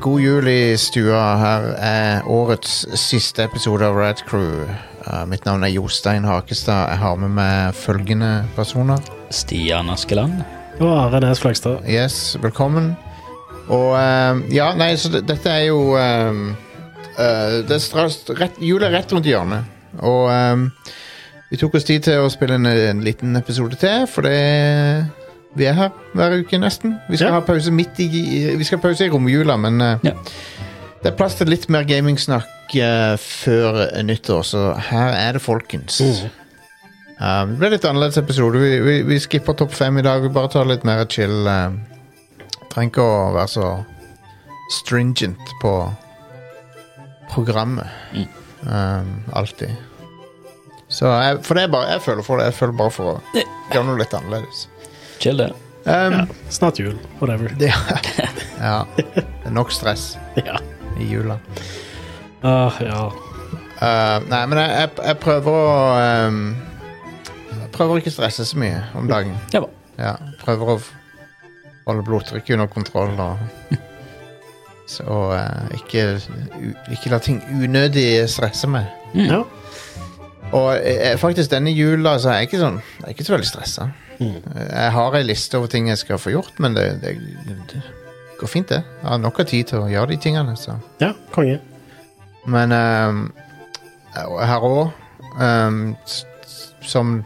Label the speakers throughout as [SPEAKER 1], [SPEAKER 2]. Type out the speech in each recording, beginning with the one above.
[SPEAKER 1] God jul i stua. Her er årets siste episode av Rad Crew. Eh, mitt navn er Jostein Hakestad. Jeg har med meg følgende personer.
[SPEAKER 2] Stian Askeland.
[SPEAKER 3] Og Are Nes Flagstad.
[SPEAKER 1] Yes, velkommen. Og eh, ja, nei, så det, dette er jo eh, eh, det er straks, rett, Jul er rett rundt hjørnet. Og eh, vi tok oss tid til å spille en, en liten episode til, for det vi er her hver uke nesten. Vi skal
[SPEAKER 3] Ja.
[SPEAKER 1] ha pause midt i Vi skal ha pause i romjula, men eh,
[SPEAKER 2] Ja.
[SPEAKER 1] det er plass til litt mer gamingsnakk eh, før nyttår, så her er det, folkens.
[SPEAKER 3] Oh. Mm.
[SPEAKER 1] Eh, det ble litt annerledes episode. Vi, vi, vi skipper topp fem i dag. Vi bare tar litt mer chill. eh. trenger ikke å være så stringent på programmet. Eh, alltid. Så jeg, for det er bare, jeg føler for det. Jeg føler bare for å gjøre noe litt annerledes.
[SPEAKER 2] Chill, det.
[SPEAKER 1] Um,
[SPEAKER 3] Snart jul. Whatever.
[SPEAKER 1] det, ja. Det er nok stress
[SPEAKER 3] Ja.
[SPEAKER 1] i jula.
[SPEAKER 3] Ah, ja.
[SPEAKER 1] Eh, nei, men jeg, jeg, jeg prøver å ehm, Jeg prøver å ikke stresse så mye om dagen.
[SPEAKER 2] Det var
[SPEAKER 1] Ja, prøver å f- holde blodtrykket under kontroll og Så eh, ikke, u, ikke la ting unødig stresse meg.
[SPEAKER 2] Mm.
[SPEAKER 3] ja.
[SPEAKER 1] Og eh, faktisk denne jula så er jeg ikke sånn Jeg er ikke så veldig stressa.
[SPEAKER 3] Mm.
[SPEAKER 1] Jeg har ei liste over ting jeg skal få gjort, men det, det, det går fint, det. Jeg har nok av tid til å gjøre de tingene. Så.
[SPEAKER 3] ja. Konge.
[SPEAKER 1] Men ehm, her òg Som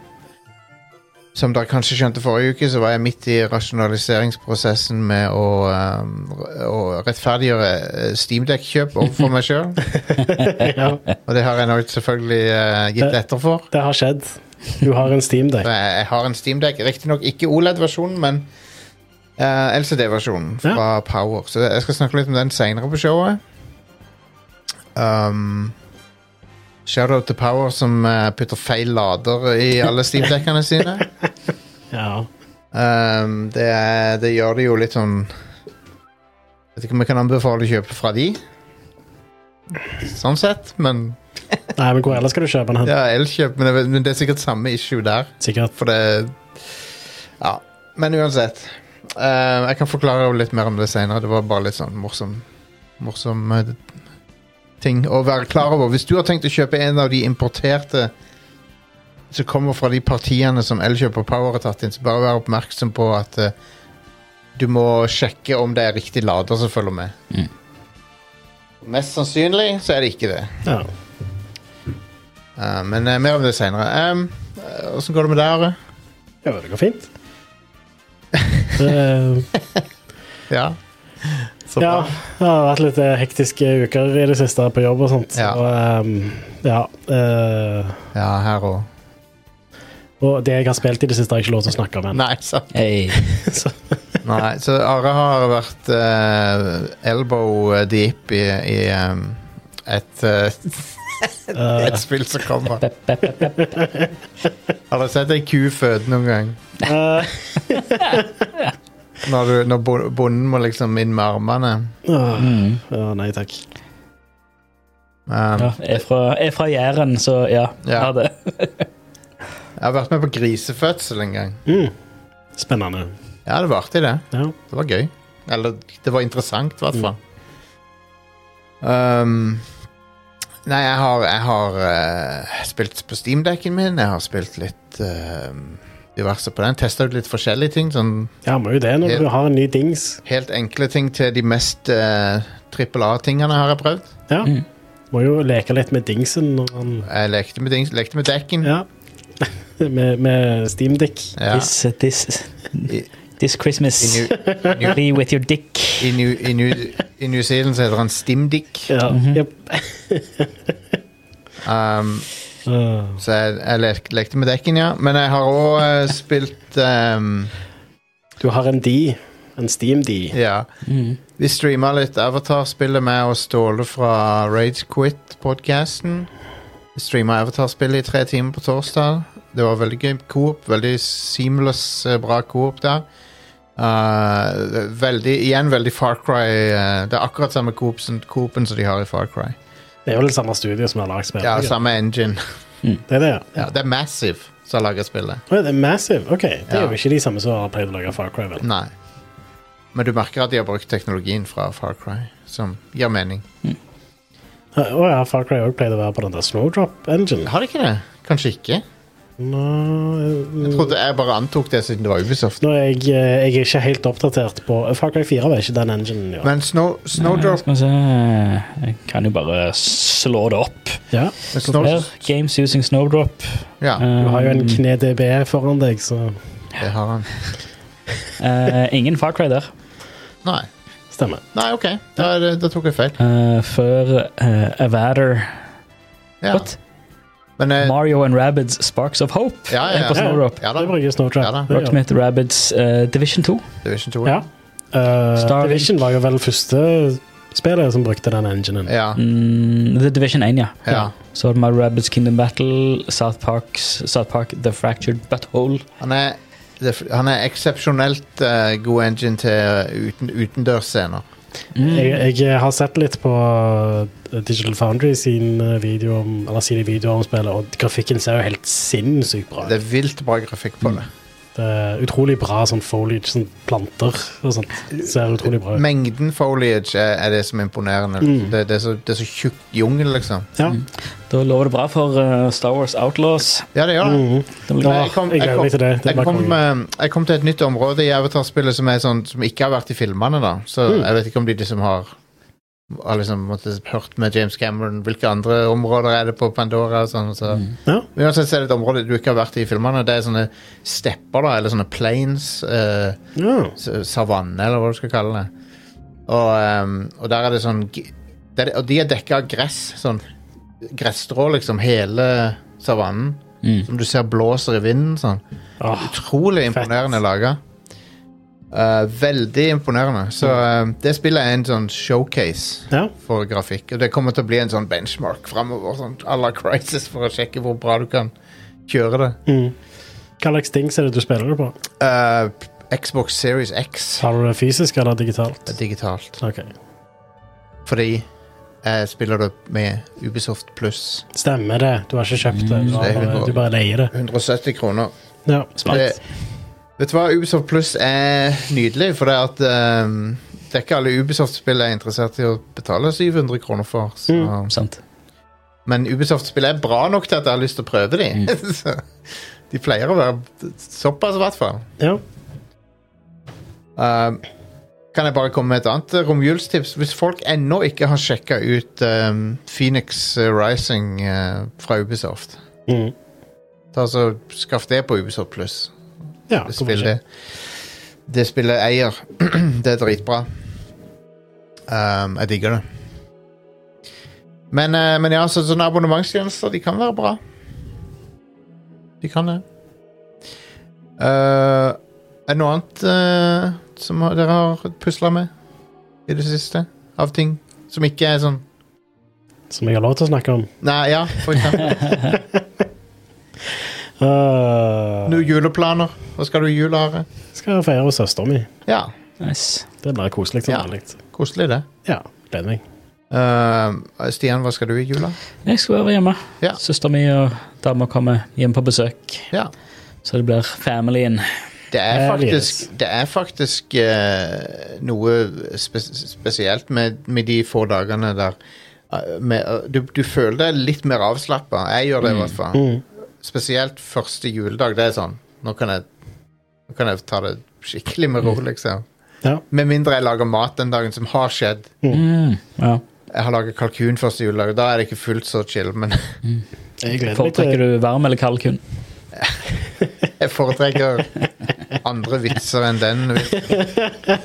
[SPEAKER 1] Som dere kanskje skjønte forrige uke, så var jeg midt i rasjonaliseringsprosessen med å, ehm, r- å rettferdiggjøre Steamdeck-kjøp overfor meg sjøl.
[SPEAKER 3] Ja.
[SPEAKER 1] Og det har jeg nå selvfølgelig eh, gitt etter for.
[SPEAKER 3] Det har skjedd. Du har en Steam Day.
[SPEAKER 1] Så Eh, jeg, jeg har en Steamdeck. Riktignok ikke OLED-versjonen, men eh, LCD-versjonen fra Power. Så jeg skal snakke litt om den seinere på showet. Um, Shoutout til Power, som eh, putter feil lader i alle Steamdekkene sine.
[SPEAKER 3] Ja.
[SPEAKER 1] Um, det, er, det gjør det jo litt sånn Vet ikke om jeg kan anbefale å kjøpe fra de. Sånn sett, men
[SPEAKER 3] Nei, men hvor ellers skal du kjøpe den? hen?
[SPEAKER 1] Ja, Elkjøp. Men, jeg vet- men det er sikkert samme issue der.
[SPEAKER 3] Sikkert.
[SPEAKER 1] For det Ja. Men uansett. Eh, jeg kan forklare litt mer om det senere. Det var bare litt sånn morsom Morsom eh, ting å være klar over. Hvis du har tenkt å kjøpe en av de importerte som kommer fra de partiene som Elkjøp og Power har tatt inn, så bare vær oppmerksom på at eh, du må sjekke om det er riktig lader som følger med. Mest sannsynlig så er det ikke det.
[SPEAKER 3] Ja.
[SPEAKER 1] Eh, men eh, mer om det seinere. Åssen går det med deg, Are?
[SPEAKER 3] ja, det går fint. Det, eh,
[SPEAKER 1] Ja. Så
[SPEAKER 3] ja, det har vært litt eh, hektiske uker i det siste på jobb og sånt.
[SPEAKER 1] Ja.
[SPEAKER 3] Og, ehm, ja. eh,
[SPEAKER 1] Ja, her òg.
[SPEAKER 3] og det jeg har spilt i det siste, har jeg ikke lov til å snakke om ennå.
[SPEAKER 1] Nei, så,
[SPEAKER 2] Hey.
[SPEAKER 3] Så-
[SPEAKER 1] nei, så Are har vært eh, elbow deep i, i em, et, eh, et spill som kommer. Har dere sett ei ku føde noen gang?
[SPEAKER 3] eh,
[SPEAKER 1] Når, du, når bo- bonden må liksom inn med armene?
[SPEAKER 3] åh,
[SPEAKER 2] Mm.
[SPEAKER 3] ah, ja, nei takk.
[SPEAKER 1] Um,
[SPEAKER 2] Ja, er fra, er fra Jæren, så ja.
[SPEAKER 1] Ja.
[SPEAKER 2] Ha det.
[SPEAKER 1] Jeg har vært med på grisefødsel en gang.
[SPEAKER 3] Mm. Spennende.
[SPEAKER 1] Ja, det var artig, det.
[SPEAKER 3] Ja.
[SPEAKER 1] Det var gøy. Eller det var interessant, i hvert fall. Um, nei, jeg har, jeg har eh, spilt på steamdekken min. Jeg har spilt litt eh, diverse på den. Testa ut litt forskjellige ting. Sånn
[SPEAKER 3] ja, må jo det når du har en ny dings.
[SPEAKER 1] helt enkle ting til de mest eh, trippel A-tingene har jeg prøvd.
[SPEAKER 3] Ja. Må jo leke litt med dingsen når han
[SPEAKER 1] Jeg lekte med, dings, lekte med dekken.
[SPEAKER 3] Ja. med med steamdick.
[SPEAKER 1] Mm. Ja.
[SPEAKER 2] This, this,
[SPEAKER 1] I,
[SPEAKER 2] this
[SPEAKER 1] i,
[SPEAKER 2] Christmas,
[SPEAKER 1] New,
[SPEAKER 2] be with your dick.
[SPEAKER 1] i, New, i, New, I New Zealand så heter han Stimdick.
[SPEAKER 3] Ja. jep.
[SPEAKER 1] Um,
[SPEAKER 3] Uh,
[SPEAKER 1] Så jeg, jeg lek, lekte med dekken, ja. Men jeg har òg spilt ehm,
[SPEAKER 3] du har en D. En steam-D.
[SPEAKER 1] Ja.
[SPEAKER 2] Mm.
[SPEAKER 1] Vi streama litt Avatar-spillet med og Ståle fra Rage Quit-podkasten. Vi streama Avatar-spillet i tre timer på torsdag. Det var veldig gøy coop. Veldig seamless, eh, bra coop der. Eh, veldig, igjen veldig Far Cry. eh, det er akkurat samme coop som- coopen som de har i Far Cry.
[SPEAKER 3] Det er jo det samme studio som har lagd spillet.
[SPEAKER 1] Ja, samme engine.
[SPEAKER 3] Det er det, ja.
[SPEAKER 1] Ja, det er Massive som har laga spillet.
[SPEAKER 3] Å, det er Massive. Ok, det er
[SPEAKER 1] Ja. Mm.
[SPEAKER 3] jo ikke de samme som har pleid å lage Far Cry, vel.
[SPEAKER 1] Nei. Men du merker at de har brukt teknologien fra Far Cry, som gir mening.
[SPEAKER 3] Å ja, Far Cry òg pleide å være på den der Snowdrop Engine.
[SPEAKER 1] Har de ikke det? Kanskje ikke?
[SPEAKER 3] Nå, eh,
[SPEAKER 1] Jeg trodde jeg bare antok det siden det var Ubisoft.
[SPEAKER 3] nå er jeg, eh, jeg er ikke helt oppdatert på Far Cry 4 var ikke den enginen, ja.
[SPEAKER 1] Men Snow,
[SPEAKER 2] Ja,
[SPEAKER 1] Snowdrop
[SPEAKER 2] Skal vi se Jeg kan jo bare slå det opp.
[SPEAKER 3] ja.
[SPEAKER 1] men Mm. Snow,
[SPEAKER 2] Her, Games using Snowdrop.
[SPEAKER 1] Ja,
[SPEAKER 3] Du har jo en
[SPEAKER 2] Um,
[SPEAKER 3] kne-DB E foran deg, så
[SPEAKER 1] det har han.
[SPEAKER 2] eh, ingen Far Cry der.
[SPEAKER 1] Nei.
[SPEAKER 3] stemmer.
[SPEAKER 1] Nei, OK. Da, er det- da tok jeg feil.
[SPEAKER 2] Eh, før eh, Avatar
[SPEAKER 1] Ja.
[SPEAKER 2] What?
[SPEAKER 1] Men eh,
[SPEAKER 2] Mario and Rabbids Sparks of Hope.
[SPEAKER 1] ja, ja,
[SPEAKER 2] er på
[SPEAKER 1] ja.
[SPEAKER 2] Snowdrop.
[SPEAKER 1] ja
[SPEAKER 3] Det
[SPEAKER 1] da.
[SPEAKER 3] bruker
[SPEAKER 1] Ja da.
[SPEAKER 3] Snowdrop. Det gjør det.
[SPEAKER 2] Rocksmith Rabbids eh, Division 2.
[SPEAKER 1] Division 2.
[SPEAKER 3] Ja. Eh,
[SPEAKER 2] Starlink.
[SPEAKER 3] Division var jo vel første spillet som brukte den enginen.
[SPEAKER 1] Ja.
[SPEAKER 2] Mm, The Division 1, ja.
[SPEAKER 1] Ja.
[SPEAKER 2] Så har du Mario Rabbids Kingdom Battle, South, Parks, South Park The Fractured Butthole.
[SPEAKER 1] Han er, det- han er eksepsjonelt eh, god engine til uten, utendørsscener.
[SPEAKER 2] Mm.
[SPEAKER 3] Jeg, jeg har sett litt på eh, Digital Foundry sin eh, video om, eller sine videoer om spillet, og grafikken ser jo helt sinnssykt bra
[SPEAKER 1] Det
[SPEAKER 3] ut.
[SPEAKER 1] er vilt bra grafikk på
[SPEAKER 3] Mm.
[SPEAKER 1] det.
[SPEAKER 3] Det er utrolig bra sånn foliage, sånn planter og sånt. Ser utrolig bra ut.
[SPEAKER 1] Mengden foliage er, er det som er imponerende.
[SPEAKER 3] Mm.
[SPEAKER 1] Det, det er så, det er så tjukk jungel, liksom.
[SPEAKER 3] Ja.
[SPEAKER 2] Da lover det bra for eh, Star Wars Outlaws.
[SPEAKER 1] Ja, det gjør det.
[SPEAKER 3] Mhm.
[SPEAKER 2] Det blir
[SPEAKER 3] Ja.
[SPEAKER 2] bra.
[SPEAKER 1] Jeg kom,
[SPEAKER 3] jeg
[SPEAKER 1] jeg
[SPEAKER 3] gleder
[SPEAKER 1] kom,
[SPEAKER 3] meg til det. Det
[SPEAKER 1] jeg
[SPEAKER 3] var
[SPEAKER 1] kom,
[SPEAKER 3] konge.
[SPEAKER 1] eh, jeg kom til et nytt område i Avatar-spillet som, er sånn, som ikke har vært i filmene. da Så
[SPEAKER 3] Mm.
[SPEAKER 1] jeg vet ikke om de liksom har, har liksom, måtte, hørt med James Cameron hvilke andre områder er det på Pandora. og sånn så.
[SPEAKER 2] Mm.
[SPEAKER 3] Ja.
[SPEAKER 1] Men Uansett så er det et område du ikke har vært i i filmene. Det er sånne stepper, da, eller sånne plains. eh,
[SPEAKER 3] Ja.
[SPEAKER 1] s- savanne, eller hva du skal kalle det. Og, ehm, og der er det sånn g- der, Og de er dekka av gress. Sånn gresstrå, liksom, hele savannen.
[SPEAKER 2] Mm.
[SPEAKER 1] Som du ser blåser i vinden. sånn
[SPEAKER 3] Åh,
[SPEAKER 1] Utrolig
[SPEAKER 3] fett.
[SPEAKER 1] imponerende laga. Eh, veldig imponerende. Så eh, det spillet er en sånn showcase
[SPEAKER 3] ja.
[SPEAKER 1] for grafikk. Og det kommer til å bli en sånn benchmark framover, sånn à la Crisis, for å sjekke hvor bra du kan kjøre det.
[SPEAKER 3] Mhm. Hva slags dings er det du spiller det på?
[SPEAKER 1] Eh, Xbox Series X
[SPEAKER 3] Har du det fysisk eller digitalt?
[SPEAKER 1] er digitalt.
[SPEAKER 3] Ok,
[SPEAKER 1] Fordi jeg spiller det med Ubisoft pluss
[SPEAKER 3] Stemmer det. Du har ikke kjøpt det. Du,
[SPEAKER 1] Mm, det er
[SPEAKER 3] har bare,
[SPEAKER 1] bra.
[SPEAKER 3] du bare leier det.
[SPEAKER 1] 170 kroner.
[SPEAKER 3] Ja.
[SPEAKER 2] Smart.
[SPEAKER 1] Det- Vet du hva, Ubisoft pluss er nydelig, for det er at ehm, det er ikke alle Ubisoft-spill jeg er interessert i å betale 700 kroner for. Så.
[SPEAKER 2] Sant.
[SPEAKER 1] Men Ubisoft-spill er bra nok til at jeg har lyst til å prøve de. Så de pleier å være såpass, i hvert fall.
[SPEAKER 3] ja.
[SPEAKER 1] Ehm, kan jeg bare komme med et annet eh, romjulstips? Hvis folk ennå ikke har sjekka ut ehm, Phoenix eh, Rising eh, fra Ubisoft
[SPEAKER 3] Mhm.
[SPEAKER 1] Ta så altså Skaff det på Ubisoft Pluss.
[SPEAKER 3] ja. hvorfor
[SPEAKER 1] Spill
[SPEAKER 3] ikke?
[SPEAKER 1] det. Det spillet eier. det er dritbra. Um, jeg digger det. Men, eh, men ja, så, sånne abonnementsgrenser, de kan være bra. De kan det. Eh, er det noe annet eh, som har- dere har pusla med i det siste? Av ting som ikke er sånn
[SPEAKER 3] Som jeg har lov til å snakke om.
[SPEAKER 1] Nei, ja, for eksempel.
[SPEAKER 3] Uh,
[SPEAKER 1] Noen juleplaner. Hva skal du i jula, Are?
[SPEAKER 3] skal jeg feire hos søsteren min.
[SPEAKER 1] Ja,
[SPEAKER 2] Nice.
[SPEAKER 3] Det blir koselig. som
[SPEAKER 1] Ja.
[SPEAKER 3] vanlig.
[SPEAKER 1] koselig, det.
[SPEAKER 3] Ja, gleder meg.
[SPEAKER 1] Eh, Stian, hva skal du i jula?
[SPEAKER 2] Jeg skal være hjemme.
[SPEAKER 1] Ja.
[SPEAKER 2] Søster mi og dama kommer hjem på besøk.
[SPEAKER 1] Ja.
[SPEAKER 2] Så det blir familien.
[SPEAKER 1] Det er
[SPEAKER 3] Eh,
[SPEAKER 1] faktisk, det er faktisk eh, noe spe spesielt med, med de få dagene der eh, med, eh, du, du føler deg litt mer avslappa. Jeg gjør det i hvert fall.
[SPEAKER 3] Mm.
[SPEAKER 1] Spesielt første juledag. Det er sånn Nå kan jeg, nå kan jeg ta det skikkelig med ro, liksom.
[SPEAKER 3] Mm. Ja.
[SPEAKER 1] Med mindre jeg lager mat den dagen, som har skjedd.
[SPEAKER 2] Mm. Ja.
[SPEAKER 1] Jeg har laget kalkun første juledag. Da er det ikke fullt så chill, men
[SPEAKER 3] Jeg gleder meg
[SPEAKER 2] Foretrekker
[SPEAKER 3] til
[SPEAKER 2] du varm eller kald kun?
[SPEAKER 1] jeg foretrekker andre vitser enn den.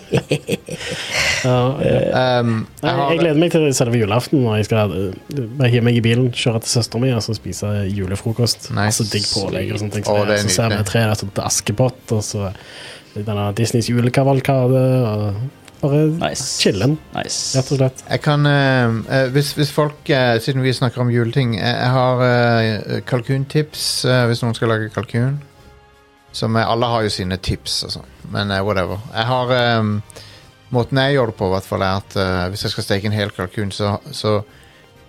[SPEAKER 3] Ja, ja.
[SPEAKER 1] Um,
[SPEAKER 3] Nei,
[SPEAKER 1] jeg har,
[SPEAKER 3] jeg gleder meg til selve julaften når jeg skal uh, bare hive meg i bilen, kjøre til søsteren min og så spise julefrokost.
[SPEAKER 1] Nice.
[SPEAKER 3] Altså digg pålegg og sånne ting.
[SPEAKER 1] Å,
[SPEAKER 3] som det
[SPEAKER 1] det
[SPEAKER 3] er.
[SPEAKER 1] er
[SPEAKER 3] Så ser vi
[SPEAKER 1] nydelig.
[SPEAKER 3] tre rett til Askepott, og så denne Disneys julekavalkade, og bare
[SPEAKER 2] Nice.
[SPEAKER 3] chillen,
[SPEAKER 2] Nice.
[SPEAKER 3] rett og slett.
[SPEAKER 1] Jeg kan eh, eh, hvis, hvis folk, eh, siden vi snakker om juleting Jeg, jeg har eh, kalkuntips eh, hvis noen skal lage kalkun. Som eh, alle har jo sine tips og sånn, men eh, whatever. Jeg har eh, Måten jeg gjør det på, i hvert fall, er at eh, hvis jeg skal steke en hel kalkun, så, så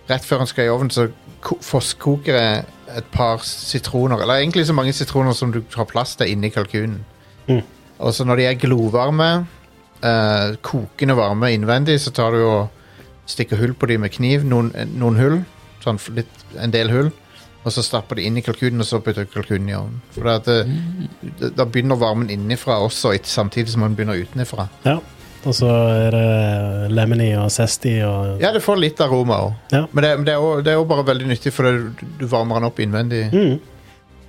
[SPEAKER 1] rett før den skal i ovnen, så ko- fosskoker jeg et par sitroner. Eller egentlig så mange sitroner som du har plass til inni kalkunen.
[SPEAKER 3] Mm.
[SPEAKER 1] Og så når de er glovarme, eh, kokende varme innvendig, så tar du og stikker hull på dem med kniv. Noen, noen hull. Sånn f- litt, en del hull. Og så stapper de inn i kalkunen, og så putter du kalkunen i ovnen. For det at det, det- da begynner varmen innenfra også, et- samtidig som den begynner utenfra.
[SPEAKER 3] Ja. Og så er det lemony og zesty og
[SPEAKER 1] Ja, det får litt aroma òg.
[SPEAKER 3] Ja.
[SPEAKER 1] Men det, men det er også- det er jo bare veldig nyttig, for det, du varmer den opp innvendig.
[SPEAKER 3] Mm.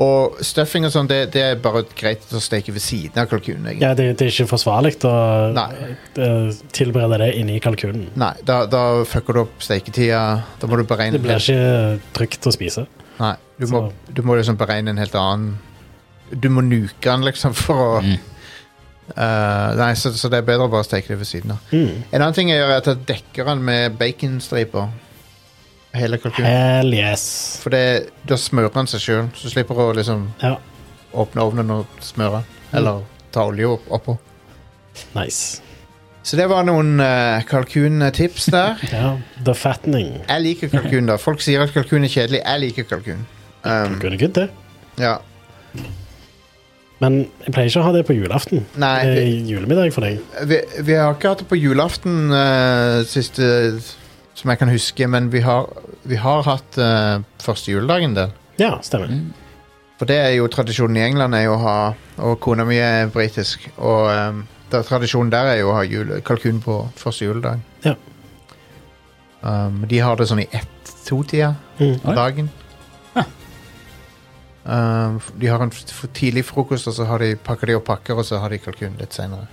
[SPEAKER 1] Og stuffing og sånn, det, det er bare greit å steke ved siden av kalkunen. egentlig.
[SPEAKER 3] Ja, det, det er ikke forsvarlig å
[SPEAKER 1] Nei.
[SPEAKER 3] eh, tilberede det inni kalkunen.
[SPEAKER 1] Nei, da, da fucker du opp steketida. Da må du beregne
[SPEAKER 3] Det blir ikke trygt å spise.
[SPEAKER 1] Nei, du må, du må liksom beregne en helt annen Du må nuke den, liksom, for å
[SPEAKER 2] Mm.
[SPEAKER 1] Eh, Nei, så, så det er bedre å bare steke det ved siden av.
[SPEAKER 3] Mm.
[SPEAKER 1] En annen ting jeg gjør, er at jeg dekker den med baconstriper. Hele kalkunen.
[SPEAKER 3] Hell yes.
[SPEAKER 1] For det, da smører den seg sjøl, så du slipper å liksom
[SPEAKER 3] Ja, Mm.
[SPEAKER 1] åpne ovnen og smøre. Eller ta olje opp, oppå.
[SPEAKER 3] nice.
[SPEAKER 1] Så det var noen eh, kalkuntips der.
[SPEAKER 3] Ja, the fattening.
[SPEAKER 1] Jeg liker kalkun, da. Folk sier at kalkun er kjedelig. Jeg liker kalkun. Um,
[SPEAKER 3] Kalkun er good, det.
[SPEAKER 1] ja.
[SPEAKER 3] Men jeg pleier ikke å ha det på julaften.
[SPEAKER 1] Nei,
[SPEAKER 3] det er julemiddag for deg.
[SPEAKER 1] Vi, vi har ikke hatt det på julaften eh, siste som jeg kan huske, men vi har, vi har hatt eh, første juledag en del.
[SPEAKER 3] Ja, stemmer.
[SPEAKER 2] Mm.
[SPEAKER 1] For det er jo tradisjonen i England er jo å ha Og kona mi er britisk, og um, der, tradisjonen der er jo å ha jule, kalkun på første juledag.
[SPEAKER 3] Ja.
[SPEAKER 1] Um, de har det sånn i ett-to-tida
[SPEAKER 3] Mm.
[SPEAKER 1] på
[SPEAKER 2] Oi.
[SPEAKER 1] dagen.
[SPEAKER 2] Ah.
[SPEAKER 1] Um, f- de har en f f tidlig frokost, og så har de, pakker de opp pakker, og så har de kalkun litt seinere.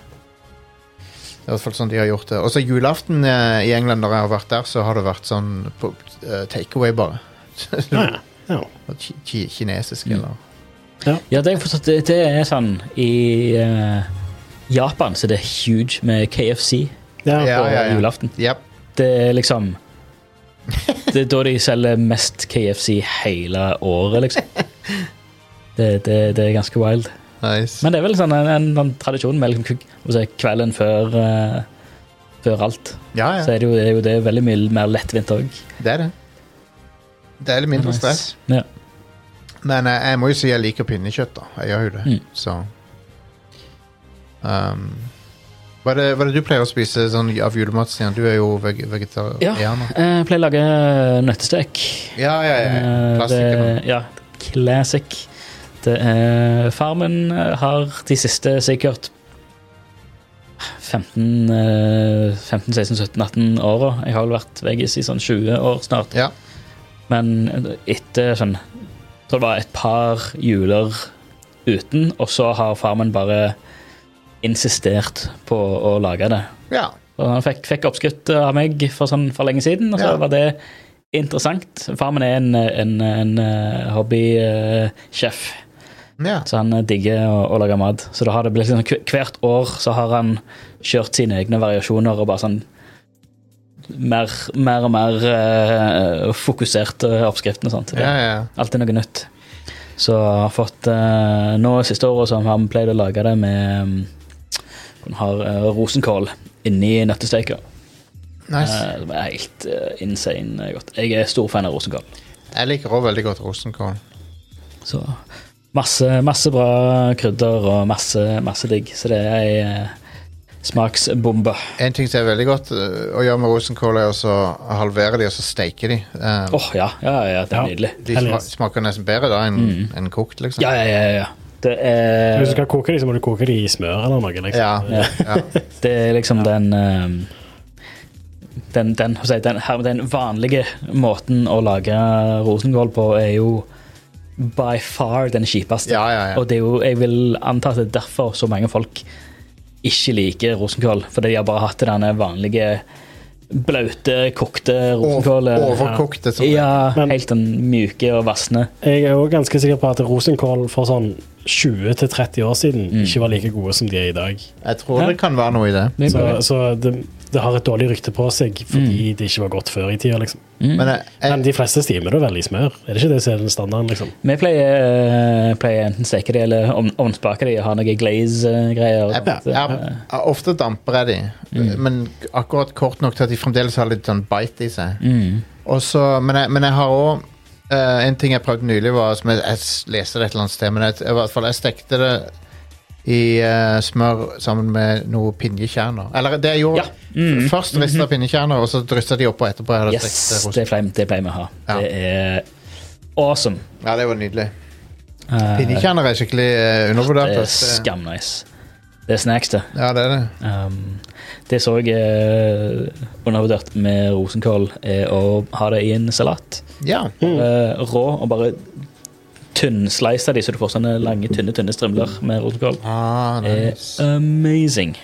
[SPEAKER 1] Det er i hvert fall sånn de har gjort det. Og så julaften eh, i England, når jeg har vært der, så har det vært sånn på, eh, takeaway, bare.
[SPEAKER 3] Ja, ja. ja.
[SPEAKER 1] Ki- ki- Kinesisk,
[SPEAKER 2] Mm.
[SPEAKER 1] eller
[SPEAKER 2] Ja, det, er forstått, det, det er sånn I eh, Japan så det er huge med KFC
[SPEAKER 3] ja.
[SPEAKER 1] Ja.
[SPEAKER 2] på julaften.
[SPEAKER 1] Yep.
[SPEAKER 2] Det er liksom Det er da de selger mest KFC hele året, liksom. Det, det, det er ganske wild.
[SPEAKER 1] Nice.
[SPEAKER 2] Men det er vel sånn en, en, en tradisjon med liksom, kuk- hva skal jeg si, kvelden før, eh, før alt.
[SPEAKER 1] ja, ja.
[SPEAKER 2] Så er det jo, det er jo det er veldig mye mer lettvint òg.
[SPEAKER 1] Det er det. Det er litt mindre stress.
[SPEAKER 2] Ja.
[SPEAKER 1] Men eh, jeg må jo si jeg liker pinnekjøtt, da. Jeg gjør jo det,
[SPEAKER 2] Mm.
[SPEAKER 1] så um, hva, er det, hva er det du pleier å spise sånn av julemat, Stian? Du er jo veg
[SPEAKER 2] Ja.
[SPEAKER 1] vegetarianer.
[SPEAKER 2] Eh, Jeg pleier å lage nøttestek.
[SPEAKER 1] Ja, ja, ja.
[SPEAKER 2] Eh,
[SPEAKER 1] Klassikeren.
[SPEAKER 2] det- Ja, classic. Det er Farmen eh, har de siste sikkert 15, eh, 15 16, 17, 18 åra. Jeg har vel vært veggis i sånn 20 år snart.
[SPEAKER 1] Ja.
[SPEAKER 2] Men etter sånn Jeg tror det var et par juler uten, og så har Farmen bare insistert på å lage det.
[SPEAKER 1] ja.
[SPEAKER 2] Og han fikk, fikk oppskutt av meg for, sånn, for lenge siden, og så
[SPEAKER 1] Ja.
[SPEAKER 2] var det interessant. Far min er en, en, en eh, hobbysjef,
[SPEAKER 1] ja.
[SPEAKER 2] så han digger å, å lage mat. Så da har det blitt sånn, hver- hvert år så har han kjørt sine egne variasjoner og bare sånn mer, mer og mer eh, fokuserte oppskrifter og sånt. Det
[SPEAKER 1] ja, ja.
[SPEAKER 2] Alltid noe nytt. Så har jeg fått eh, Nå siste året så har vi pleid å lage det med um, Hun har eh, rosenkål inni nøttesteika.
[SPEAKER 1] Nice.
[SPEAKER 2] Eh, Det er helt eh, insane eh, godt. Jeg er stor fan av rosenkål.
[SPEAKER 1] Jeg liker òg veldig godt rosenkål.
[SPEAKER 2] Så masse, masse bra krydder og masse, masse digg. Så det er ei eh, smaksbombe.
[SPEAKER 1] En ting som er veldig godt øh, å gjøre med rosenkål, er også å halvere de og så steike de. Um,
[SPEAKER 2] Åh, ja, ja, ja, det
[SPEAKER 3] Ja.
[SPEAKER 2] er nydelig.
[SPEAKER 1] de
[SPEAKER 3] hell
[SPEAKER 1] sma
[SPEAKER 3] yes.
[SPEAKER 1] smaker nesten bedre da enn enn kokt, liksom.
[SPEAKER 2] Mm. Ja, ja, ja. ja. Det er,
[SPEAKER 3] Hvis du skal koke dem, så må du koke dem i smør eller noe. Liksom.
[SPEAKER 1] Ja, ja.
[SPEAKER 2] det er liksom den eh, den, den, hva skal jeg si, den, her- den vanlige måten å lage rosenkål på er jo by far den kjipeste.
[SPEAKER 1] Ja, ja, ja.
[SPEAKER 2] Og det er jo, jeg vil anta at det er derfor så mange folk ikke liker rosenkål. Fordi de har bare hatt denne vanlige blaute, kokte
[SPEAKER 1] Over-
[SPEAKER 2] rosenkålet.
[SPEAKER 1] Overkokte. Som
[SPEAKER 2] Ja,
[SPEAKER 3] Men-
[SPEAKER 2] helt den myke og vassende.
[SPEAKER 3] Jeg er òg ganske sikker på at rosenkål for sånn Mm. 20-30 år siden ikke var like gode som de er i dag.
[SPEAKER 1] Jeg tror det kan være noe i det.
[SPEAKER 3] Så, så det, det har et dårlig rykte på seg fordi
[SPEAKER 2] Mm.
[SPEAKER 3] det ikke var godt før i tida. Liksom.
[SPEAKER 1] Men jeg,
[SPEAKER 3] Men
[SPEAKER 2] Eh.
[SPEAKER 1] jeg,
[SPEAKER 3] de fleste stimer det vel i smør. Er det ikke det som er den standarden? Liksom?
[SPEAKER 2] Vi pleier, eh, pleier enten steke de eller om- ovnsbake de og ha noe glaze-greier.
[SPEAKER 1] jeg, jeg, jeg- ofte damper jeg de,
[SPEAKER 2] Mm.
[SPEAKER 1] men akkurat kort nok til at de fremdeles har litt sånn bite i seg.
[SPEAKER 2] Mm.
[SPEAKER 1] Og så- men, jeg, men jeg har òg En ting jeg prøvde nylig, var som jeg, jeg leste det et eller annet sted, men jeg, i hvert fall jeg stekte det i eh, smør sammen med noe pinjekjerner. Eller det jeg gjorde
[SPEAKER 2] Ja. Mm.
[SPEAKER 1] Først rista pinnekjerner, og så dryssa de oppå etterpå. Jeg hadde
[SPEAKER 2] Yes,
[SPEAKER 1] stekt eh, rosin.
[SPEAKER 2] det pleier, det pleier vi å ha.
[SPEAKER 1] Ja.
[SPEAKER 2] Det er awesome.
[SPEAKER 1] Ja, det var nydelig.
[SPEAKER 2] Eh,
[SPEAKER 1] Pinnekjerner er skikkelig eh, undervurdert.
[SPEAKER 2] det er
[SPEAKER 1] ass. Det-
[SPEAKER 2] skamnice. Det er snacks, det.
[SPEAKER 1] Ja, det er det.
[SPEAKER 2] Um, det så jeg eh, undervurdert med rosenkål, er å ha det i en salat.
[SPEAKER 1] Ja.
[SPEAKER 2] Eh, rå, og bare tynnslice de, så du får sånne lange, tynne tynne strimler med rosenkål.
[SPEAKER 1] Ah,
[SPEAKER 2] Er
[SPEAKER 1] nice.
[SPEAKER 2] amazing.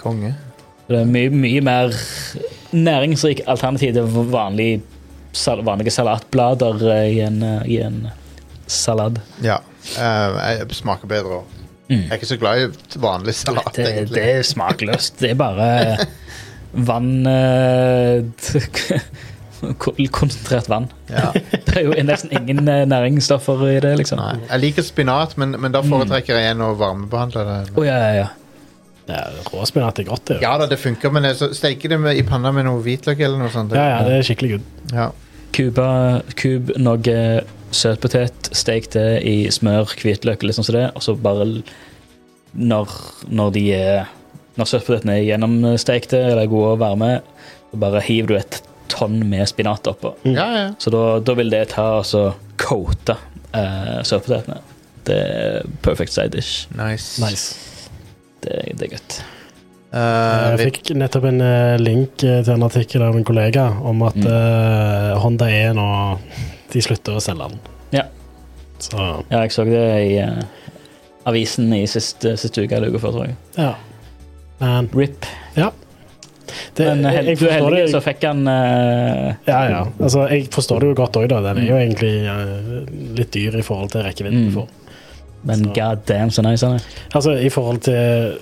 [SPEAKER 1] Konge.
[SPEAKER 2] Det er mye, mye mer næringsrik alternativ til vanlig, sal vanlige salatblader eh, i en, eh, i en salat.
[SPEAKER 1] Ja. eh, jeg smaker bedre òg. Jeg er ikke så glad i vanlig salat,
[SPEAKER 2] Det,
[SPEAKER 1] egentlig.
[SPEAKER 2] det er smakløst. Det er bare vann eh, kon- Konsentrert vann.
[SPEAKER 1] Ja.
[SPEAKER 2] Det er jo nesten ingen eh, næringsstoffer i det, liksom.
[SPEAKER 1] Nei. Jeg liker spinat, men, men da foretrekker jeg en å varmebehandle det.
[SPEAKER 2] Å, ja, ja, ja.
[SPEAKER 3] Ja, Råspinat er godt, det.
[SPEAKER 1] Ja da, det funker, men jeg så steker det med, i panna med noe hvitløk eller noe sånt.
[SPEAKER 3] Ja, ja, det er skikkelig good.
[SPEAKER 1] Ja.
[SPEAKER 2] Kuba, kub, noe søtpotet, stek det i smør, hvitløk, liksom som det, og så bare l- når, når de er Når søtpotetene er gjennomstekte eller er gode og varme, så bare hiver du et tonn med spinat oppå.
[SPEAKER 1] ja, ja.
[SPEAKER 2] Så da, da vil det ta og så coate eh, søtpotetene. Det er perfect side dish.
[SPEAKER 1] Nice.
[SPEAKER 3] Nice.
[SPEAKER 2] Det, det er godt.
[SPEAKER 1] Eh,
[SPEAKER 3] Jeg
[SPEAKER 1] vi-
[SPEAKER 3] fikk nettopp en eh, link eh, til en artikkel av en kollega om at
[SPEAKER 2] Mm.
[SPEAKER 3] eh, Honda E nå De slutter å selge den.
[SPEAKER 2] Ja.
[SPEAKER 3] Så
[SPEAKER 2] Ja, jeg så det i eh, avisen i siste, siste uke eller uka før, tror jeg.
[SPEAKER 3] ja. Men
[SPEAKER 2] RIP.
[SPEAKER 3] det,
[SPEAKER 2] Men eh,
[SPEAKER 3] jeg,
[SPEAKER 2] hel-
[SPEAKER 3] jeg
[SPEAKER 2] du er
[SPEAKER 3] forstår
[SPEAKER 2] heldig,
[SPEAKER 3] det
[SPEAKER 2] så fikk han eh,
[SPEAKER 3] Ja, ja. Altså, jeg forstår det jo godt òg, da. Den er jo egentlig eh, litt dyr i forhold til rekkevidden.
[SPEAKER 2] Mm.
[SPEAKER 3] du får.
[SPEAKER 2] Men
[SPEAKER 3] Så-
[SPEAKER 2] god damn, så nice han er.
[SPEAKER 3] Altså, i forhold til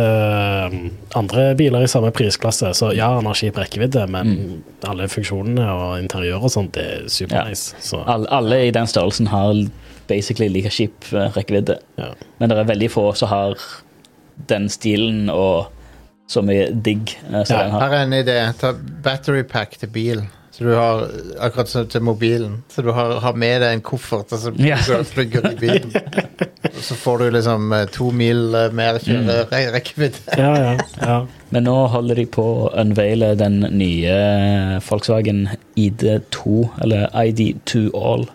[SPEAKER 3] eh, andre biler i samme prisklasse, så ja, han har kjip rekkevidde, men alle funksjonene og interiør og sånt, det er
[SPEAKER 2] Mm. Ja.
[SPEAKER 3] supernice. Så
[SPEAKER 2] Alle, alle i den størrelsen har basically like kjip eh, rekkevidde.
[SPEAKER 3] ja.
[SPEAKER 2] Men det er veldig få som har den stilen og så mye digg eh, som
[SPEAKER 3] Ja,
[SPEAKER 2] den har.
[SPEAKER 1] Her er en idé. Ta battery pack til bil. Så du har Akkurat som til mobilen. Så du har, har med deg en koffert, og så
[SPEAKER 2] Ja.
[SPEAKER 1] plugger du plugger i bilen. Og så får du liksom eh, to mil eh, mer kjørerekkevidde.
[SPEAKER 3] ja, ja. ja.
[SPEAKER 2] Men nå holder de på å unveile den nye Volkswagen ID2, eller ID2 All.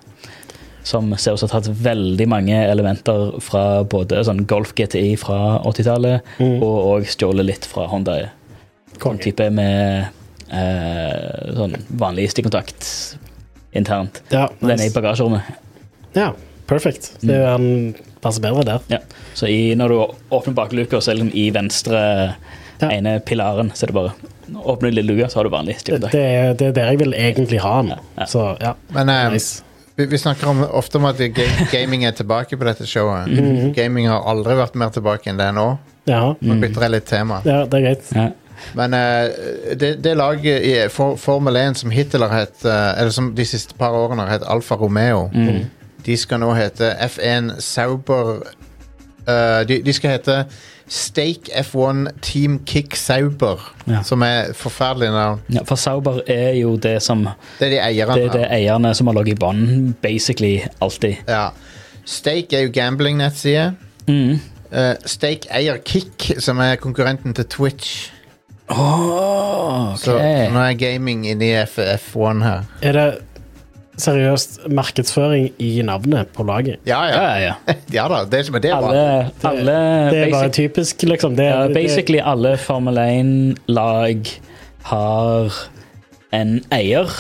[SPEAKER 2] Som ser ut som har tatt veldig mange elementer fra både sånn Golf GTI fra 80-tallet, og òg stjålet litt fra Honda. Sånn
[SPEAKER 3] Mm. Konge.
[SPEAKER 2] type med eh, sånn vanlig stikkontakt internt.
[SPEAKER 3] Ja,
[SPEAKER 2] Den er i
[SPEAKER 3] nice.
[SPEAKER 2] bagasjerommet.
[SPEAKER 3] ja, perfect.
[SPEAKER 2] Mm.
[SPEAKER 3] Det er jo han passer bedre der.
[SPEAKER 2] Ja. Så i, når du åpner bakluka, så er det liksom i venstre
[SPEAKER 3] Ja.
[SPEAKER 2] ene pilaren, så er det bare Åpner lille luka, så har du vanlig
[SPEAKER 3] Det,
[SPEAKER 2] stikkontakt.
[SPEAKER 3] det, er, det er der jeg vil egentlig ha han.
[SPEAKER 2] ja.
[SPEAKER 3] Så ja,
[SPEAKER 1] Men eh,
[SPEAKER 3] nice.
[SPEAKER 1] vi, vi snakker om, ofte om at ga- gaming er tilbake på dette showet.
[SPEAKER 2] Mhm.
[SPEAKER 1] Gaming har aldri vært mer tilbake enn det er nå.
[SPEAKER 3] Ja,
[SPEAKER 1] Nå bytter jeg litt tema.
[SPEAKER 3] ja det er greit.
[SPEAKER 2] Mm. Ja.
[SPEAKER 1] Men eh, det, det laget i for, Formel 1 som hittil har hett eh, Eller som de siste par årene har hett Alfa Romeo,
[SPEAKER 2] mm. Mhm.
[SPEAKER 1] de skal nå hete F1 Sauber eh, de, de skal hete Stake F1 Team Kick Sauber,
[SPEAKER 2] Ja.
[SPEAKER 1] som er forferdelig navn.
[SPEAKER 2] Ja, for Sauber er jo det som
[SPEAKER 1] Det er de eierne
[SPEAKER 2] Det er det eierne som har ligget i bånn, basically alltid.
[SPEAKER 1] Ja. Stake er jo gambling-nettside.
[SPEAKER 2] Mm.
[SPEAKER 1] Eh, Stake eier Kick, som er konkurrenten til Twitch.
[SPEAKER 2] Åh, ok.
[SPEAKER 1] Så, så nå er gaming inni F F1 her.
[SPEAKER 3] Er det seriøst markedsføring i navnet på laget?
[SPEAKER 1] Ja,
[SPEAKER 2] ja,
[SPEAKER 1] ja.
[SPEAKER 2] ja, ja.
[SPEAKER 1] ja da, det, men det er bra.
[SPEAKER 2] Alle, alle
[SPEAKER 3] Det er
[SPEAKER 2] basic-
[SPEAKER 3] bare typisk, liksom. Det,
[SPEAKER 2] Ja,
[SPEAKER 3] det-
[SPEAKER 2] basically alle Formel 1-lag har en eier,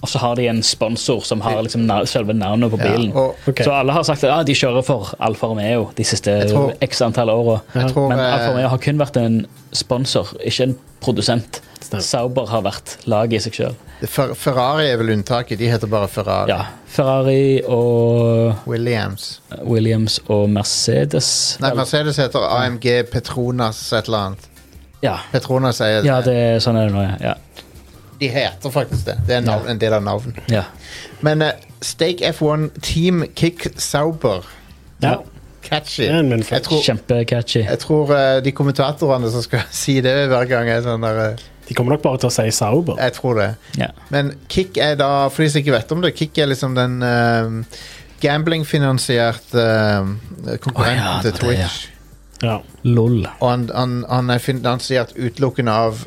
[SPEAKER 2] og så har de en sponsor som har liksom nav selve navnet på
[SPEAKER 1] Ja,
[SPEAKER 2] bilen.
[SPEAKER 1] og
[SPEAKER 3] Ok.
[SPEAKER 2] Så alle har sagt at ah, de kjører for Alfa Romeo de siste
[SPEAKER 1] tror-
[SPEAKER 2] x antall åra.
[SPEAKER 1] jeg tror
[SPEAKER 2] Men Alfa
[SPEAKER 1] eh,
[SPEAKER 2] Romeo har kun vært en sponsor, ikke en produsent.
[SPEAKER 3] Stemmer.
[SPEAKER 2] Sauber har vært laget i seg sjøl.
[SPEAKER 1] Fer Ferrari er vel unntaket. De heter bare Ferrari.
[SPEAKER 2] Ja. Ferrari og
[SPEAKER 1] Williams.
[SPEAKER 2] Williams og Mercedes.
[SPEAKER 1] Nei, Mercedes heter AMG Petronas et eller annet.
[SPEAKER 2] Ja,
[SPEAKER 1] Petrona sier
[SPEAKER 2] ja det, er- sånn er det nå, ja.
[SPEAKER 1] De heter faktisk det. Det er navn, en del av navnet.
[SPEAKER 2] ja.
[SPEAKER 1] Men eh, Stake F1 Team Kick Sauber.
[SPEAKER 3] Ja.
[SPEAKER 1] Catchy.
[SPEAKER 3] Det er en munnfull.
[SPEAKER 1] Jeg tror,
[SPEAKER 2] Kjempecatchy.
[SPEAKER 1] jeg tror eh, de kommentatorene som skal si det hver gang, er sånn der eh,
[SPEAKER 3] De kommer nok bare til å si Sauber.
[SPEAKER 1] Jeg tror det.
[SPEAKER 2] Ja.
[SPEAKER 1] Men Kick er da, for de som ikke vet om det, Kick er liksom den ehm, gamblingfinansierte ehm, konkurrenten
[SPEAKER 2] Å ja,
[SPEAKER 1] til
[SPEAKER 2] det er det, ja.
[SPEAKER 1] Twitch.
[SPEAKER 3] Ja.
[SPEAKER 2] Lol.
[SPEAKER 1] Og han, han, han er finansiert utelukkende av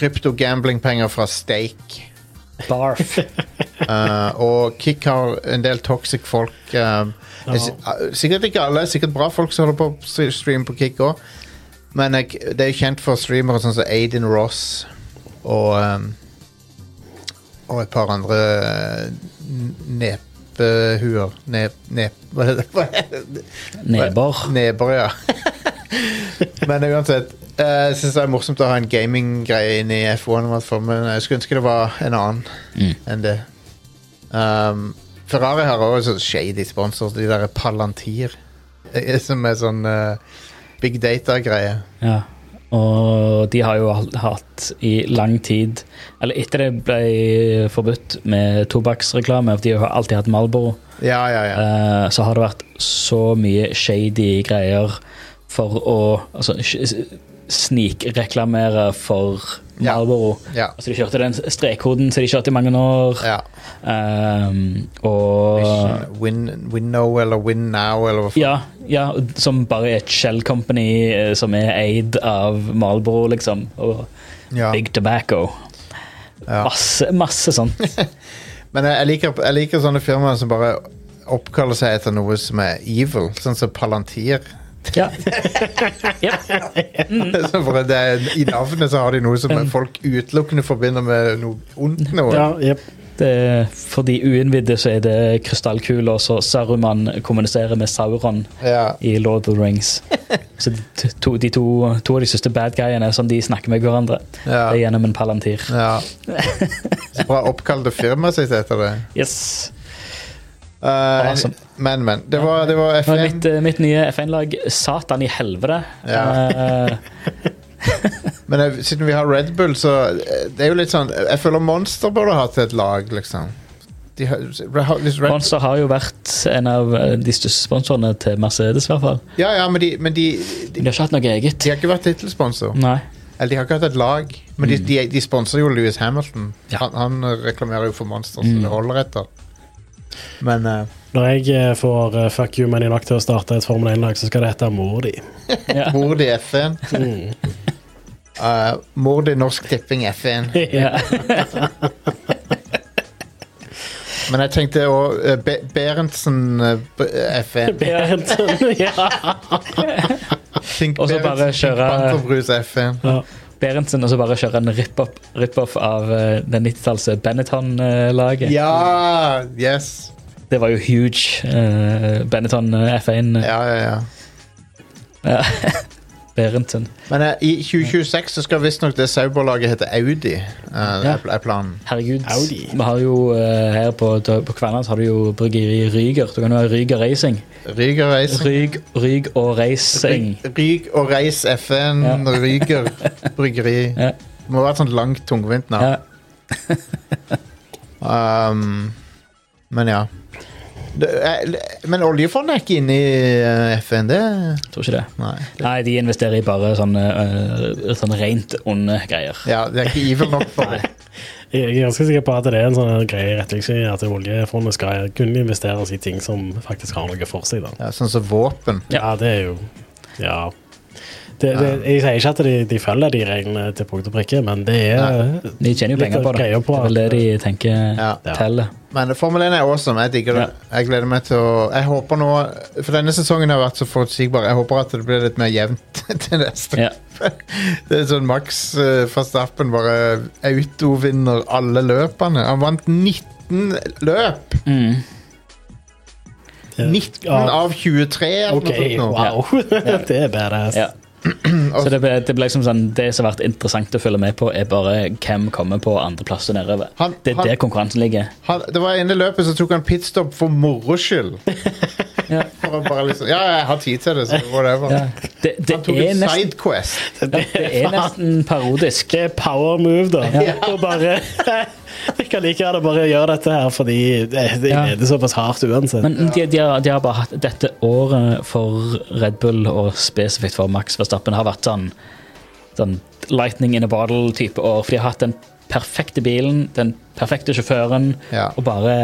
[SPEAKER 1] krypto-gamblingpenger fra Stake.
[SPEAKER 2] Barf.
[SPEAKER 1] Eh, og Kick har en del toxic folk. ehm,
[SPEAKER 3] Ja.
[SPEAKER 1] jeg sy- eh, Sikkert ikke alle, sikkert bra folk som holder på å stre- streame på Kick òg. Men eh, k- det er jo kjent for streamere sånn som Aiden Ross og ehm, Og et par andre eh, n- nepehuer. Nep... nep hva heter det? Hva heter det?
[SPEAKER 2] Neber.
[SPEAKER 1] Neber, ja. Men uansett, eh, jeg syns det er morsomt å ha en gaminggreie inn i F1. i hvert fall, Men jeg skulle ønske det var en annen
[SPEAKER 2] Mm.
[SPEAKER 1] enn det. Um, Ferrari har også sånn shady sponsors, de der Palantir, eh, som er sånn eh, big data-greie.
[SPEAKER 2] Ja. Og de har jo al- hatt i lang tid Eller etter det ble forbudt med tobakksreklame, for de har alltid hatt Malboro,
[SPEAKER 1] Ja, ja, ja.
[SPEAKER 2] eh, så har det vært så mye shady greier for å altså, sh- s- snikreklamere for
[SPEAKER 1] Ja.
[SPEAKER 2] Malboro.
[SPEAKER 1] ja,
[SPEAKER 2] Altså, de kjørte den strekkoden som de kjørte i mange år.
[SPEAKER 1] ja.
[SPEAKER 2] Ehm, og
[SPEAKER 1] Vision, win, win now eller win now eller hva faen.
[SPEAKER 2] ja, ja, som bare er et shell company eh, som er eid av Malboro, liksom. Og
[SPEAKER 1] Ja,
[SPEAKER 2] Big Tobacco.
[SPEAKER 1] ja.
[SPEAKER 2] Masse, masse sånt.
[SPEAKER 1] Men jeg jeg liker, jeg liker sånne firmaer som bare oppkaller seg etter noe som er evil, sånn som Palantir.
[SPEAKER 2] Ja. ja.
[SPEAKER 1] Så bare det, er- I navnet så har de noe som folk utelukkende forbinder med noe ondt. Noe.
[SPEAKER 3] Ja, jep.
[SPEAKER 2] Det, er- for de uinnvidde så er det krystallkuler, så Saruman kommuniserer med Sauron
[SPEAKER 1] Ja.
[SPEAKER 2] i Lord of the Rings. Så de to, de to, to av de siste bad guyene er sånn de snakker med hverandre.
[SPEAKER 1] Ja.
[SPEAKER 2] Det er gjennom en palantir.
[SPEAKER 1] Ja. Så bra oppkalte firmaet sitt etter det.
[SPEAKER 2] Yes.
[SPEAKER 1] Eh,
[SPEAKER 2] Awesome.
[SPEAKER 1] Men, men. Det var, det var
[SPEAKER 2] Og
[SPEAKER 1] FN.
[SPEAKER 2] Mitt, eh, mitt nye F1-lag, Satan i helvete. Eh,
[SPEAKER 1] Men eh, siden vi har Red Bull, så eh, Det er jo litt sånn Jeg føler Monster burde hatt et lag, liksom. De, har- hvis Red,
[SPEAKER 2] Monster har jo vært en av eh, de største sponsorene til Mercedes, i hvert fall.
[SPEAKER 1] ja, ja, men de, men de, de,
[SPEAKER 2] De har ikke hatt noe eget.
[SPEAKER 1] de har ikke vært tittelsponsor.
[SPEAKER 2] Nei.
[SPEAKER 1] Eller de har ikke hatt et lag, men de, de, de sponser jo Lewis Hamilton.
[SPEAKER 2] Mm. Ja.
[SPEAKER 1] Han, han eh, reklamerer jo for Monster, så
[SPEAKER 2] Mm.
[SPEAKER 1] det holder etter. Men eh,
[SPEAKER 3] Når jeg eh, får eh, fuck you money nok til å starte et Formel 1-lag, så skal det hete mor di.
[SPEAKER 2] Ja.
[SPEAKER 1] mord i F1
[SPEAKER 3] Mm.
[SPEAKER 1] eh, Mord i Norsk Tipping F1.
[SPEAKER 2] Ja.
[SPEAKER 1] Men jeg tenkte òg Be Berentsen eh, B- F1.
[SPEAKER 3] Berentsen, ja.
[SPEAKER 1] Think
[SPEAKER 2] Og så bare
[SPEAKER 1] Think
[SPEAKER 2] kjøre-
[SPEAKER 1] Panterbrus F1.
[SPEAKER 3] ja.
[SPEAKER 2] Berentsen og så bare kjøre en rip-off rip av eh, den 90-talls Benetton-laget.
[SPEAKER 1] Ja! Yes.
[SPEAKER 2] Det var jo huge. eh, Benetton eh, F1 eh,
[SPEAKER 1] Ja, ja, ja.
[SPEAKER 2] Berentsen.
[SPEAKER 1] Men eh, i 2026 så skal visstnok det Sauberlaget hete Audi, eh, er pl- er planen.
[SPEAKER 2] Herregud.
[SPEAKER 3] Audi.
[SPEAKER 2] Vi har jo eh, her på, på Kvernaland så har du jo bryggeri Ryger. Du kan jo ha Ryger Racing.
[SPEAKER 1] Ryger Racing.
[SPEAKER 2] Ryg, ryg og racing.
[SPEAKER 1] Ryg- Ryg og Reis FN,
[SPEAKER 2] Ja.
[SPEAKER 1] Ryger bryggeri.
[SPEAKER 2] Ja.
[SPEAKER 1] Det må være et sånt langt, tungvint navn.
[SPEAKER 2] Ja.
[SPEAKER 1] Um, men ja. Det, er- men oljefondet er ikke inne i eh, FN, det?
[SPEAKER 2] Tror ikke det.
[SPEAKER 1] Nei.
[SPEAKER 2] Nei, de investerer i bare sånne, eh, sånne rent onde greier.
[SPEAKER 1] Ja, det er ikke evil nok for det.
[SPEAKER 3] Jeg er ganske sikker på at det er en sånn greie i retningslinjen at oljefondet skal kunne investeres i ting som faktisk har noe for seg. da.
[SPEAKER 1] Ja, sånn som våpen.
[SPEAKER 3] Ja, det er jo Ja. Det, det, jeg sier ikke at de, de følger de reglene til punkt og prikke, men det er
[SPEAKER 2] De tjener jo
[SPEAKER 3] Litt
[SPEAKER 2] penger på det.
[SPEAKER 3] greier på
[SPEAKER 2] det er vel det
[SPEAKER 3] at-
[SPEAKER 2] de tenker
[SPEAKER 1] Ja.
[SPEAKER 2] teller.
[SPEAKER 1] Men Formel 1 er awesome. Jeg digger det. Jeg gleder meg til å Jeg håper nå For denne sesongen har vært så forutsigbar. Jeg håper at det blir litt mer jevnt til neste.
[SPEAKER 2] Ja.
[SPEAKER 1] Det er sånn Max uh, Verstappen bare autovinner alle løpene. Han vant 19 løp!
[SPEAKER 2] Mm.
[SPEAKER 1] 19
[SPEAKER 3] Ja.
[SPEAKER 1] av 23! eller noe
[SPEAKER 3] OK,
[SPEAKER 1] sånt nå.
[SPEAKER 3] wow. det er badass.
[SPEAKER 2] Ja.
[SPEAKER 1] Altså,
[SPEAKER 2] Så det ble, det ble liksom sånn Det som har vært interessant å følge med på, er bare hvem kommer på andreplass og nedover.
[SPEAKER 1] Han-
[SPEAKER 2] det er
[SPEAKER 1] han-
[SPEAKER 2] der konkurransen ligger.
[SPEAKER 1] Han, det var ene løpet så tok han pitstop for moro skyld.
[SPEAKER 2] Ja.
[SPEAKER 1] For å bare liksom, ja, jeg har tid til det, så whatever.
[SPEAKER 2] Ja. Det, det,
[SPEAKER 1] Han tok
[SPEAKER 2] er
[SPEAKER 1] en
[SPEAKER 2] nesten,
[SPEAKER 1] sidequest.
[SPEAKER 2] ja, det er nesten parodisk.
[SPEAKER 3] Det er power move, da. Og bare Jeg kan like gjerne bare gjøre dette her, fordi det, det
[SPEAKER 2] Ja.
[SPEAKER 3] er såpass hardt uansett.
[SPEAKER 2] Men de, de, har, de har bare hatt dette året for Red Bull, og spesifikt for Max Verstappen, har vært sånn, sånn lightning in a bottle-type år. For de har hatt den perfekte bilen, den perfekte sjåføren,
[SPEAKER 1] Ja.
[SPEAKER 2] og bare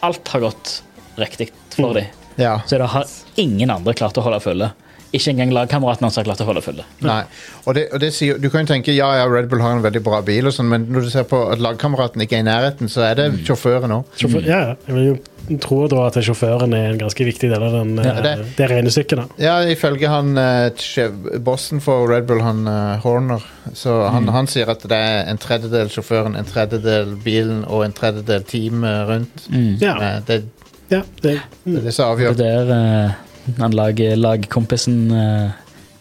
[SPEAKER 2] Alt har gått riktig
[SPEAKER 1] Mm.
[SPEAKER 2] for dem.
[SPEAKER 1] Ja.
[SPEAKER 2] Så det har ingen andre klart å holde fulle. Ikke engang lagkameratene hans har klart å holde fulle.
[SPEAKER 1] Nei. Og det, og det sier, du kan jo tenke ja, ja, Red Bull har en veldig bra bil, og sånn, men når du ser på at lagkameraten ikke er i nærheten, så er det
[SPEAKER 2] Mm.
[SPEAKER 1] sjåføren òg.
[SPEAKER 3] Sjåfør, ja, ja. jeg vil jo tro da at sjåføren er en ganske viktig del av den,
[SPEAKER 2] Ja,
[SPEAKER 1] det-
[SPEAKER 3] eh, det regnestykket. da.
[SPEAKER 1] Ja, ifølge han eh, sjef- bossen for Red Bull, han eh, Horner, så
[SPEAKER 2] Mm.
[SPEAKER 1] han, han sier at det er en tredjedel sjåføren, en tredjedel bilen og en tredjedel teamet rundt.
[SPEAKER 3] Ja,
[SPEAKER 1] Eh, Det,
[SPEAKER 3] ja, det,
[SPEAKER 1] det er det som
[SPEAKER 2] Mm.
[SPEAKER 1] avgjør.
[SPEAKER 2] Det der eh, han lag, lagkompisen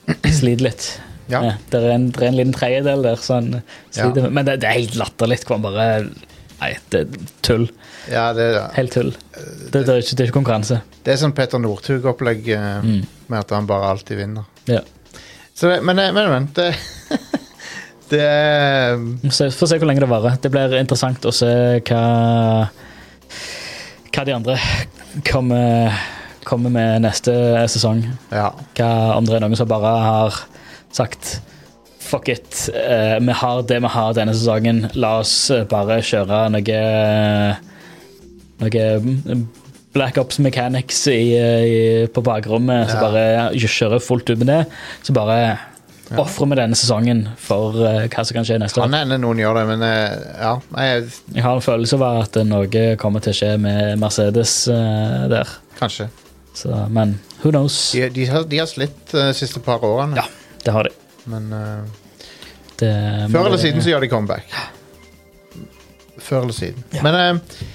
[SPEAKER 2] eh, sliter litt.
[SPEAKER 1] Ja.
[SPEAKER 2] Eh, det, er en, det er en liten tredjedel der som han sliter
[SPEAKER 1] Ja.
[SPEAKER 2] med. Men det, det er helt latterlig. hvor han bare Nei, det er tull.
[SPEAKER 1] Ja, det,
[SPEAKER 2] Helt tull. Det, det, er, ikke, det er ikke konkurranse.
[SPEAKER 1] det er sånn Petter Northug-opplegg eh,
[SPEAKER 2] Mm.
[SPEAKER 1] med at han bare alltid vinner.
[SPEAKER 2] Ja.
[SPEAKER 1] Så det, men, eh, men, men det, det er
[SPEAKER 2] Så Få se hvor lenge det varer. Det blir interessant å se hva Hva de andre kommer, kommer med neste sesong.
[SPEAKER 1] Ja.
[SPEAKER 2] Hva om det er noen som bare har sagt Fuck it, eh, vi har det vi har denne sesongen. La oss eh, bare kjøre noe Noe mm, Black Ops Mechanics i, eh, i, på bakrommet. Så
[SPEAKER 1] Ja.
[SPEAKER 2] bare kjøre fullt ut med det. Så bare ofrer vi denne sesongen for eh, hva som kan skje neste
[SPEAKER 1] Kan
[SPEAKER 2] år.
[SPEAKER 1] hende noen gjør det, men eh, ja. Jeg,
[SPEAKER 2] Jeg har en følelse av at noe kommer til å skje med Mercedes eh, der.
[SPEAKER 1] kanskje.
[SPEAKER 2] Så, men who knows?
[SPEAKER 1] De, de, har, de har slitt de siste par årene,
[SPEAKER 2] Ja, det har de.
[SPEAKER 1] men eh,
[SPEAKER 2] Det,
[SPEAKER 1] før eller siden så gjør de comeback. Før eller siden. Men eh,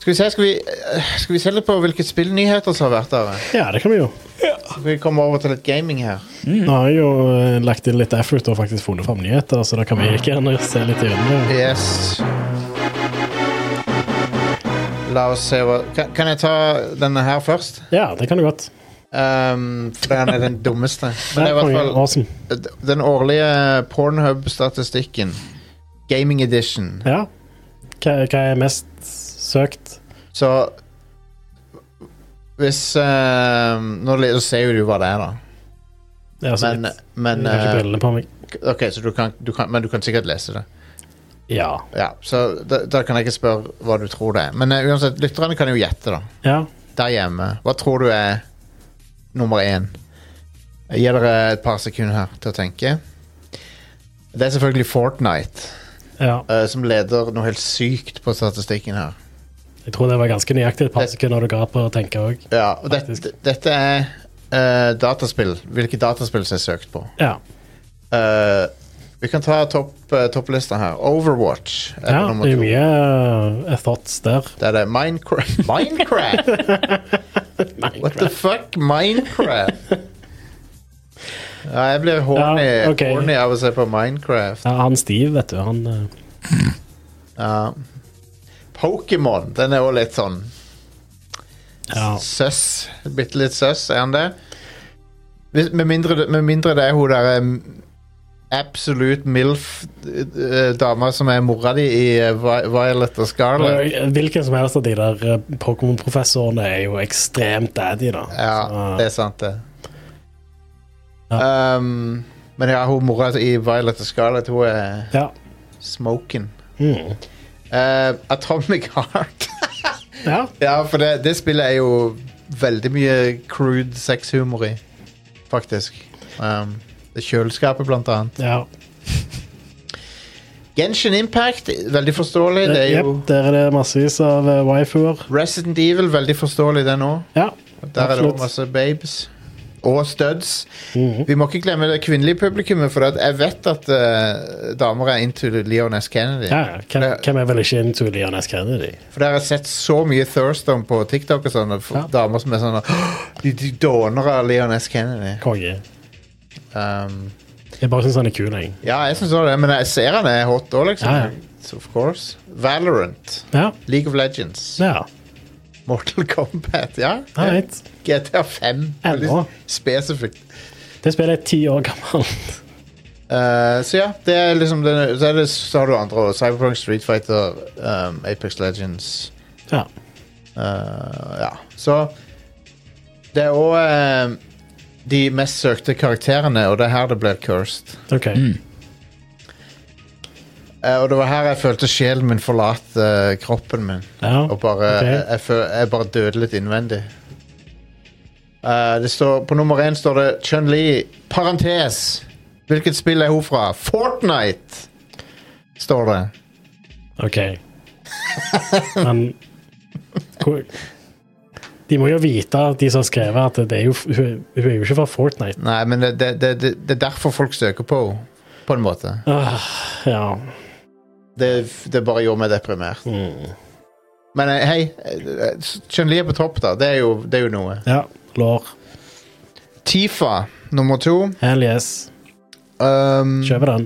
[SPEAKER 1] skal vi se skal vi, eh, skal vi se litt på hvilke spillnyheter som har vært der?
[SPEAKER 3] ja, det kan vi jo.
[SPEAKER 1] Skal vi komme over til litt gaming her?
[SPEAKER 3] Nå har jeg jo eh, lagt inn litt effort og faktisk funnet fram nyheter, så da kan vi like gjerne se litt i øynene.
[SPEAKER 1] Yes. La oss se hva Kan, kan jeg ta denne her først?
[SPEAKER 3] Ja, det kan du godt.
[SPEAKER 1] Ehm, for den er den dummeste. Men det er i hvert fall
[SPEAKER 3] Awesome.
[SPEAKER 1] den årlige Pornhub-statistikken. Gaming edition.
[SPEAKER 3] Ja. Hva, hva er mest søkt?
[SPEAKER 1] Så hvis eh, Nå le- ser jo du hva det er, da.
[SPEAKER 3] Ja, så
[SPEAKER 1] Men,
[SPEAKER 3] litt.
[SPEAKER 1] men
[SPEAKER 3] Altså, Jeg har ikke
[SPEAKER 1] eh,
[SPEAKER 3] brillene på meg.
[SPEAKER 1] Ok, så du kan, du kan, men du kan sikkert lese det.
[SPEAKER 3] Ja.
[SPEAKER 1] Ja, Så da, da kan jeg ikke spørre hva du tror det er. Men eh, uansett, lytterne kan jo gjette, da.
[SPEAKER 3] ja.
[SPEAKER 1] Der hjemme. Hva tror du er nummer én? Jeg gir dere et par sekunder her til å tenke. Det er selvfølgelig Fortnite.
[SPEAKER 3] Ja.
[SPEAKER 1] eh, som leder noe helt sykt på statistikken her.
[SPEAKER 3] Jeg tror det var ganske nøyaktig et par
[SPEAKER 1] Det-
[SPEAKER 3] sekunder du ga på å tenke òg.
[SPEAKER 1] Ja, og det,
[SPEAKER 3] Faktisk.
[SPEAKER 1] det- dette er eh, dataspill. Hvilke dataspill som er søkt på.
[SPEAKER 3] Ja.
[SPEAKER 1] Eh, vi kan ta topp, eh, topplista her. Overwatch er på
[SPEAKER 3] ja.
[SPEAKER 1] nummer
[SPEAKER 3] Det er
[SPEAKER 1] to.
[SPEAKER 3] mye eh, thoughts der.
[SPEAKER 1] Der er det Minecraft. Minecraft! What the fuck? Minecraft? Ja, jeg blir horny,
[SPEAKER 3] Ja, ok.
[SPEAKER 1] horny av å se på Minecraft.
[SPEAKER 3] Ja, han Steve, vet du, han eh,
[SPEAKER 1] Ja. Pokémon, den er òg litt sånn
[SPEAKER 3] Ja.
[SPEAKER 1] Søss. Bitte litt søss, er han det? Hvis, med, mindre, det- med mindre det er hun derre absolute MILF-dama som er mora di i eh, Vi- Violet og Scarlet.
[SPEAKER 3] eh, Hvilken som helst av de der eh, Pokémon-professorene er jo ekstremt daddy, da.
[SPEAKER 1] Ja,
[SPEAKER 3] Så,
[SPEAKER 1] det er sant, det. Um, men ja, hun mora i Violet og Scarlet, hun er
[SPEAKER 3] ja.
[SPEAKER 1] smoking.
[SPEAKER 3] Mm.
[SPEAKER 1] Eh, Atomic Heart.
[SPEAKER 3] ja.
[SPEAKER 1] ja, for det, det spillet er jo veldig mye crude sexhumor i, faktisk. Um, det kjøleskapet, blant annet.
[SPEAKER 3] ja.
[SPEAKER 1] Genshin Impact, veldig forståelig. Det er jo
[SPEAKER 3] Jep, der er det massevis av uh, waifuer.
[SPEAKER 1] Resident Evil, veldig forståelig det nå.
[SPEAKER 3] Ja.
[SPEAKER 1] Der er det
[SPEAKER 3] absolutt.
[SPEAKER 1] også masse babes. Og studs.
[SPEAKER 3] Mhm.
[SPEAKER 1] Vi må ikke glemme det kvinnelige publikummet, for at jeg vet at eh, damer er into Leon S. Kennedy.
[SPEAKER 3] Ja, ja. hvem,
[SPEAKER 1] Det-
[SPEAKER 3] hvem er vel ikke into Leon S. Kennedy?
[SPEAKER 1] For der har jeg sett så mye Thurston på TikTok og sånn, og f-
[SPEAKER 3] Ja.
[SPEAKER 1] damer som er sånn «Åh, De, de dåner av Leon S. Kennedy.
[SPEAKER 3] Konge.
[SPEAKER 1] Um,
[SPEAKER 3] Jeg bare syns han er kul, jeg.
[SPEAKER 1] ja, jeg syns også det, men jeg ser han er hot òg, liksom.
[SPEAKER 3] Ja, ja.
[SPEAKER 1] So, Of course. Valorant.
[SPEAKER 3] Ja.
[SPEAKER 1] League of Legends.
[SPEAKER 3] ja.
[SPEAKER 1] Mortal Kombat, ja.
[SPEAKER 3] Alright.
[SPEAKER 1] GTA 5. Veldig
[SPEAKER 3] Ennå.
[SPEAKER 1] spesifikt.
[SPEAKER 3] Det spillet er ti år gammelt.
[SPEAKER 1] Eh, så ja, det er liksom den, så, er det, så har du andre også. Cyberpunk, Street Fighter, um, Apex Legends.
[SPEAKER 3] Ja.
[SPEAKER 1] Eh, ja, så Det er òg de mest søkte karakterene, og det er her det blir cursed.
[SPEAKER 3] OK.
[SPEAKER 1] Eh, og det var her jeg følte sjelen min forlate eh, kroppen min.
[SPEAKER 3] Ja.
[SPEAKER 1] Og bare,
[SPEAKER 3] Ok.
[SPEAKER 1] jeg, jeg, føl- jeg bare døde litt innvendig. Eh, det står, på nummer én står det Chun-Li, parentes. Hvilket spill er hun fra? Fortnite, står det.
[SPEAKER 3] OK. Men hvor- De må jo vite, de som har skrevet, at det er jo, hun hun er jo ikke fra Fortnite.
[SPEAKER 1] Nei, men det, det, det, det, det er derfor folk søker på henne, på en måte.
[SPEAKER 3] Ah, ja.
[SPEAKER 1] Det, det bare gjorde meg deprimert.
[SPEAKER 3] Mm.
[SPEAKER 1] Men eh, hei, eh, Chun-Li er på topp, da. Det er jo, det er jo noe.
[SPEAKER 3] ja. Lår.
[SPEAKER 1] Tifa nummer to.
[SPEAKER 3] Hell yes.
[SPEAKER 1] Um,
[SPEAKER 3] Kjøper den.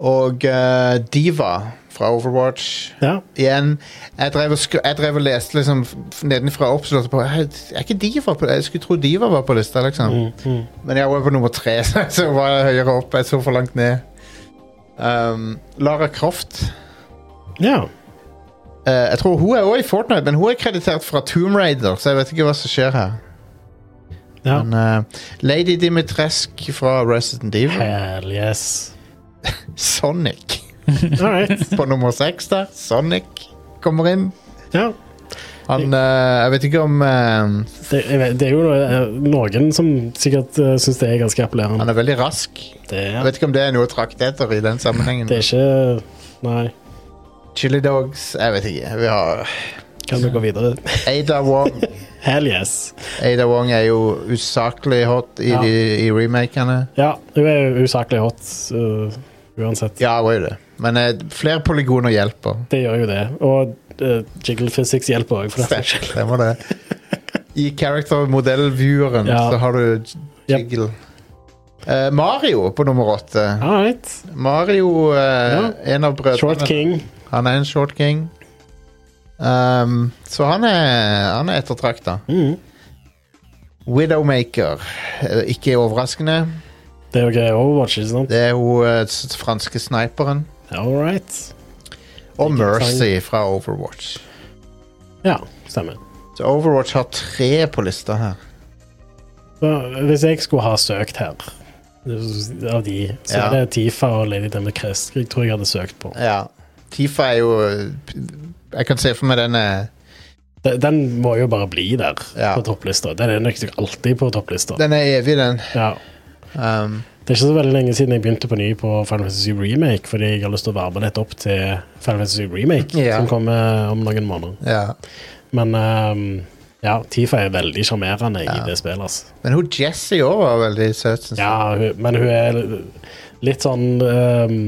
[SPEAKER 1] og eh, Diva fra Overwatch.
[SPEAKER 3] Ja.
[SPEAKER 1] Igjen. Jeg drev og, sk jeg drev og leste liksom f- nedenfra og opp, så lurte jeg på «Hei, Er ikke Diva på Jeg skulle tro Diva var på lista, liksom.
[SPEAKER 3] Mm, mm.
[SPEAKER 1] Men jeg var på nummer tre, så så var jeg høyere opp. Jeg så for langt ned. Um, Lara Croft.
[SPEAKER 3] Ja.
[SPEAKER 1] Eh, jeg tror hun er også i Fortnite, men hun er kreditert fra Tomb Raider, så jeg vet ikke hva som skjer her.
[SPEAKER 3] ja.
[SPEAKER 1] Men eh, Lady Dimitrescu fra Resident Evil.
[SPEAKER 3] Hell yes.
[SPEAKER 1] Sonic
[SPEAKER 3] All right.
[SPEAKER 1] på nummer seks der. Sonic kommer inn.
[SPEAKER 3] Ja.
[SPEAKER 1] Han eh, Jeg vet ikke om eh,
[SPEAKER 3] Det, jeg vet, det er jo noe- eh, noen som sikkert uh, syns det er ganske appellerende.
[SPEAKER 1] Han er veldig rask.
[SPEAKER 3] Det,
[SPEAKER 1] Jeg vet ikke om det er noe å trakte etter i den sammenhengen.
[SPEAKER 3] det er ikke Nei.
[SPEAKER 1] Chili Dogs Jeg vet ikke. Vi har
[SPEAKER 3] Kan vi gå videre?
[SPEAKER 1] Ada Wong.
[SPEAKER 3] Hell yes.
[SPEAKER 1] Ada Wong er jo usaklig hot i,
[SPEAKER 3] Ja.
[SPEAKER 1] de, i remakene.
[SPEAKER 3] Ja, hun er jo usaklig hot uh, uansett.
[SPEAKER 1] Ja, hun er jo det. Men eh, flere polygoner hjelper.
[SPEAKER 3] Det gjør jo det. Og uh, jiggle physics hjelper òg, for den saks skyld.
[SPEAKER 1] Stemmer det. I character-modell-vieweren
[SPEAKER 3] Ja.
[SPEAKER 1] så har du jiggle. Eh, Mario på nummer åtte.
[SPEAKER 3] All right.
[SPEAKER 1] Mario, eh, en av brødrene
[SPEAKER 3] Short King.
[SPEAKER 1] Han er en short king. Um, så han er, han er ettertrakta.
[SPEAKER 3] Mhm.
[SPEAKER 1] Widowmaker. eh, Ikke overraskende.
[SPEAKER 3] Det er jo greia Overwatch, ikke sant?
[SPEAKER 1] Det er hun eh, s- franske sniperen.
[SPEAKER 3] All right.
[SPEAKER 1] Og
[SPEAKER 3] Ikke
[SPEAKER 1] Mercy fra Overwatch.
[SPEAKER 3] Ja, stemmer.
[SPEAKER 1] Så Overwatch har tre på lista her.
[SPEAKER 3] Så, hvis jeg skulle ha søkt her av de, så
[SPEAKER 1] Ja.
[SPEAKER 3] er det Tifa og Lady Democrest jeg tror jeg hadde søkt på.
[SPEAKER 1] Ja. Tifa er jo eh, p- Jeg kan se for meg den er
[SPEAKER 3] Den, den må jo bare bli der
[SPEAKER 1] Ja.
[SPEAKER 3] på topplista. Den er nok alltid på topplista.
[SPEAKER 1] Den er evig, den.
[SPEAKER 3] Ja.
[SPEAKER 1] Um,
[SPEAKER 3] Det er ikke så veldig lenge siden jeg begynte på ny på Final Fantasy Remake, fordi jeg har lyst til å varme litt opp til Final Fantasy Remake,
[SPEAKER 1] Ja.
[SPEAKER 3] som kommer om noen måneder.
[SPEAKER 1] ja.
[SPEAKER 3] Men ehm, ja, Tifa er veldig sjarmerende
[SPEAKER 1] Ja.
[SPEAKER 3] i det spillet. Altså.
[SPEAKER 1] Men hun Jessie òg var veldig søt. synes jeg.
[SPEAKER 3] Ja, hun, men hun er litt sånn ehm,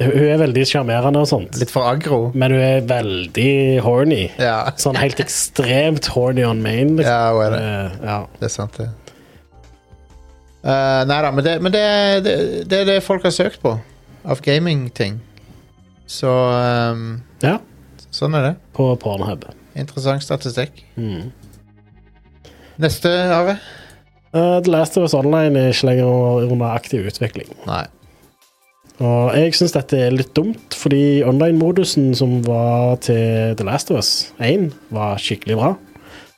[SPEAKER 3] Hun hun er veldig sjarmerende og sånt,
[SPEAKER 1] Litt for aggro.
[SPEAKER 3] men hun er veldig horny.
[SPEAKER 1] Ja.
[SPEAKER 3] Sånn helt ekstremt horny on main. Liksom.
[SPEAKER 1] ja, hun er det.
[SPEAKER 3] Eh, ja.
[SPEAKER 1] Det er sant, det. Eh, nei da, men, det, men det, det, det er det folk har søkt på av gamingting. Så ehm,
[SPEAKER 3] Ja.
[SPEAKER 1] sånn er det.
[SPEAKER 3] På Pornhub.
[SPEAKER 1] Interessant statistikk.
[SPEAKER 3] Mm.
[SPEAKER 1] Neste, Are?
[SPEAKER 3] Eh, The Last of Us Online er ikke lenger under aktiv utvikling.
[SPEAKER 1] Nei.
[SPEAKER 3] Og jeg syns dette er litt dumt, fordi online-modusen som var til The Last of Us 1, var skikkelig bra.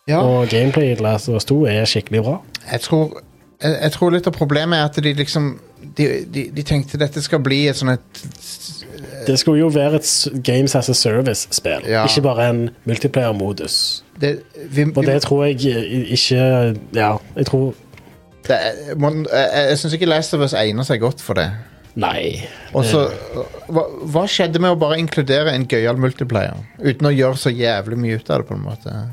[SPEAKER 1] Ja,
[SPEAKER 3] Og gameplay i The Last of Us 2 er skikkelig bra.
[SPEAKER 1] jeg tror, jeg, jeg tror litt av problemet er at de liksom De, de, de tenkte dette skal bli et sånn et
[SPEAKER 3] Det skulle jo være et s- Games as a Service-spill,
[SPEAKER 1] Ja.
[SPEAKER 3] ikke bare en multiplayer-modus.
[SPEAKER 1] det, vi,
[SPEAKER 3] Og
[SPEAKER 1] vi,
[SPEAKER 3] det tror jeg i- ikke Ja, jeg tror
[SPEAKER 1] det, er- man, Jeg, jeg syns ikke Last of Us egner seg godt for det.
[SPEAKER 3] Nei.
[SPEAKER 1] Og så hva, hva skjedde med å bare inkludere en gøyal multiplayer? Uten å gjøre så jævlig mye ut av det, på en måte.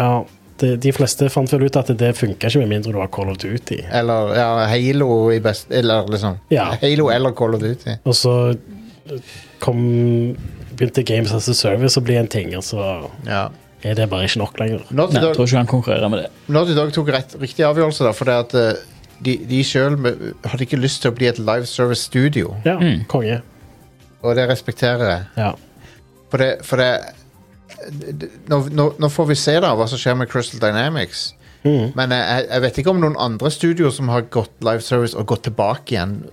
[SPEAKER 3] Ja, de, de fleste fant vel ut at det funka ikke med mindre du har Call of Duty.
[SPEAKER 1] Eller ja, Halo i best Eller liksom
[SPEAKER 3] Ja.
[SPEAKER 1] Halo eller Call of Duty.
[SPEAKER 3] Og så eh, kom, begynte Games as a Service å bli en ting, og så
[SPEAKER 1] Ja.
[SPEAKER 3] er det bare ikke nok lenger.
[SPEAKER 1] Naughty,
[SPEAKER 2] Nei,
[SPEAKER 1] Dog,
[SPEAKER 2] jeg tror ikke han konkurrerer med det.
[SPEAKER 1] Naughty Dog tok rett, riktig avgjørelse, da, for det at eh, de, de sjøl hadde ikke lyst til å bli et live service studio,
[SPEAKER 3] Ja, konge.
[SPEAKER 1] og det respekterer jeg.
[SPEAKER 3] Ja.
[SPEAKER 1] For det, for det d- nå, nå, nå får vi se da hva som skjer med Crystal Dynamics.
[SPEAKER 3] Mhm.
[SPEAKER 1] Men eh, jeg, jeg- jeg vet ikke om noen andre studioer som har gått live service og gått tilbake igjen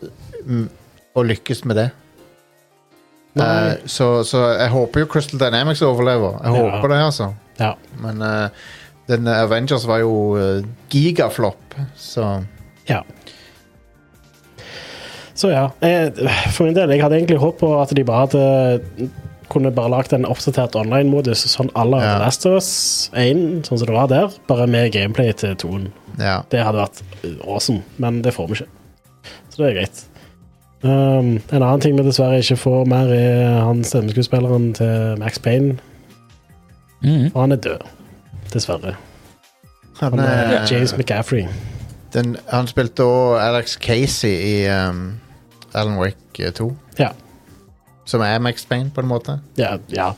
[SPEAKER 1] mm, og lykkes med det.
[SPEAKER 3] Nei.
[SPEAKER 1] Eh, så, så jeg håper jo Crystal Dynamics overlever. Jeg
[SPEAKER 3] Ja.
[SPEAKER 1] håper det, altså.
[SPEAKER 3] Ja.
[SPEAKER 1] Men eh, den Avengers var jo eh, gigaflopp, så
[SPEAKER 3] Ja. Så ja. Jeg, for min del, jeg hadde egentlig håp på at de bare hadde kunne bare lagt en oppdatert online-modus sånn à la
[SPEAKER 1] Ja.
[SPEAKER 3] Last of Us 1, sånn som det var der, bare med gameplay til toen.
[SPEAKER 1] ja.
[SPEAKER 3] Det hadde vært øh, awesome, men det får vi ikke. Så det er greit. Um, en annen ting vi dessverre ikke får mer, er han stemmeskuespilleren til Max Payne.
[SPEAKER 2] Mhm.
[SPEAKER 3] For han er død, dessverre.
[SPEAKER 1] Han,
[SPEAKER 3] Han er
[SPEAKER 1] eh,
[SPEAKER 3] James McCaffrey.
[SPEAKER 1] den, han spilte òg Alex Casey i um, Alan Wake 2,
[SPEAKER 3] Ja.
[SPEAKER 1] som er Max Payne, på en måte.
[SPEAKER 3] Ja. ja.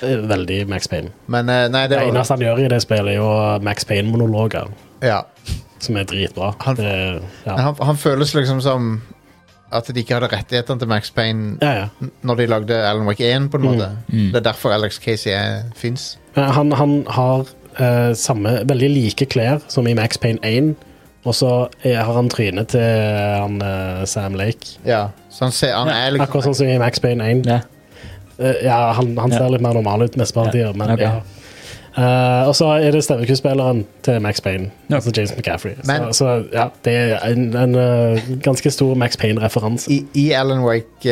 [SPEAKER 3] Veldig Max Payne.
[SPEAKER 1] Men eh, nei, det
[SPEAKER 3] Det
[SPEAKER 1] var
[SPEAKER 3] eneste han gjør i det spillet, er jo Max Payne-monologer,
[SPEAKER 1] ja.
[SPEAKER 3] som er dritbra.
[SPEAKER 1] Han-
[SPEAKER 3] det,
[SPEAKER 1] Men
[SPEAKER 3] ja.
[SPEAKER 1] han, han føles liksom som at de ikke hadde rettighetene til Max Payne
[SPEAKER 3] Ja, Mm. ja.
[SPEAKER 1] n- når de lagde Alan Wake 1, på en måte.
[SPEAKER 2] Mm.
[SPEAKER 1] Det er derfor Alex Casey fins.
[SPEAKER 3] Men Han, han har eh, samme, veldig like klær som i Max Payne 1, og så er- har han trynet til han, eh, Sam Lake.
[SPEAKER 1] Ja. Så han, ser, han er liksom
[SPEAKER 3] Akkurat sånn som i Max Payne 1.
[SPEAKER 2] Ja.
[SPEAKER 3] Eh, ja, han, han ser
[SPEAKER 2] Ja.
[SPEAKER 3] litt mer normal ut mest av
[SPEAKER 2] Ja,
[SPEAKER 3] tida, men
[SPEAKER 2] ok.
[SPEAKER 3] ja. Eh, og så er det stemmeskuespilleren til Max Payne,
[SPEAKER 2] Ja.
[SPEAKER 3] altså James McCaffrey.
[SPEAKER 1] Men-
[SPEAKER 3] så, så ja, det er en, en eh, ganske stor Max Payne-referanse.
[SPEAKER 1] I, I Alan Wake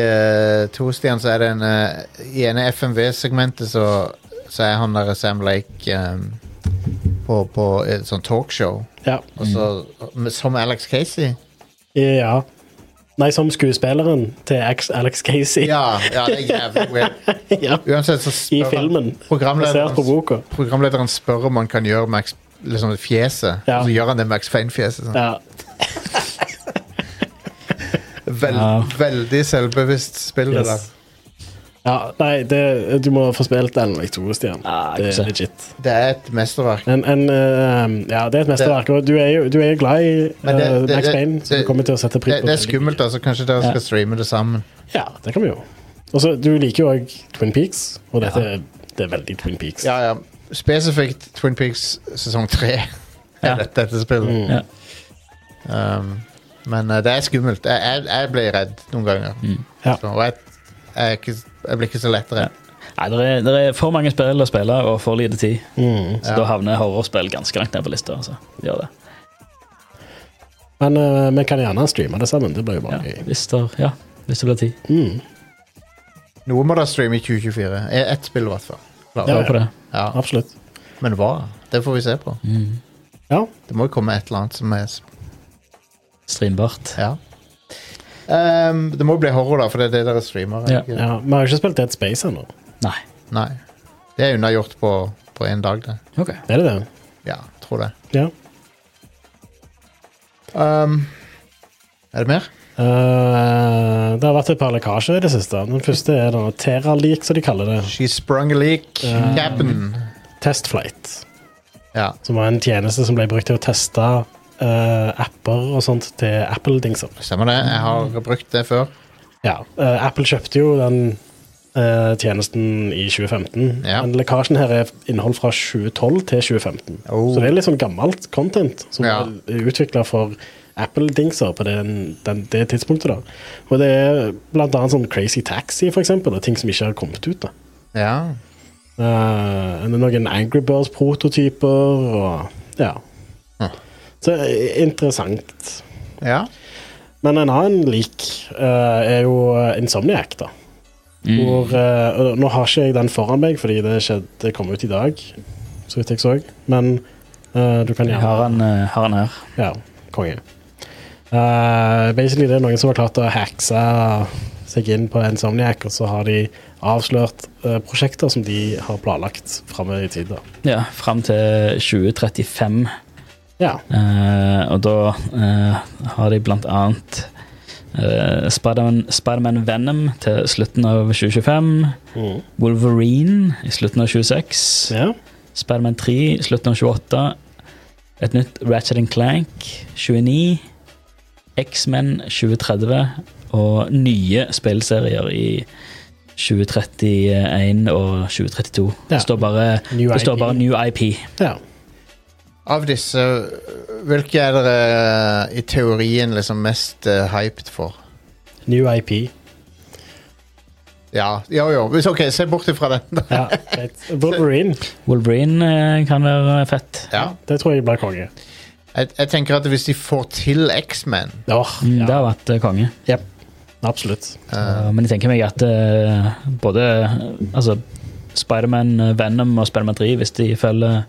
[SPEAKER 1] eh, 2, Stian, så er det en eh, I ene FMV-segmentet så, så er han der Sam Lake eh, på, på et sånt talkshow.
[SPEAKER 3] Ja.
[SPEAKER 1] Og så,
[SPEAKER 3] Mm.
[SPEAKER 1] men Som Alex Casey?
[SPEAKER 3] ja. Nei, som skuespilleren til Alex- Alex Casey
[SPEAKER 1] Ja, ja det er jævlig weird.
[SPEAKER 3] Ja.
[SPEAKER 1] Uansett så
[SPEAKER 3] i
[SPEAKER 1] spør han,
[SPEAKER 3] filmen, basert på
[SPEAKER 1] programlederen,
[SPEAKER 3] boka.
[SPEAKER 1] programlederen spør om han kan gjøre Max liksom fjeset.
[SPEAKER 3] Ja.
[SPEAKER 1] Og så gjør han det Max Fein-fjeset. Sånn.
[SPEAKER 3] Ja.
[SPEAKER 1] Vel,
[SPEAKER 2] Ja.
[SPEAKER 1] Veldig selvbevisst spill, det der.
[SPEAKER 3] Yes. Ja, nei, det, du må få spilt Ellen Wake 2, Stian.
[SPEAKER 2] Ah, ikke
[SPEAKER 3] det er
[SPEAKER 2] sant.
[SPEAKER 3] legit.
[SPEAKER 1] Det er et mesterverk.
[SPEAKER 3] En, en, eh, ja, det er et mesterverk, og du er jo, du er jo glad i
[SPEAKER 1] Men det-
[SPEAKER 3] eh,
[SPEAKER 1] det-
[SPEAKER 3] Max
[SPEAKER 1] det-
[SPEAKER 3] Payne, så du
[SPEAKER 1] det-
[SPEAKER 3] kommer til å sette pris
[SPEAKER 1] Det,
[SPEAKER 3] på
[SPEAKER 1] det er
[SPEAKER 3] veldig
[SPEAKER 1] skummelt, altså. Kanskje dere
[SPEAKER 2] Ja.
[SPEAKER 1] skal streame det sammen.
[SPEAKER 3] mye. Ja, det kan vi jo. Og så, du liker jo òg Twin Peaks, og dette
[SPEAKER 2] Ja.
[SPEAKER 3] er, det er veldig Twin Peaks.
[SPEAKER 1] Ja, ja. Spesifikt Twin Peaks sesong tre. er
[SPEAKER 2] Ja.
[SPEAKER 1] dette, dette spillet.
[SPEAKER 3] Mm.
[SPEAKER 2] Ja.
[SPEAKER 1] Um, men eh, det er skummelt. Jeg, jeg, jeg ble redd noen ganger.
[SPEAKER 3] Ja.
[SPEAKER 1] Så, og jeg, jeg, er ikke, jeg blir ikke så lett redd.
[SPEAKER 2] Nei, det er, det er for mange spill å spille og for lite tid.
[SPEAKER 3] Mm.
[SPEAKER 2] Så da havner horrorspill ganske langt ned på lista. Altså. Det Gjør det.
[SPEAKER 3] Men eh, vi kan gjerne streame det sammen. Det blir jo
[SPEAKER 2] Ja.
[SPEAKER 3] bare gøy.
[SPEAKER 2] Hvis, der, ja. Hvis det blir tid.
[SPEAKER 3] Mm.
[SPEAKER 1] Noe må da streame i 2024. E- Ett spill, i hvert fall. Klar.
[SPEAKER 2] Prøv på det.
[SPEAKER 1] Ja.
[SPEAKER 3] Absolutt.
[SPEAKER 1] Men hva? Det får vi se på.
[SPEAKER 3] Ja.
[SPEAKER 1] Det må jo komme et eller annet som er
[SPEAKER 2] Streambart.
[SPEAKER 1] Ja. Um, det må jo bli horror, da, for det er det dere streamer. er det ikke?
[SPEAKER 3] ja. Vi har jo ikke spilt Dead Space ennå.
[SPEAKER 2] Nei.
[SPEAKER 1] Nei. Det er unnagjort på, på en dag, det.
[SPEAKER 2] Ok.
[SPEAKER 3] Er det det?
[SPEAKER 1] Ja, tror det.
[SPEAKER 3] Ja.
[SPEAKER 1] Um, er det mer?
[SPEAKER 3] Eh, det har vært et par lekkasjer i det siste. Den første er denne Terra-leak, som de kaller det.
[SPEAKER 1] She sprung a leak.
[SPEAKER 3] Ja.
[SPEAKER 1] Cap'n.
[SPEAKER 3] Testflight.
[SPEAKER 1] Ja.
[SPEAKER 3] Som var en tjeneste som ble brukt til å teste eh, apper og sånt til Apple-dingser.
[SPEAKER 1] Stemmer det. Jeg har brukt det før.
[SPEAKER 3] Ja, eh, Apple kjøpte jo den eh, tjenesten i 2015.
[SPEAKER 1] Ja.
[SPEAKER 3] Men lekkasjen her er innhold fra 2012 til 2015.
[SPEAKER 1] Oh.
[SPEAKER 3] Så det er litt sånn gammelt content som
[SPEAKER 1] Ja.
[SPEAKER 3] er utvikla for Apple-dingser på den, den, det tidspunktet. da. Og det er blant annet sånn Crazy Taxi, for eksempel, og ting som ikke har kommet ut. da.
[SPEAKER 1] Ja.
[SPEAKER 3] Eh, det er noen Angry Birds-prototyper og ja.
[SPEAKER 1] Hm.
[SPEAKER 3] Så eh, interessant.
[SPEAKER 1] ja.
[SPEAKER 3] Men en annen lik eh, er jo Insomniac, da.
[SPEAKER 2] Mm.
[SPEAKER 3] Hvor, eh, og nå har ikke jeg den foran meg, fordi det, skjedde, det kom ut i dag, så vidt jeg så. Men eh, du kan
[SPEAKER 2] Jeg
[SPEAKER 3] gjerne
[SPEAKER 2] har han, eh, har han her.
[SPEAKER 3] Ja, konge. Eh, basically det er noen som har klart å hackse seg inn på Insomniac, og så har de avslørt eh, prosjekter som de har planlagt framover i tid. da.
[SPEAKER 2] Ja, Fram til 2035.
[SPEAKER 3] Ja.
[SPEAKER 2] Eh, og da eh, har de blant annet eh, Spiderman Spiderman Venom til slutten av 2025.
[SPEAKER 3] Mhm.
[SPEAKER 2] Wolverine i slutten av 26.
[SPEAKER 3] ja.
[SPEAKER 2] Spiderman 3 i slutten av 28. Et nytt Ratchet and Clank 29. X-Men 2030. Og nye spillserier i 2031 og 2032.
[SPEAKER 3] Ja.
[SPEAKER 2] Det står bare,
[SPEAKER 3] New
[SPEAKER 2] det står
[SPEAKER 3] IP.
[SPEAKER 2] bare New IP.
[SPEAKER 3] Ja.
[SPEAKER 1] Av disse, hvilke er dere eh, i teorien liksom mest eh, hyped for?
[SPEAKER 3] New IP.
[SPEAKER 1] Ja, jo, jo. Hvis- OK, se bort ifra den.
[SPEAKER 3] Ja, greit. Wolverine.
[SPEAKER 2] Wolverine eh, kan være fett.
[SPEAKER 1] Ja.
[SPEAKER 3] Det tror jeg blir konge.
[SPEAKER 1] Jeg, jeg tenker at hvis de får til X-Men
[SPEAKER 3] Åh,
[SPEAKER 2] Mm, Det
[SPEAKER 3] ja,
[SPEAKER 2] har vært eh, konge.
[SPEAKER 3] absolutt.
[SPEAKER 1] eh,
[SPEAKER 2] Eh, men jeg tenker meg at eh, både eh, altså, Spiderman, eh, Venom og Spiderman 3, hvis de følger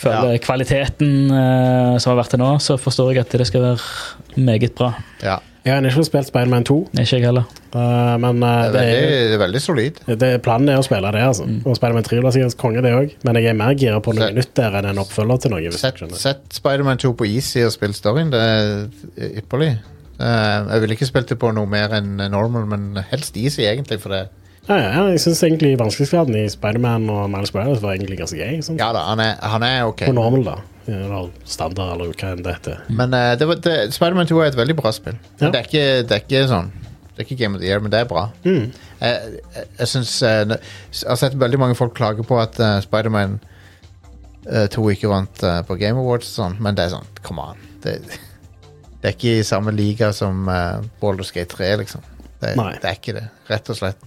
[SPEAKER 2] Følger kvaliteten eh, som har vært til nå, så forstår jeg at det skal være meget bra.
[SPEAKER 1] Ja.
[SPEAKER 3] Jeg har ikke spilt Spiderman 2,
[SPEAKER 2] Ikke jeg heller.
[SPEAKER 3] eh, men
[SPEAKER 1] Det er
[SPEAKER 3] eh, det er
[SPEAKER 1] veldig, det er veldig solid.
[SPEAKER 3] Det, planen er å spille det, altså.
[SPEAKER 2] Mm.
[SPEAKER 3] Og Spiderman 3 blir sikkert konge, det òg. Men jeg er mer gira på noe
[SPEAKER 1] Så-
[SPEAKER 3] nytt der enn en oppfølger til noe. Hvis
[SPEAKER 1] Sett,
[SPEAKER 3] du skjønner.
[SPEAKER 1] sett Spiderman 2 på easy og spill storyen. Det er ypperlig. Eh, jeg ville ikke spilt det på noe mer enn normal, men helst easy, egentlig. For det.
[SPEAKER 3] Ja, ja, ja, jeg syns egentlig vanskelighetsgraden i Spiderman og Miles Morales var egentlig ganske gøy. Sånn.
[SPEAKER 1] Ja da, han er, han er OK.
[SPEAKER 3] På normal, da. Eller standard, eller hva enn det heter.
[SPEAKER 1] Men eh, det var- det- Spiderman 2 er et veldig bra spill. Men
[SPEAKER 3] Mm. Ja.
[SPEAKER 1] Det, er ikke, det er ikke sånn Det er ikke Game of the Year, men det er bra.
[SPEAKER 3] Mm.
[SPEAKER 1] Jeg, jeg, jeg synes, eh, ne- Jeg har sett veldig mange folk klage på at eh, Spiderman eh, 2 ikke vant eh, på Game Awards og sånn, men det er sånn, come on. Det, det er ikke i samme liga som uh, Baldur's Gate 3, liksom. Det,
[SPEAKER 3] Nei.
[SPEAKER 1] det er ikke det, rett og slett.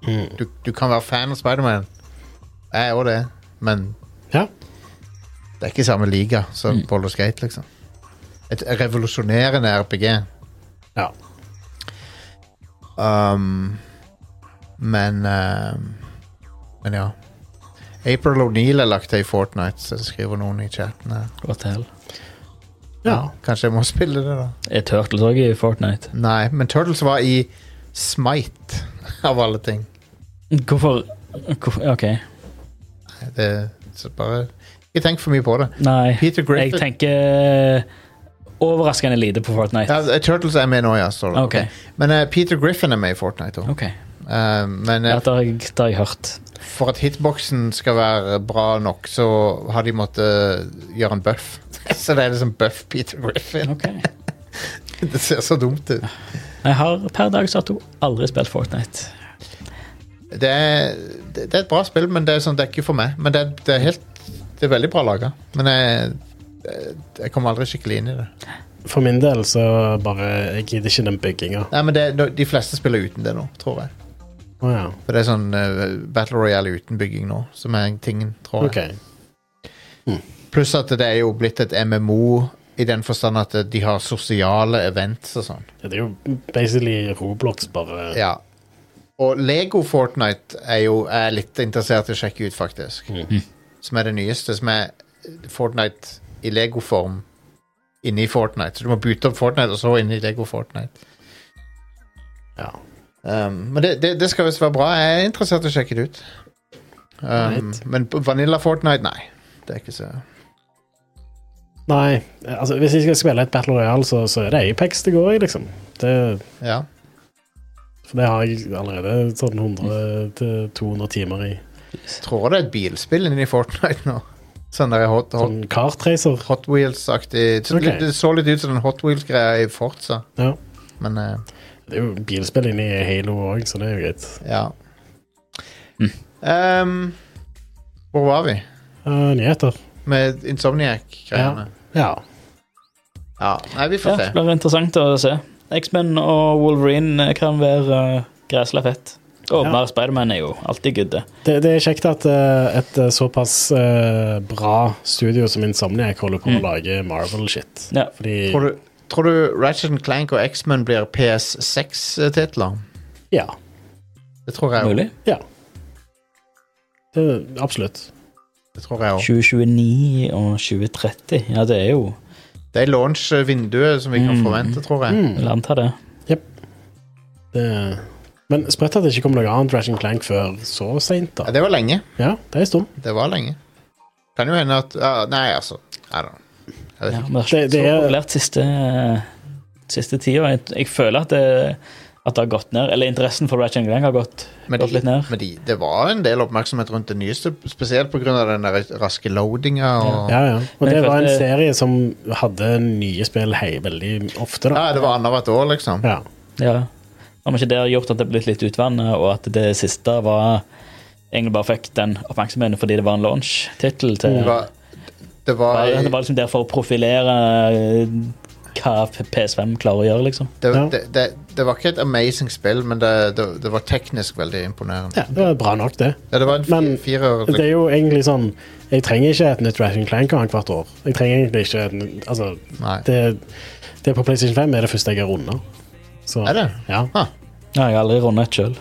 [SPEAKER 3] Mm.
[SPEAKER 1] Du, du kan være fan av Spiderman. Jeg er òg det, men
[SPEAKER 3] Ja.
[SPEAKER 1] det er ikke samme liga som
[SPEAKER 3] Mm.
[SPEAKER 1] Baldur's Gate, liksom. Et revolusjonerende RPG.
[SPEAKER 3] ja.
[SPEAKER 1] Um, men um, Men ja. April O'Neill er lagt til i Fortnite, så det skriver noen i chatten her.
[SPEAKER 2] What the hell.
[SPEAKER 3] ja.
[SPEAKER 1] Kanskje jeg må spille det, da.
[SPEAKER 2] Er Turtles òg i Fortnite?
[SPEAKER 1] Nei, men Turtles var i Smite, av alle ting.
[SPEAKER 2] Hvorfor, hvorfor OK.
[SPEAKER 1] Det, så bare Ikke tenk for mye på det.
[SPEAKER 2] Nei.
[SPEAKER 1] Peter
[SPEAKER 2] Jeg
[SPEAKER 1] Griffin
[SPEAKER 2] tenker eh, overraskende lite på Fortnite.
[SPEAKER 1] ja, eh, Turtles er med nå, ja. Står det.
[SPEAKER 2] OK.
[SPEAKER 1] Men eh, Peter Griffin er med i Fortnite òg.
[SPEAKER 2] ok.
[SPEAKER 1] men eh,
[SPEAKER 2] Ja, det har jeg, det har jeg hørt.
[SPEAKER 1] for at hitboxen skal være bra nok, så har de måttet eh, gjøre en buff. så det er liksom buff Peter Griffin. Det ser så dumt ut.
[SPEAKER 2] Jeg har per dags dato aldri spilt Fortnite.
[SPEAKER 1] Det er, det det er et bra spill, men det er, sånn, det er ikke for meg. Men det er, det er, helt, det er veldig bra laga. Men jeg, jeg kommer aldri skikkelig inn i det.
[SPEAKER 3] For min del så bare Jeg gidder ikke den bygginga.
[SPEAKER 1] Nei, men det, De fleste spiller uten det nå, tror jeg.
[SPEAKER 3] Å ja.
[SPEAKER 1] For det er sånn eh, Battle Royale uten bygging nå, som er tingen, tror jeg.
[SPEAKER 3] OK.
[SPEAKER 1] Pluss at det er jo blitt et MMO i den forstand at de har sosiale events og sånn.
[SPEAKER 3] Det er jo basically Roblox, bare
[SPEAKER 1] Ja. Og Lego Fortnite er jo er jeg litt interessert i å sjekke ut, faktisk.
[SPEAKER 3] Mhm.
[SPEAKER 1] Som er det nyeste, som er Fortnite i Lego-form inni Fortnite. Så du må bute opp Fortnite, og så inn i Lego Fortnite.
[SPEAKER 3] Ja.
[SPEAKER 1] Um, men det, det, det skal visst være bra. Jeg er interessert i å sjekke det ut. Um,
[SPEAKER 3] Right.
[SPEAKER 1] men på Vanilla Fortnite, nei. Det er ikke så
[SPEAKER 3] Nei, altså hvis jeg skal spille et Battle Royale, så, så er det Apex det går i, liksom. Det
[SPEAKER 1] Ja.
[SPEAKER 3] For det har jeg allerede sånn 100-200 timer i.
[SPEAKER 1] Tror det er et bilspill inni Fortnite nå. Sånn der hot, hot,
[SPEAKER 3] Sånn kartracer.
[SPEAKER 1] hot Wheels-aktig. Så
[SPEAKER 3] Ok.
[SPEAKER 1] litt- Det så litt ut som den Hot Wheels-greia i Forza,
[SPEAKER 3] Ja.
[SPEAKER 1] men eh,
[SPEAKER 3] Det er jo bilspill inne i Halo òg, så det er jo greit.
[SPEAKER 1] Ja.
[SPEAKER 2] Mm.
[SPEAKER 1] Ehm, hvor var vi?
[SPEAKER 3] Eh, nyheter.
[SPEAKER 1] Med Insomniac-greiene.
[SPEAKER 3] Ja.
[SPEAKER 1] Ja. Nei, vi
[SPEAKER 2] Ja,
[SPEAKER 1] får
[SPEAKER 2] det
[SPEAKER 1] se.
[SPEAKER 2] blir interessant å se. X-Men og Wolverine kan være uh, gresla fett. Og
[SPEAKER 3] Ja.
[SPEAKER 2] mer Spiderman er jo alltid good. det.
[SPEAKER 3] Det, det er kjekt at eh, et eh, såpass eh, bra studio som Insomniac holder på å
[SPEAKER 2] Mm.
[SPEAKER 3] lage Marvel-shit.
[SPEAKER 2] Ja.
[SPEAKER 3] Fordi
[SPEAKER 1] Tror du, tror du Ratchet Clank og X-Men blir PS6-titler?
[SPEAKER 3] Ja.
[SPEAKER 1] Det tror jeg òg.
[SPEAKER 2] Mulig.
[SPEAKER 3] Det, absolutt.
[SPEAKER 1] Det tror jeg også.
[SPEAKER 2] 2029 og 2030. Ja, det er jo
[SPEAKER 1] Det er launch-vinduet som vi kan
[SPEAKER 2] Mm.
[SPEAKER 1] forvente, tror jeg.
[SPEAKER 3] Mm.
[SPEAKER 2] Jeg antar det.
[SPEAKER 3] Det, men sprøtt at det ikke kom noe annet Ratchet Clank før så seint,
[SPEAKER 1] Ja,
[SPEAKER 3] da.
[SPEAKER 1] det var lenge.
[SPEAKER 3] Ja, det er en stund.
[SPEAKER 1] Det var lenge. Kan jo hende at ja, Nei, altså. I don't know. Jeg vet
[SPEAKER 2] Ja,
[SPEAKER 1] ikke.
[SPEAKER 2] men
[SPEAKER 3] Det- det
[SPEAKER 2] så
[SPEAKER 3] er-
[SPEAKER 2] populært siste, eh, siste tida. Jeg, jeg føler at det, at det har gått ned. Eller interessen for Ratchet Clank har gått,
[SPEAKER 1] Men,
[SPEAKER 2] gått litt
[SPEAKER 1] de,
[SPEAKER 2] ned.
[SPEAKER 1] men de, det var en del oppmerksomhet rundt det nyeste, spesielt pga. den der raske loadinga. Og, ja.
[SPEAKER 3] Ja, ja. Og
[SPEAKER 2] Men jeg
[SPEAKER 3] det var en
[SPEAKER 2] følte- serie
[SPEAKER 3] serie som hadde nye spill hei veldig ofte, da.
[SPEAKER 1] det var annethvert år, liksom.
[SPEAKER 3] Ja.
[SPEAKER 2] Ja. Om ikke det har gjort at det er blitt litt utvannet, og at det siste var egentlig bare fikk den oppmerksomheten fordi det var en launch-tittel til
[SPEAKER 3] Mm.
[SPEAKER 1] Det var, det var,
[SPEAKER 2] Nei, Det var liksom der for å profilere eh, hva P- PS5 klarer å gjøre, liksom.
[SPEAKER 1] det,
[SPEAKER 3] Ja.
[SPEAKER 1] det, det, det var ikke et amazing spill, men det, det, det var teknisk veldig imponerende.
[SPEAKER 3] Ja, det var bra nok, det.
[SPEAKER 1] Ja, det var en
[SPEAKER 3] Men
[SPEAKER 1] fi- firer
[SPEAKER 3] Det er jo egentlig sånn Jeg trenger ikke et nytt Ratchet Clank hvert år. Jeg trenger egentlig ikke et nytt, Altså,
[SPEAKER 1] Nei.
[SPEAKER 3] det, det på PlayStation 5 er det første jeg har runda. Så
[SPEAKER 1] Er det?
[SPEAKER 3] ja.
[SPEAKER 2] Ja, jeg har aldri rundet et sjøl.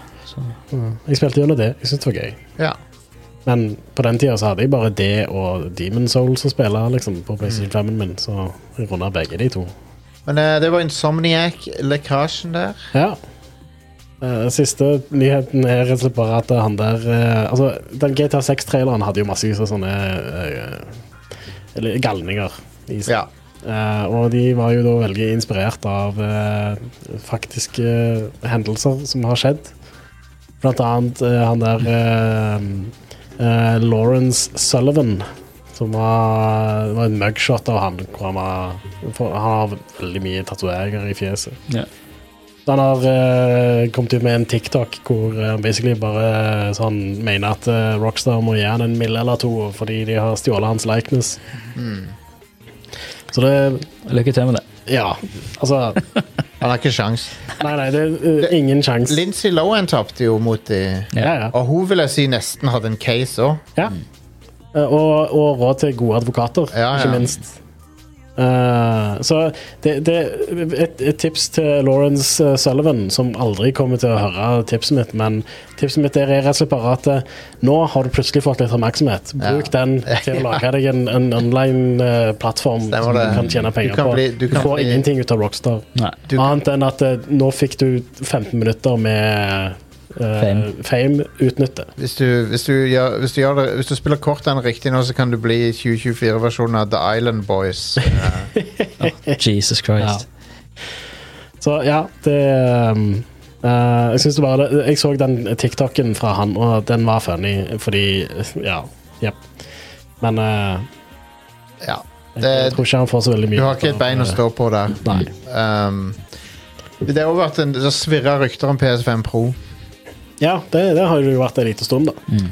[SPEAKER 3] Jeg spilte gjennom det. Jeg synes det var gøy.
[SPEAKER 1] Ja.
[SPEAKER 3] Men på den tida så hadde jeg bare det og Demon Souls å spille liksom, på
[SPEAKER 2] Mm.
[SPEAKER 3] PlayStation 5-en min, så jeg runda begge de to.
[SPEAKER 1] Men eh, det var Insomniac-lekkasjen der.
[SPEAKER 3] Ja. Eh, siste nyheten er rett og slett bare at han der eh, Altså, den GTA 6-traileren hadde jo massevis av sånne eh, Eller galninger i seg.
[SPEAKER 1] Ja.
[SPEAKER 3] Eh, og de var jo da veldig inspirert av eh, faktiske hendelser som har skjedd. Blant annet eh, han der eh, eh, Lawrence Sullivan, som var, var en mugshot av han. Hvor han, var, for, han har veldig mye tatoveringer i fjeset.
[SPEAKER 2] Ja.
[SPEAKER 3] Så Han har eh, kommet ut med en TikTok hvor eh, han basically bare eh, så han mener at eh, Rockstar må gi han en mille eller to fordi de har stjålet hans likeness. Så det
[SPEAKER 2] Lykke til med det.
[SPEAKER 3] Ja, altså
[SPEAKER 1] Han har ikke sjans.
[SPEAKER 3] Nei, nei, det er eh, ingen sjanse.
[SPEAKER 1] Lincy Lohan tapte jo mot de
[SPEAKER 3] Ja, ja.
[SPEAKER 1] Og hun vil jeg si nesten hadde en case òg.
[SPEAKER 3] ja. Eh, Og, og råd til gode advokater,
[SPEAKER 1] Mm. Ja, ja.
[SPEAKER 3] ikke minst. Eh, så det, det et, et tips til Lawrence eh, Sullivan, som aldri kommer til å høre tipset mitt, men tipset mitt der er rett og slett bare at eh, nå har du plutselig fått litt oppmerksomhet. Bruk
[SPEAKER 1] Ja.
[SPEAKER 3] den til å lage deg en, en online eh, plattform
[SPEAKER 1] Stemmer
[SPEAKER 3] som du
[SPEAKER 1] det.
[SPEAKER 3] kan tjene
[SPEAKER 1] Du
[SPEAKER 3] penger
[SPEAKER 1] kan
[SPEAKER 3] på.
[SPEAKER 1] bli- du
[SPEAKER 3] du,
[SPEAKER 1] kan
[SPEAKER 3] får
[SPEAKER 1] bli-
[SPEAKER 3] ingenting ut av Rockstar.
[SPEAKER 2] Nei.
[SPEAKER 1] Du-
[SPEAKER 3] Annet enn at eh, nå fikk du 15 minutter med eh,
[SPEAKER 2] Fame.
[SPEAKER 3] fame utnytte.
[SPEAKER 1] Hvis, du- hvis, du gjør- hvis, du gjør det- hvis du spiller kortene riktig nå, så kan du bli 2024-versjonen av The Island Boys.
[SPEAKER 2] Jesus Christ.
[SPEAKER 3] Så ja, det ehm, eh, Jeg synes det bare Jeg så den TikToken fra han, og den var funny fordi Ja. Jepp. Men eh,
[SPEAKER 1] Ja.
[SPEAKER 3] jeg,
[SPEAKER 1] Det-
[SPEAKER 3] tror ikke han får så veldig mye.
[SPEAKER 1] Du har ikke et
[SPEAKER 3] for-
[SPEAKER 1] bein å stå på der.
[SPEAKER 3] Nei.
[SPEAKER 1] Um, det har også vært en Det svirrer rykter om PS5 Pro,
[SPEAKER 3] Ja, det, det har jo vært en liten stund, da.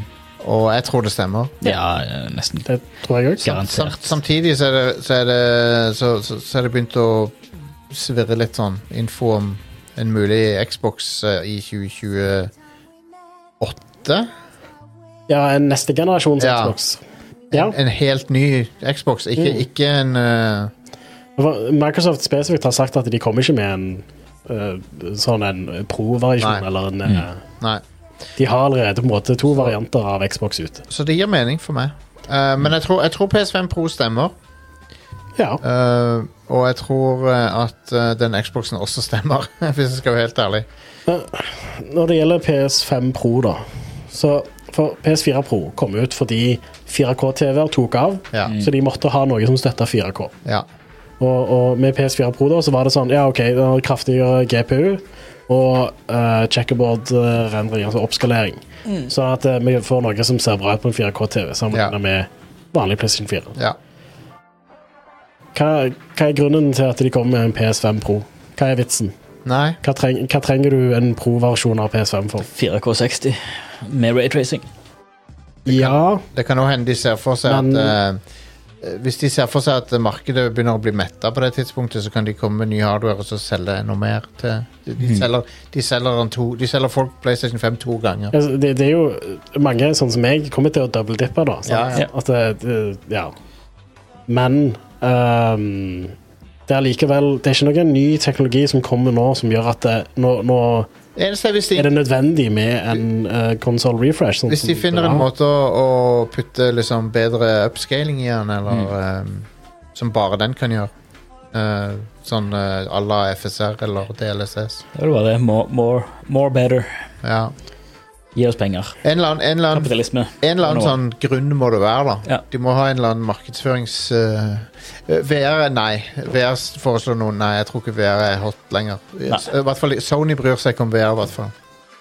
[SPEAKER 1] og jeg tror det stemmer.
[SPEAKER 2] Mm. Ja, eh, nesten.
[SPEAKER 3] Det tror jeg òg.
[SPEAKER 1] Sam,
[SPEAKER 2] Garantert.
[SPEAKER 1] samtidig så er det, så er det, så, så, så er det begynt å svirre litt sånn info om en mulig Xbox eh, i 2028.
[SPEAKER 3] Ja, en neste generasjons
[SPEAKER 1] Ja.
[SPEAKER 3] Xbox. Ja.
[SPEAKER 1] En helt ny Xbox, ikke,
[SPEAKER 3] Mm.
[SPEAKER 1] ikke en eh,
[SPEAKER 3] For Microsoft spesifikt har sagt at de kommer ikke med en eh, sånn en pro-variasjon,
[SPEAKER 1] Nei.
[SPEAKER 3] eller en eh,
[SPEAKER 1] Nei.
[SPEAKER 3] De har allerede på en måte to varianter av Xbox ute.
[SPEAKER 1] Så det gir mening for meg. Eh, men jeg tror, jeg tror PS5 Pro stemmer.
[SPEAKER 3] Ja.
[SPEAKER 1] eh, og jeg tror eh, at eh, den Xboxen også stemmer, hvis jeg skal være helt ærlig.
[SPEAKER 3] Når det gjelder PS5 Pro, da så For PS4 Pro kom ut fordi 4K-TV-er tok av,
[SPEAKER 1] Ja.
[SPEAKER 3] så de måtte ha noe som støtta 4K.
[SPEAKER 1] Ja.
[SPEAKER 3] Og, og med PS4 Pro da, så var det sånn Ja, OK, den har kraftigere GPU og eh, checkerboard-rendring, altså oppskalering. Sånn at eh, vi får noe som ser bra ut på en 4K-TV,
[SPEAKER 1] Ja.
[SPEAKER 3] sammenlignet med vanlig PlayStation 4.
[SPEAKER 1] ja.
[SPEAKER 3] Hva, hva er grunnen til at de kommer med en PS5 Pro? Hva er vitsen?
[SPEAKER 1] Nei.
[SPEAKER 3] Hva, treng, hva trenger du en pro-versjon av PS5 for?
[SPEAKER 2] 4K60 med raytracing.
[SPEAKER 3] Ja,
[SPEAKER 1] Det kan også hende de ser for seg
[SPEAKER 3] Men-
[SPEAKER 1] at eh, Hvis de ser for seg at markedet begynner å bli metta på det tidspunktet, så kan de komme med ny hardware og så selge enda mer til De,
[SPEAKER 3] Mm.
[SPEAKER 1] de, selger, de, selger, en to, de selger folk PlayStation 5 to ganger.
[SPEAKER 3] altså, det, det er jo mange sånn som meg kommer til å dobbeldippe, da. sant?
[SPEAKER 1] Ja, ja.
[SPEAKER 3] At det, det, ja. Men ehm, det er likevel Det er ikke noen ny teknologi som kommer nå som gjør at det, nå, nå
[SPEAKER 1] Eneste er hvis de
[SPEAKER 3] er det nødvendig med en uh, konsoll refresh. Sånn
[SPEAKER 1] Hvis de
[SPEAKER 3] som
[SPEAKER 1] finner
[SPEAKER 3] det
[SPEAKER 1] en
[SPEAKER 3] var.
[SPEAKER 1] måte å, å putte liksom bedre upscaling i den, eller
[SPEAKER 2] Mm.
[SPEAKER 1] eh, som bare den kan gjøre eh, Sånn eh, à la FSR eller DLSS.
[SPEAKER 2] Det var det. More, more, more better.
[SPEAKER 1] Ja.
[SPEAKER 2] Gi oss penger.
[SPEAKER 1] En eller annen, en eller annen,
[SPEAKER 2] Kapitalisme.
[SPEAKER 1] en eller annen
[SPEAKER 2] Nå.
[SPEAKER 1] sånn grunn må det være, da.
[SPEAKER 2] Ja.
[SPEAKER 1] De må ha en eller annen markedsførings... eh, VR er nei. VR s- foreslår noe. Nei, jeg tror ikke VR er hot lenger. eh, I
[SPEAKER 2] Nei.
[SPEAKER 1] hvert fall, Sony bryr seg ikke om VR, i hvert fall.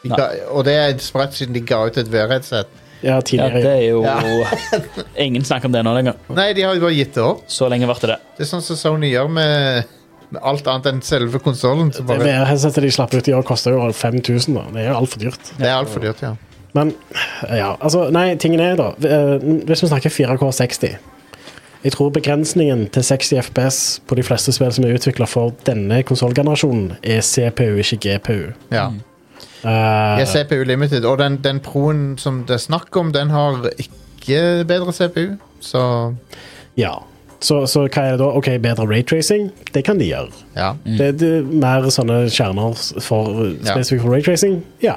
[SPEAKER 1] De
[SPEAKER 2] Nei.
[SPEAKER 1] ga, og det er spredt siden de ga ut et VR-headset.
[SPEAKER 3] Ja,
[SPEAKER 2] Ja,
[SPEAKER 3] tidligere.
[SPEAKER 2] det er jo
[SPEAKER 1] Ja.
[SPEAKER 2] Ingen snakker om det nå lenger.
[SPEAKER 1] Nei, de har jo bare gitt det opp.
[SPEAKER 2] Så lenge ble det det.
[SPEAKER 1] Det er sånn som Sony gjør med Men alt annet enn selve konsollen.
[SPEAKER 3] Det
[SPEAKER 1] Det,
[SPEAKER 3] VR-headsetet de slapp ut i år, koster jo 5000. da. Det er jo altfor dyrt.
[SPEAKER 1] det er altfor dyrt, ja.
[SPEAKER 3] Men ja, altså, nei, tingen er da eh, Hvis vi snakker 4K60 Jeg tror begrensningen til 60 FPS på de fleste spill som er utvikla for denne konsollgenerasjonen, er CPU, ikke GPU.
[SPEAKER 1] ja.
[SPEAKER 3] Eh,
[SPEAKER 1] Jeg er CPU Limited, og den, den proen som det er snakk om, den har ikke bedre CPU, så
[SPEAKER 3] ja. Så, så hva er det da? OK, bedre raytracing? Det kan de gjøre.
[SPEAKER 1] ja.
[SPEAKER 3] Det, det er mer sånne kjerner s- for,
[SPEAKER 1] Mm. Ja.
[SPEAKER 3] spesifikt for raytracing? Ja.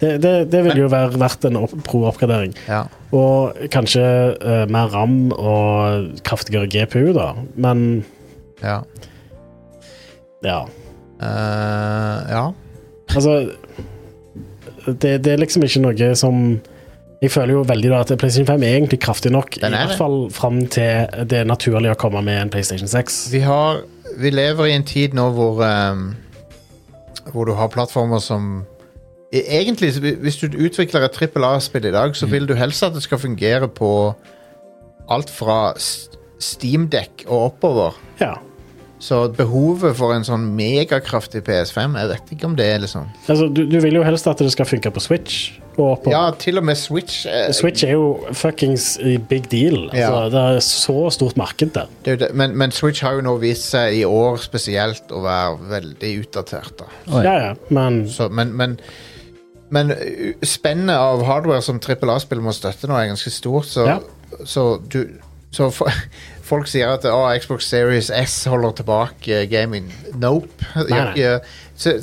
[SPEAKER 3] Det, det, det
[SPEAKER 1] Men-
[SPEAKER 3] vil jo være verdt en opp, pro-oppgradering.
[SPEAKER 1] ja.
[SPEAKER 3] Og kanskje eh, mer RAM og kraftigere GPU, da. Men
[SPEAKER 1] ja.
[SPEAKER 3] ja.
[SPEAKER 1] Eh, ja.
[SPEAKER 3] Altså det, det er liksom ikke noe som Jeg føler jo veldig da at PlayStation 5 er egentlig kraftig nok. I
[SPEAKER 1] Den er det.
[SPEAKER 3] hvert fall fram til det er naturlig å komme med en PlayStation 6.
[SPEAKER 1] Vi har Vi lever i en tid nå hvor ehm, Hvor du har plattformer som e- Egentlig, så hvi- hvis du utvikler et trippel A-spill i dag, så vil du helst at det skal fungere på alt fra Steamdekk og oppover.
[SPEAKER 3] Ja.
[SPEAKER 1] Så behovet for en sånn megakraftig PS5, jeg vet ikke om det er liksom
[SPEAKER 3] Altså, du, du vil jo helst at det skal funke på Switch. Og på
[SPEAKER 1] Ja, til og med Switch. eh,
[SPEAKER 3] Switch er jo fuckings i big deal. Altså,
[SPEAKER 1] Ja.
[SPEAKER 3] Det er så stort marked der.
[SPEAKER 1] det er jo det, men, men Switch har jo nå vist seg i år spesielt å være veldig utdatert. da
[SPEAKER 2] Oi.
[SPEAKER 3] Ja, ja, men
[SPEAKER 1] Så, men, men, men uh, spennet av hardware som trippel A-spill må støtte nå, er ganske stort. Så,
[SPEAKER 3] Ja.
[SPEAKER 1] så, du, så fo- folk sier at å, Xbox Series S holder tilbake gaming. Nope.
[SPEAKER 3] Nei, nei.
[SPEAKER 1] Jeg- så,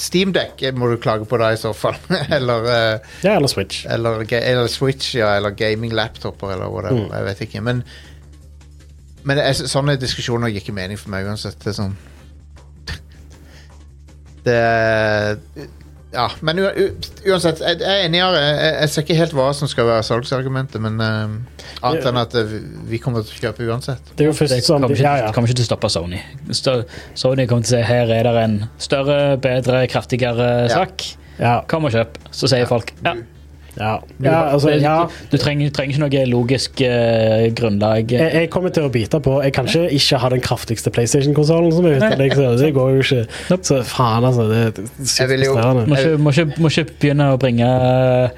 [SPEAKER 1] Steamdeck må du klage på da, i så fall. eller, eh,
[SPEAKER 3] Ja, eller Switch.
[SPEAKER 1] eller, ga- eller Switch, ja, eller gaming-laptoper, eller whatever.
[SPEAKER 3] Mm.
[SPEAKER 1] Jeg vet ikke. Men, men jeg, sy- sånne diskusjoner gir ikke mening for meg uansett. Det er sånn Det Ja, men u, u, uansett, jeg, jeg er enig. Are. Jeg, jeg, jeg ser ikke helt hva som skal være salgsargumentet, men eh, annet enn at eh, vi- vi kommer til å kjøpe uansett.
[SPEAKER 3] Det er jo først
[SPEAKER 2] Det
[SPEAKER 3] som
[SPEAKER 2] kommer ikke,
[SPEAKER 3] Ja, ja.
[SPEAKER 2] kommer ikke til å stoppe Sony. Stø- Sony kommer til å si her er det en større, bedre, kraftigere sak.
[SPEAKER 3] ja,
[SPEAKER 2] Kom og kjøp. Så sier folk ja.
[SPEAKER 3] ja. ja altså,
[SPEAKER 2] Det-
[SPEAKER 3] ja.
[SPEAKER 2] Du trenger, trenger ikke noe logisk eh, grunnlag.
[SPEAKER 3] Jeg, jeg kommer til å bite på. Jeg kan ikke ikke ha den kraftigste PlayStation-konsollen som er ute. Liksom. Det går jo ikke.
[SPEAKER 2] Nope.
[SPEAKER 3] Så faen, altså. Det er
[SPEAKER 1] Jeg
[SPEAKER 3] sykt
[SPEAKER 1] vil jo-
[SPEAKER 2] Må
[SPEAKER 3] frustrerende.
[SPEAKER 2] ikke, må, ikke, må ikke begynne å bringe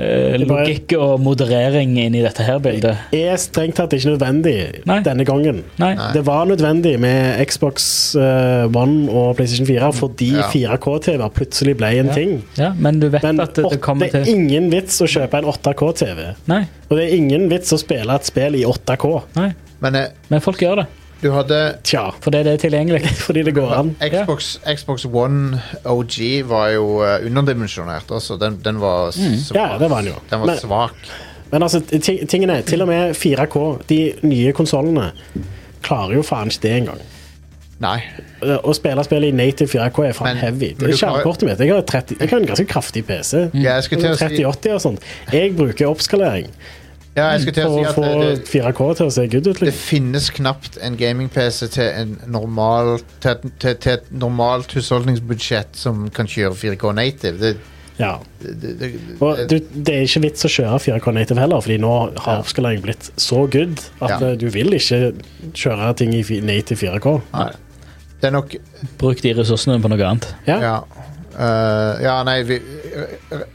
[SPEAKER 2] eh,
[SPEAKER 3] bare-
[SPEAKER 2] logikk og moderering inn i dette her bildet.
[SPEAKER 3] Det er strengt tatt ikke nødvendig
[SPEAKER 2] Nei.
[SPEAKER 3] denne gangen.
[SPEAKER 2] Nei.
[SPEAKER 1] Nei.
[SPEAKER 3] Det var nødvendig med Xbox eh, One og PlayStation 4 fordi
[SPEAKER 1] Ja. 4K-TV-er plutselig ble en ting.
[SPEAKER 2] Ja, men du vet
[SPEAKER 3] Men
[SPEAKER 2] at det, det
[SPEAKER 3] åt-
[SPEAKER 2] kommer
[SPEAKER 3] det er
[SPEAKER 2] til
[SPEAKER 3] ingen vits å kjøpe en 8K-TV.
[SPEAKER 2] Nei.
[SPEAKER 3] Og det er ingen vits å spille et spill i 8K.
[SPEAKER 2] nei.
[SPEAKER 1] Men eh,
[SPEAKER 2] Men folk gjør det.
[SPEAKER 1] du hadde
[SPEAKER 3] Tja,
[SPEAKER 2] Fordi det er tilgjengelig.
[SPEAKER 3] fordi det går an.
[SPEAKER 1] Xbox, Xbox One OG var jo eh, underdimensjonert også. Den, den var svak.
[SPEAKER 3] Mm. Ja, det var den jo.
[SPEAKER 1] Den var
[SPEAKER 3] Men-
[SPEAKER 1] svak.
[SPEAKER 3] Men altså, ti- tingene, til og med 4K, de nye konsollene, klarer jo faen ikke det engang.
[SPEAKER 1] Nei.
[SPEAKER 3] Eh, Å spille spill i native 4K er faen
[SPEAKER 1] Men-
[SPEAKER 3] heavy.
[SPEAKER 1] men
[SPEAKER 3] Det
[SPEAKER 1] du
[SPEAKER 3] er
[SPEAKER 1] klarer-
[SPEAKER 3] kjernekortet mitt. Jeg har, 30, jeg har en ganske kraftig PC.
[SPEAKER 1] Ja, jeg skulle til å si-
[SPEAKER 3] 3080 og sånt. Jeg bruker oppskalering
[SPEAKER 1] Ja, jeg skulle til å
[SPEAKER 3] for
[SPEAKER 1] si
[SPEAKER 3] å
[SPEAKER 1] at
[SPEAKER 3] få
[SPEAKER 1] det, det,
[SPEAKER 3] 4K til å se good ut.
[SPEAKER 1] det
[SPEAKER 3] Liksom.
[SPEAKER 1] finnes knapt en gaming-PC til, en normal, til, et- til, til et normalt husholdningsbudsjett som kan kjøre 4K native. Det,
[SPEAKER 3] Ja.
[SPEAKER 1] det, det,
[SPEAKER 3] Og
[SPEAKER 1] det,
[SPEAKER 3] du, det er ikke vits å kjøre 4K native heller, Fordi nå
[SPEAKER 1] Ja.
[SPEAKER 3] har oppskalering blitt så good at
[SPEAKER 1] Ja.
[SPEAKER 3] eh, du vil ikke kjøre ting i fi- native 4K.
[SPEAKER 1] nei. det er nok
[SPEAKER 2] Bruk de ressursene på noe annet.
[SPEAKER 3] Ja.
[SPEAKER 1] Ja, Eh, ja nei vi,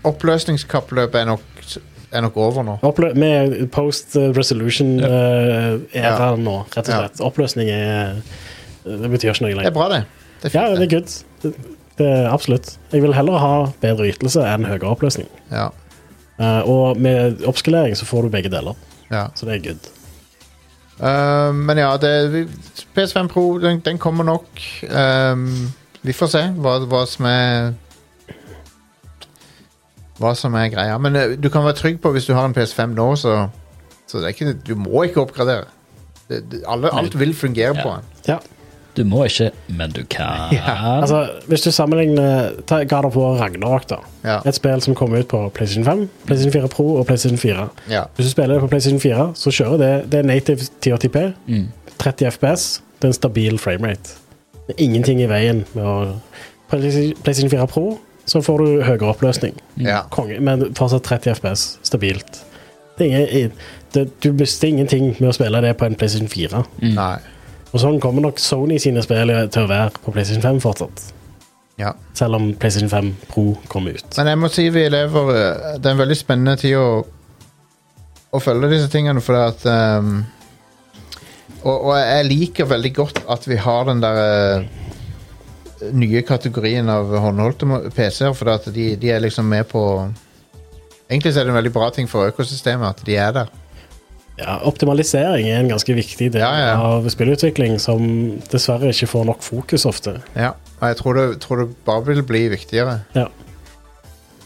[SPEAKER 1] Oppløsningskappløpet er nok, er nok over nå.
[SPEAKER 3] Opplø med post eh, resolution
[SPEAKER 2] Ja.
[SPEAKER 3] eh, er
[SPEAKER 1] Ja.
[SPEAKER 3] der nå, rett og
[SPEAKER 1] Ja.
[SPEAKER 3] slett. Oppløsning er Det betyr ikke noe
[SPEAKER 1] Det er
[SPEAKER 3] lenger.
[SPEAKER 1] bra, det. Det er
[SPEAKER 3] Ja,
[SPEAKER 1] fint,
[SPEAKER 3] det er good. Det, det er absolutt. Jeg vil heller ha bedre ytelse enn høyere oppløsning.
[SPEAKER 1] Ja,
[SPEAKER 3] Eh, og med oppskalering så får du begge deler,
[SPEAKER 1] ja.
[SPEAKER 3] så det er good.
[SPEAKER 1] Eh, men ja, det, vi- PS5 Pro den, den kommer nok. Ehm, vi får se hva, hva som er Hva som er greia. Men eh, du kan være trygg på hvis du har en PS5 nå, så, så det er ikke, du må ikke oppgradere. Det, det, alle, alt vil fungere på den.
[SPEAKER 3] Ja.
[SPEAKER 2] Du må ikke, men du kan.
[SPEAKER 3] Altså, hvis du sammenligner ta God of War Ragnarok, da.
[SPEAKER 1] Ja.
[SPEAKER 3] Et spill som kom ut på PlayStation 5, PlayStation 4 Pro og PlayStation 4.
[SPEAKER 1] Ja.
[SPEAKER 3] Hvis du spiller det på PlayStation 4, så kjører det Det er native 1080p,
[SPEAKER 2] Mm.
[SPEAKER 3] 30 FPS, det er en stabil framerate. Det er ingenting i veien med å På PlayStation 4 Pro så får du høyere oppløsning,
[SPEAKER 1] Ja.
[SPEAKER 3] Konge, men fortsatt 30 FPS, stabilt.
[SPEAKER 1] Mm.
[SPEAKER 3] Det er ingen, det, du mister ingenting med å spille det på en PlayStation 4.
[SPEAKER 1] Nei.
[SPEAKER 3] Og Og sånn kommer nok Sony sine spill til å være på PlayStation 5 fortsatt.
[SPEAKER 1] Ja.
[SPEAKER 3] Selv om PlayStation 5 Pro kommer ut.
[SPEAKER 1] Men jeg må si vi lever eh, Det er en veldig spennende tid å, å følge disse tingene, for det at ehm, og, og jeg liker veldig godt at vi har den der eh, nye kategorien av håndholdte mo- PC-er, for det at de, de er liksom med på Egentlig så er det en veldig bra ting for økosystemet at de er der.
[SPEAKER 3] Ja, optimalisering er en ganske viktig del
[SPEAKER 1] Ja, ja.
[SPEAKER 3] av spillutvikling, som dessverre ikke får nok fokus ofte.
[SPEAKER 1] Ja, og jeg tror det, tror det bare vil bli viktigere.
[SPEAKER 3] Ja.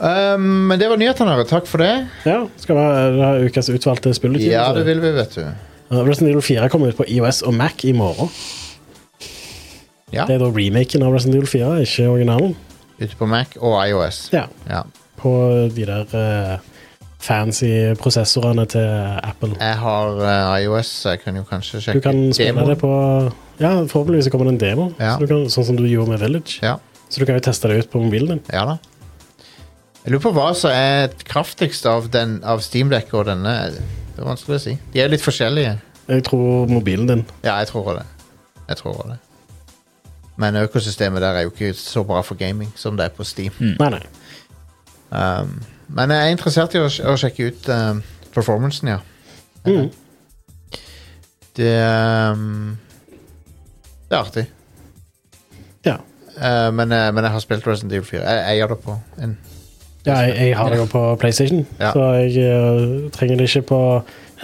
[SPEAKER 1] Ehm, men det var nyhetene. her. Takk for det.
[SPEAKER 3] Ja, skal vi ha ha ukas utvalgte spillutgivelse?
[SPEAKER 1] Ja, det vil vi, vet du.
[SPEAKER 3] Ja, Eh, Resident Evil 4 kommer ut på IOS og Mac i morgen.
[SPEAKER 1] Ja,
[SPEAKER 3] Det er da remaken av Resident Evil 4, ikke originalen.
[SPEAKER 1] Ute på Mac og iOS.
[SPEAKER 3] Ja,
[SPEAKER 1] Ja.
[SPEAKER 3] På de der eh, fancy prosessorene til Apple.
[SPEAKER 1] Jeg har eh, iOS, så jeg kan jo kanskje
[SPEAKER 3] Du
[SPEAKER 1] sjekke
[SPEAKER 3] kan spille
[SPEAKER 1] demoen.
[SPEAKER 3] det på Ja, forhåpentligvis så kommer det en demo,
[SPEAKER 1] Ja.
[SPEAKER 3] så du kan, sånn som du gjorde med Village.
[SPEAKER 1] Ja,
[SPEAKER 3] Så du kan jo teste det ut på mobilen din.
[SPEAKER 1] ja da. Jeg lurer på hva som er kraftigst av, den, av Steam Deck og denne. Det er vanskelig å si. De er litt forskjellige.
[SPEAKER 3] Jeg tror mobilen din
[SPEAKER 1] Ja, jeg tror det. Jeg tror det. Men økosystemet der er jo ikke så bra for gaming som det er på Steam.
[SPEAKER 3] Nei, nei.
[SPEAKER 1] Um, men jeg er interessert i å, sj- å sjekke ut um, performancen, ja.
[SPEAKER 3] Mhm.
[SPEAKER 1] Det um, Det er artig.
[SPEAKER 3] Ja.
[SPEAKER 1] Uh, men, eh, men jeg har spilt Resident Evil 4. Jeg eier det på en
[SPEAKER 3] ja jeg, jeg har det jo på PlayStation,
[SPEAKER 1] Ja.
[SPEAKER 3] så jeg eh, trenger det ikke på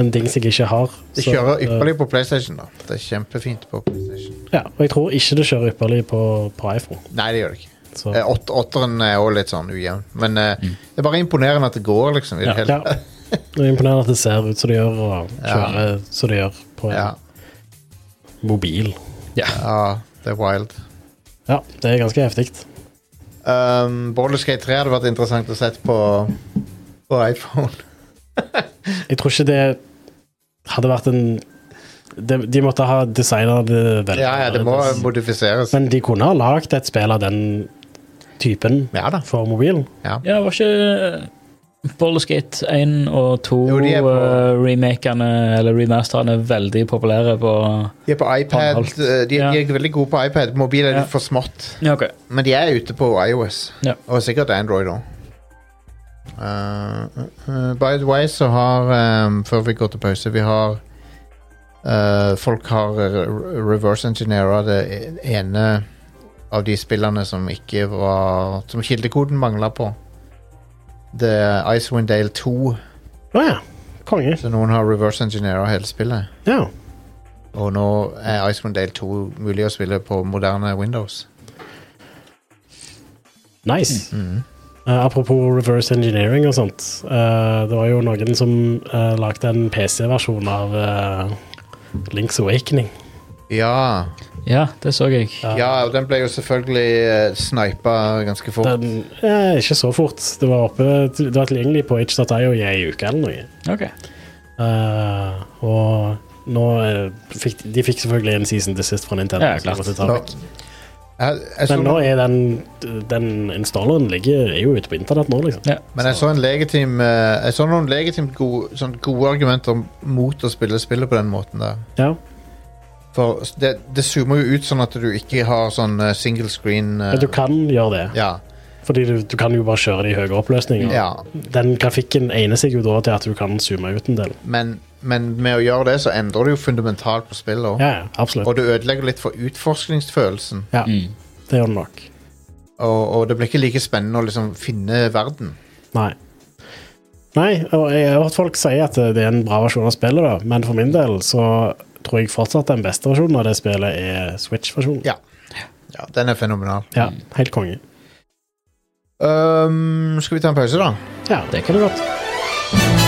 [SPEAKER 3] en dings jeg ikke har.
[SPEAKER 1] Det
[SPEAKER 3] Så,
[SPEAKER 1] kjører
[SPEAKER 3] eh,
[SPEAKER 1] ypperlig på PlayStation, da. Det er kjempefint på PlayStation.
[SPEAKER 3] Ja, og jeg tror ikke det kjører ypperlig på, på iPhone.
[SPEAKER 1] Nei, det gjør det ikke.
[SPEAKER 3] Så.
[SPEAKER 1] Eh, åt- Åtteren er òg litt sånn ujevn. Men eh, det er bare imponerende at det går, liksom. I det
[SPEAKER 2] Ja.
[SPEAKER 1] hele.
[SPEAKER 3] Ja. Det er imponerende at det ser ut som det gjør, og kjører som det gjør på en
[SPEAKER 1] Ja.
[SPEAKER 3] mobil.
[SPEAKER 2] Ja.
[SPEAKER 1] ja, det er wild.
[SPEAKER 3] Ja, det er ganske heftig.
[SPEAKER 1] Um, Borderskate 3 hadde vært interessant å sette på, på iPhone.
[SPEAKER 3] Jeg tror ikke det hadde vært en De, de måtte ha designa det veldig
[SPEAKER 1] Ja, ja, det må
[SPEAKER 3] annerledes.
[SPEAKER 1] modifiseres.
[SPEAKER 3] Men de kunne ha lagd et spill av den typen
[SPEAKER 1] Ja da.
[SPEAKER 3] for mobilen.
[SPEAKER 1] Ja.
[SPEAKER 2] Ja, var ikke eh, Bolleskate 1 og 2
[SPEAKER 1] Jo, de er på-
[SPEAKER 2] eh, remakene, eller remasterne, veldig populære på
[SPEAKER 1] De er på iPad.
[SPEAKER 2] Håndholdt.
[SPEAKER 1] eh, De, de er veldig gode på iPad. Mobil er
[SPEAKER 2] Ja.
[SPEAKER 1] litt for smått.
[SPEAKER 2] Ja, OK.
[SPEAKER 1] Men de er ute på iOS.
[SPEAKER 2] Ja.
[SPEAKER 1] Og sikkert Android òg. eh, by the way, så har um, Før vi går til pause, vi har uh, Folk har re- reverse engineera det ene av de spillene som ikke var Som kildekoden mangla på. Det er Icewind Dale 2.
[SPEAKER 3] Å ja. Konge.
[SPEAKER 1] Så noen har reverse engineera hele spillet.
[SPEAKER 3] Ja.
[SPEAKER 1] Og nå er Icewind Dale 2 mulig å spille på moderne Windows.
[SPEAKER 3] Nice. Eh, apropos reverse engineering og sånt. eh, det var jo noen som uh, lagde en PC-versjon av eh, Link's Awakening.
[SPEAKER 1] Ja.
[SPEAKER 2] Ja, det så jeg.
[SPEAKER 1] Ja, og den ble jo selvfølgelig uh, snipa ganske fort.
[SPEAKER 3] Den eh, Ikke så fort. Det var, oppe, det var tilgjengelig på itch.io i ei uke eller noe.
[SPEAKER 2] OK.
[SPEAKER 3] Eh, og nå eh, fikk de fikk selvfølgelig en season desist fra Nintendo.
[SPEAKER 2] Ja,
[SPEAKER 3] så de
[SPEAKER 2] klart.
[SPEAKER 3] måtte ta
[SPEAKER 1] Så,
[SPEAKER 3] vekk.
[SPEAKER 1] jeg, jeg så,
[SPEAKER 3] Men nå er den, den installeren ligger, er jo ute på internett nå, liksom.
[SPEAKER 2] Ja.
[SPEAKER 1] men jeg så, en legitim, eh, jeg så noen legitimt gode, sånn gode argumenter mot å spille spillet på den måten der.
[SPEAKER 3] Ja.
[SPEAKER 1] For s- det, det zoomer jo ut sånn at du ikke har sånn eh, single screen eh,
[SPEAKER 3] Men du kan gjøre det,
[SPEAKER 1] ja,
[SPEAKER 3] fordi du, du kan jo bare kjøre det i høyere oppløsning. og
[SPEAKER 1] ja.
[SPEAKER 3] Den grafikken egner seg jo da til at du kan zoome ut en del.
[SPEAKER 1] Men, men med å gjøre det, så endrer du jo fundamentalt på spillet òg.
[SPEAKER 3] Ja, ja, absolutt.
[SPEAKER 1] Og du ødelegger litt for utforskningsfølelsen.
[SPEAKER 3] Ja,
[SPEAKER 2] Mm.
[SPEAKER 3] Det gjør det nok.
[SPEAKER 1] Og, og det blir ikke like spennende å liksom finne verden.
[SPEAKER 3] Nei. Nei, og jeg har hørt folk si at det er en bra versjon av spillet, da. men for min del så tror jeg fortsatt den beste versjonen av det spillet er Switch-versjonen.
[SPEAKER 1] Ja. ja den er fenomenal.
[SPEAKER 3] Ja, helt konge.
[SPEAKER 1] Um, skal vi ta en pause, da?
[SPEAKER 3] Ja, det kan du godt.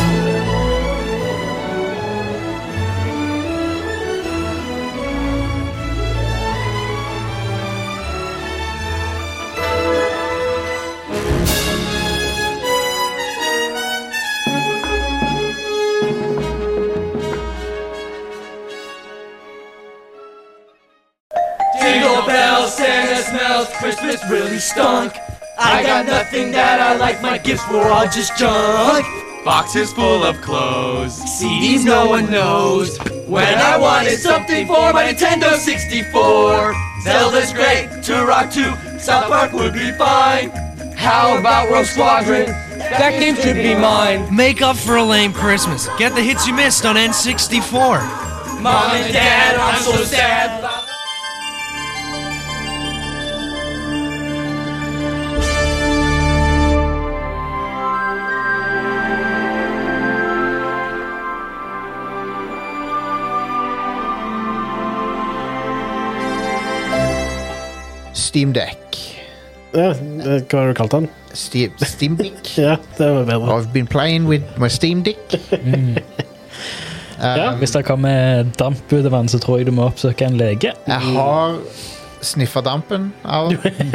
[SPEAKER 4] Jingle bells, Santa smells, Christmas really stunk. I got nothing that I like, my gifts were all just junk.
[SPEAKER 5] Boxes full of clothes.
[SPEAKER 4] CDs no one knows, When I wanted something for my Nintendo 64, Zelda's great, Turok 2, South Park would be fine. How about Rogue Squadron? That game should be mine.
[SPEAKER 5] Make up for a lame Christmas. Get the hits you missed on N64.
[SPEAKER 4] Mom and Dad, I'm so sad.
[SPEAKER 1] Steam Deck.
[SPEAKER 3] Ja, eh, hva har du kalt den?
[SPEAKER 1] Steam, Steam Dick.
[SPEAKER 3] Ja, det var bedre.
[SPEAKER 1] I've been playing with my Steam Dick.
[SPEAKER 3] Ja,
[SPEAKER 2] Hvis det kommer damp ut av vann, så tror jeg du må oppsøke en lege.
[SPEAKER 1] Jeg har sniffa dampen av den.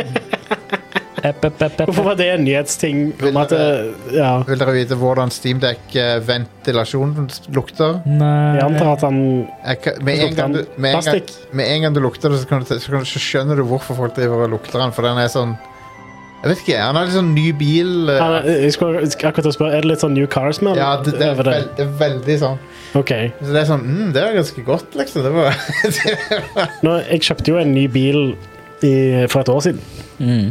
[SPEAKER 2] Epp, epp, epp, epp.
[SPEAKER 3] Hvorfor var det en nyhetsting om at det, Ja,
[SPEAKER 1] Vil dere vite hvordan Steam Deck eh, ventilasjon lukter?
[SPEAKER 2] Nei
[SPEAKER 3] jeg antar at han
[SPEAKER 1] Jeg kan, med, en
[SPEAKER 3] Lukter
[SPEAKER 1] gang du,
[SPEAKER 3] den
[SPEAKER 1] med, en gang,
[SPEAKER 3] plastikk?
[SPEAKER 1] med en gang du lukter det, så, kan du, ta- så, kan du, så skjønner du hvorfor folk driver og lukter den, for den er sånn Jeg vet ikke. Han er litt sånn ny bil. eh,
[SPEAKER 3] han- Jeg skulle jeg skulle akkurat til å spørre, er det litt sånn New Cars-man
[SPEAKER 1] Ja, det, det, er
[SPEAKER 3] over det?
[SPEAKER 1] veld, det er veldig sånn.
[SPEAKER 3] Ok.
[SPEAKER 1] Så det er sånn mm, Det er ganske godt, liksom. Det var,
[SPEAKER 3] Nå, jeg kjøpte jo en ny bil i, for et år siden.
[SPEAKER 2] Mm.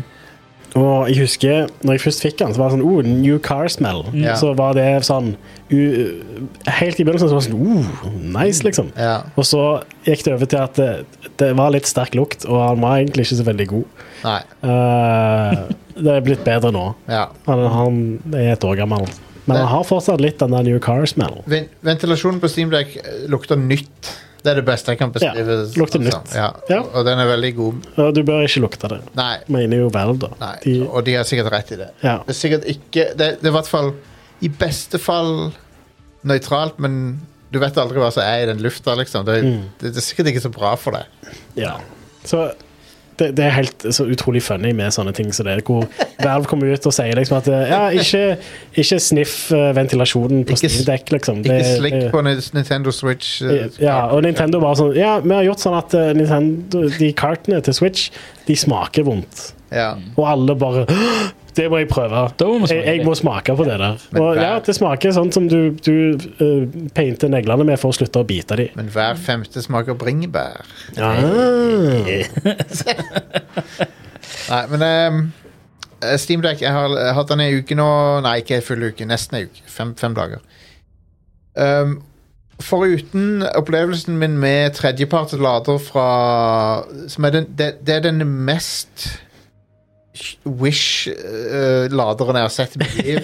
[SPEAKER 3] Og jeg husker, når jeg først fikk den, så var det sånn oh, New car smell.
[SPEAKER 1] Mm. Ja.
[SPEAKER 3] Så var det sånn u, Helt i begynnelsen så var det sånn oh, nice, liksom.
[SPEAKER 1] ja.
[SPEAKER 3] Og så gikk det over til at det, det var litt sterk lukt, og han var egentlig ikke så veldig god.
[SPEAKER 1] Nei.
[SPEAKER 3] Eh, det er blitt bedre nå.
[SPEAKER 1] Ja.
[SPEAKER 3] Han, han er et år gammel. Men han har fortsatt litt den der new car smell.
[SPEAKER 1] Ven- Ventilasjonen på Steam Deck eh, lukter nytt. Det er det beste jeg kan beskrive.
[SPEAKER 3] Ja,
[SPEAKER 1] det
[SPEAKER 3] lukter
[SPEAKER 1] som.
[SPEAKER 3] nytt.
[SPEAKER 1] Ja.
[SPEAKER 3] Ja.
[SPEAKER 1] Og, og den er veldig god.
[SPEAKER 3] Og du bør ikke lukte det.
[SPEAKER 1] Nei.
[SPEAKER 3] Mener jo Valve, da.
[SPEAKER 1] Nei,
[SPEAKER 3] De,
[SPEAKER 1] og de har sikkert rett i det.
[SPEAKER 3] Ja.
[SPEAKER 1] Det er sikkert ikke Det, det er i hvert fall i beste fall nøytralt, men du vet aldri hva som er i den lufta, liksom. Det,
[SPEAKER 3] Mm.
[SPEAKER 1] det, det er sikkert ikke så bra for deg.
[SPEAKER 3] Ja. Så det, det er helt så utrolig funny med sånne ting som det, hvor Valve kommer ut og sier liksom at eh, ja, ikke, ikke sniff eh, ventilasjonen på
[SPEAKER 1] Ikke s-
[SPEAKER 3] Steam-dekk, liksom.
[SPEAKER 1] Ikke
[SPEAKER 3] Det-
[SPEAKER 1] slikk
[SPEAKER 3] det-
[SPEAKER 1] på Ni- Nintendo Switch. eh,
[SPEAKER 3] ja, og Nintendo bare sånn Ja, vi har gjort sånn at eh, Nintendo, de kartene til Switch, de smaker vondt.
[SPEAKER 1] Ja.
[SPEAKER 3] Og alle bare «Åh, Det må jeg prøve.
[SPEAKER 2] Da må vi smake
[SPEAKER 3] jeg, jeg
[SPEAKER 2] det.»
[SPEAKER 3] må smake på det der.
[SPEAKER 1] Men
[SPEAKER 3] Og
[SPEAKER 1] hver-
[SPEAKER 3] ja, det smaker sånn som du, du eh, painter neglene med for å slutte å bite de.
[SPEAKER 1] Men hver femte smaker bringebær.
[SPEAKER 3] Ah.
[SPEAKER 1] Nei, men ehm, eh, Steam Deck, jeg har eh, hatt den i uke nå Nei, ikke en full uke, nesten en uke. Fem, fem dager. Ehm, foruten opplevelsen min med tredjeparts lader fra Som er den, det, det er den mest Wish-laderen jeg har sett i mitt liv.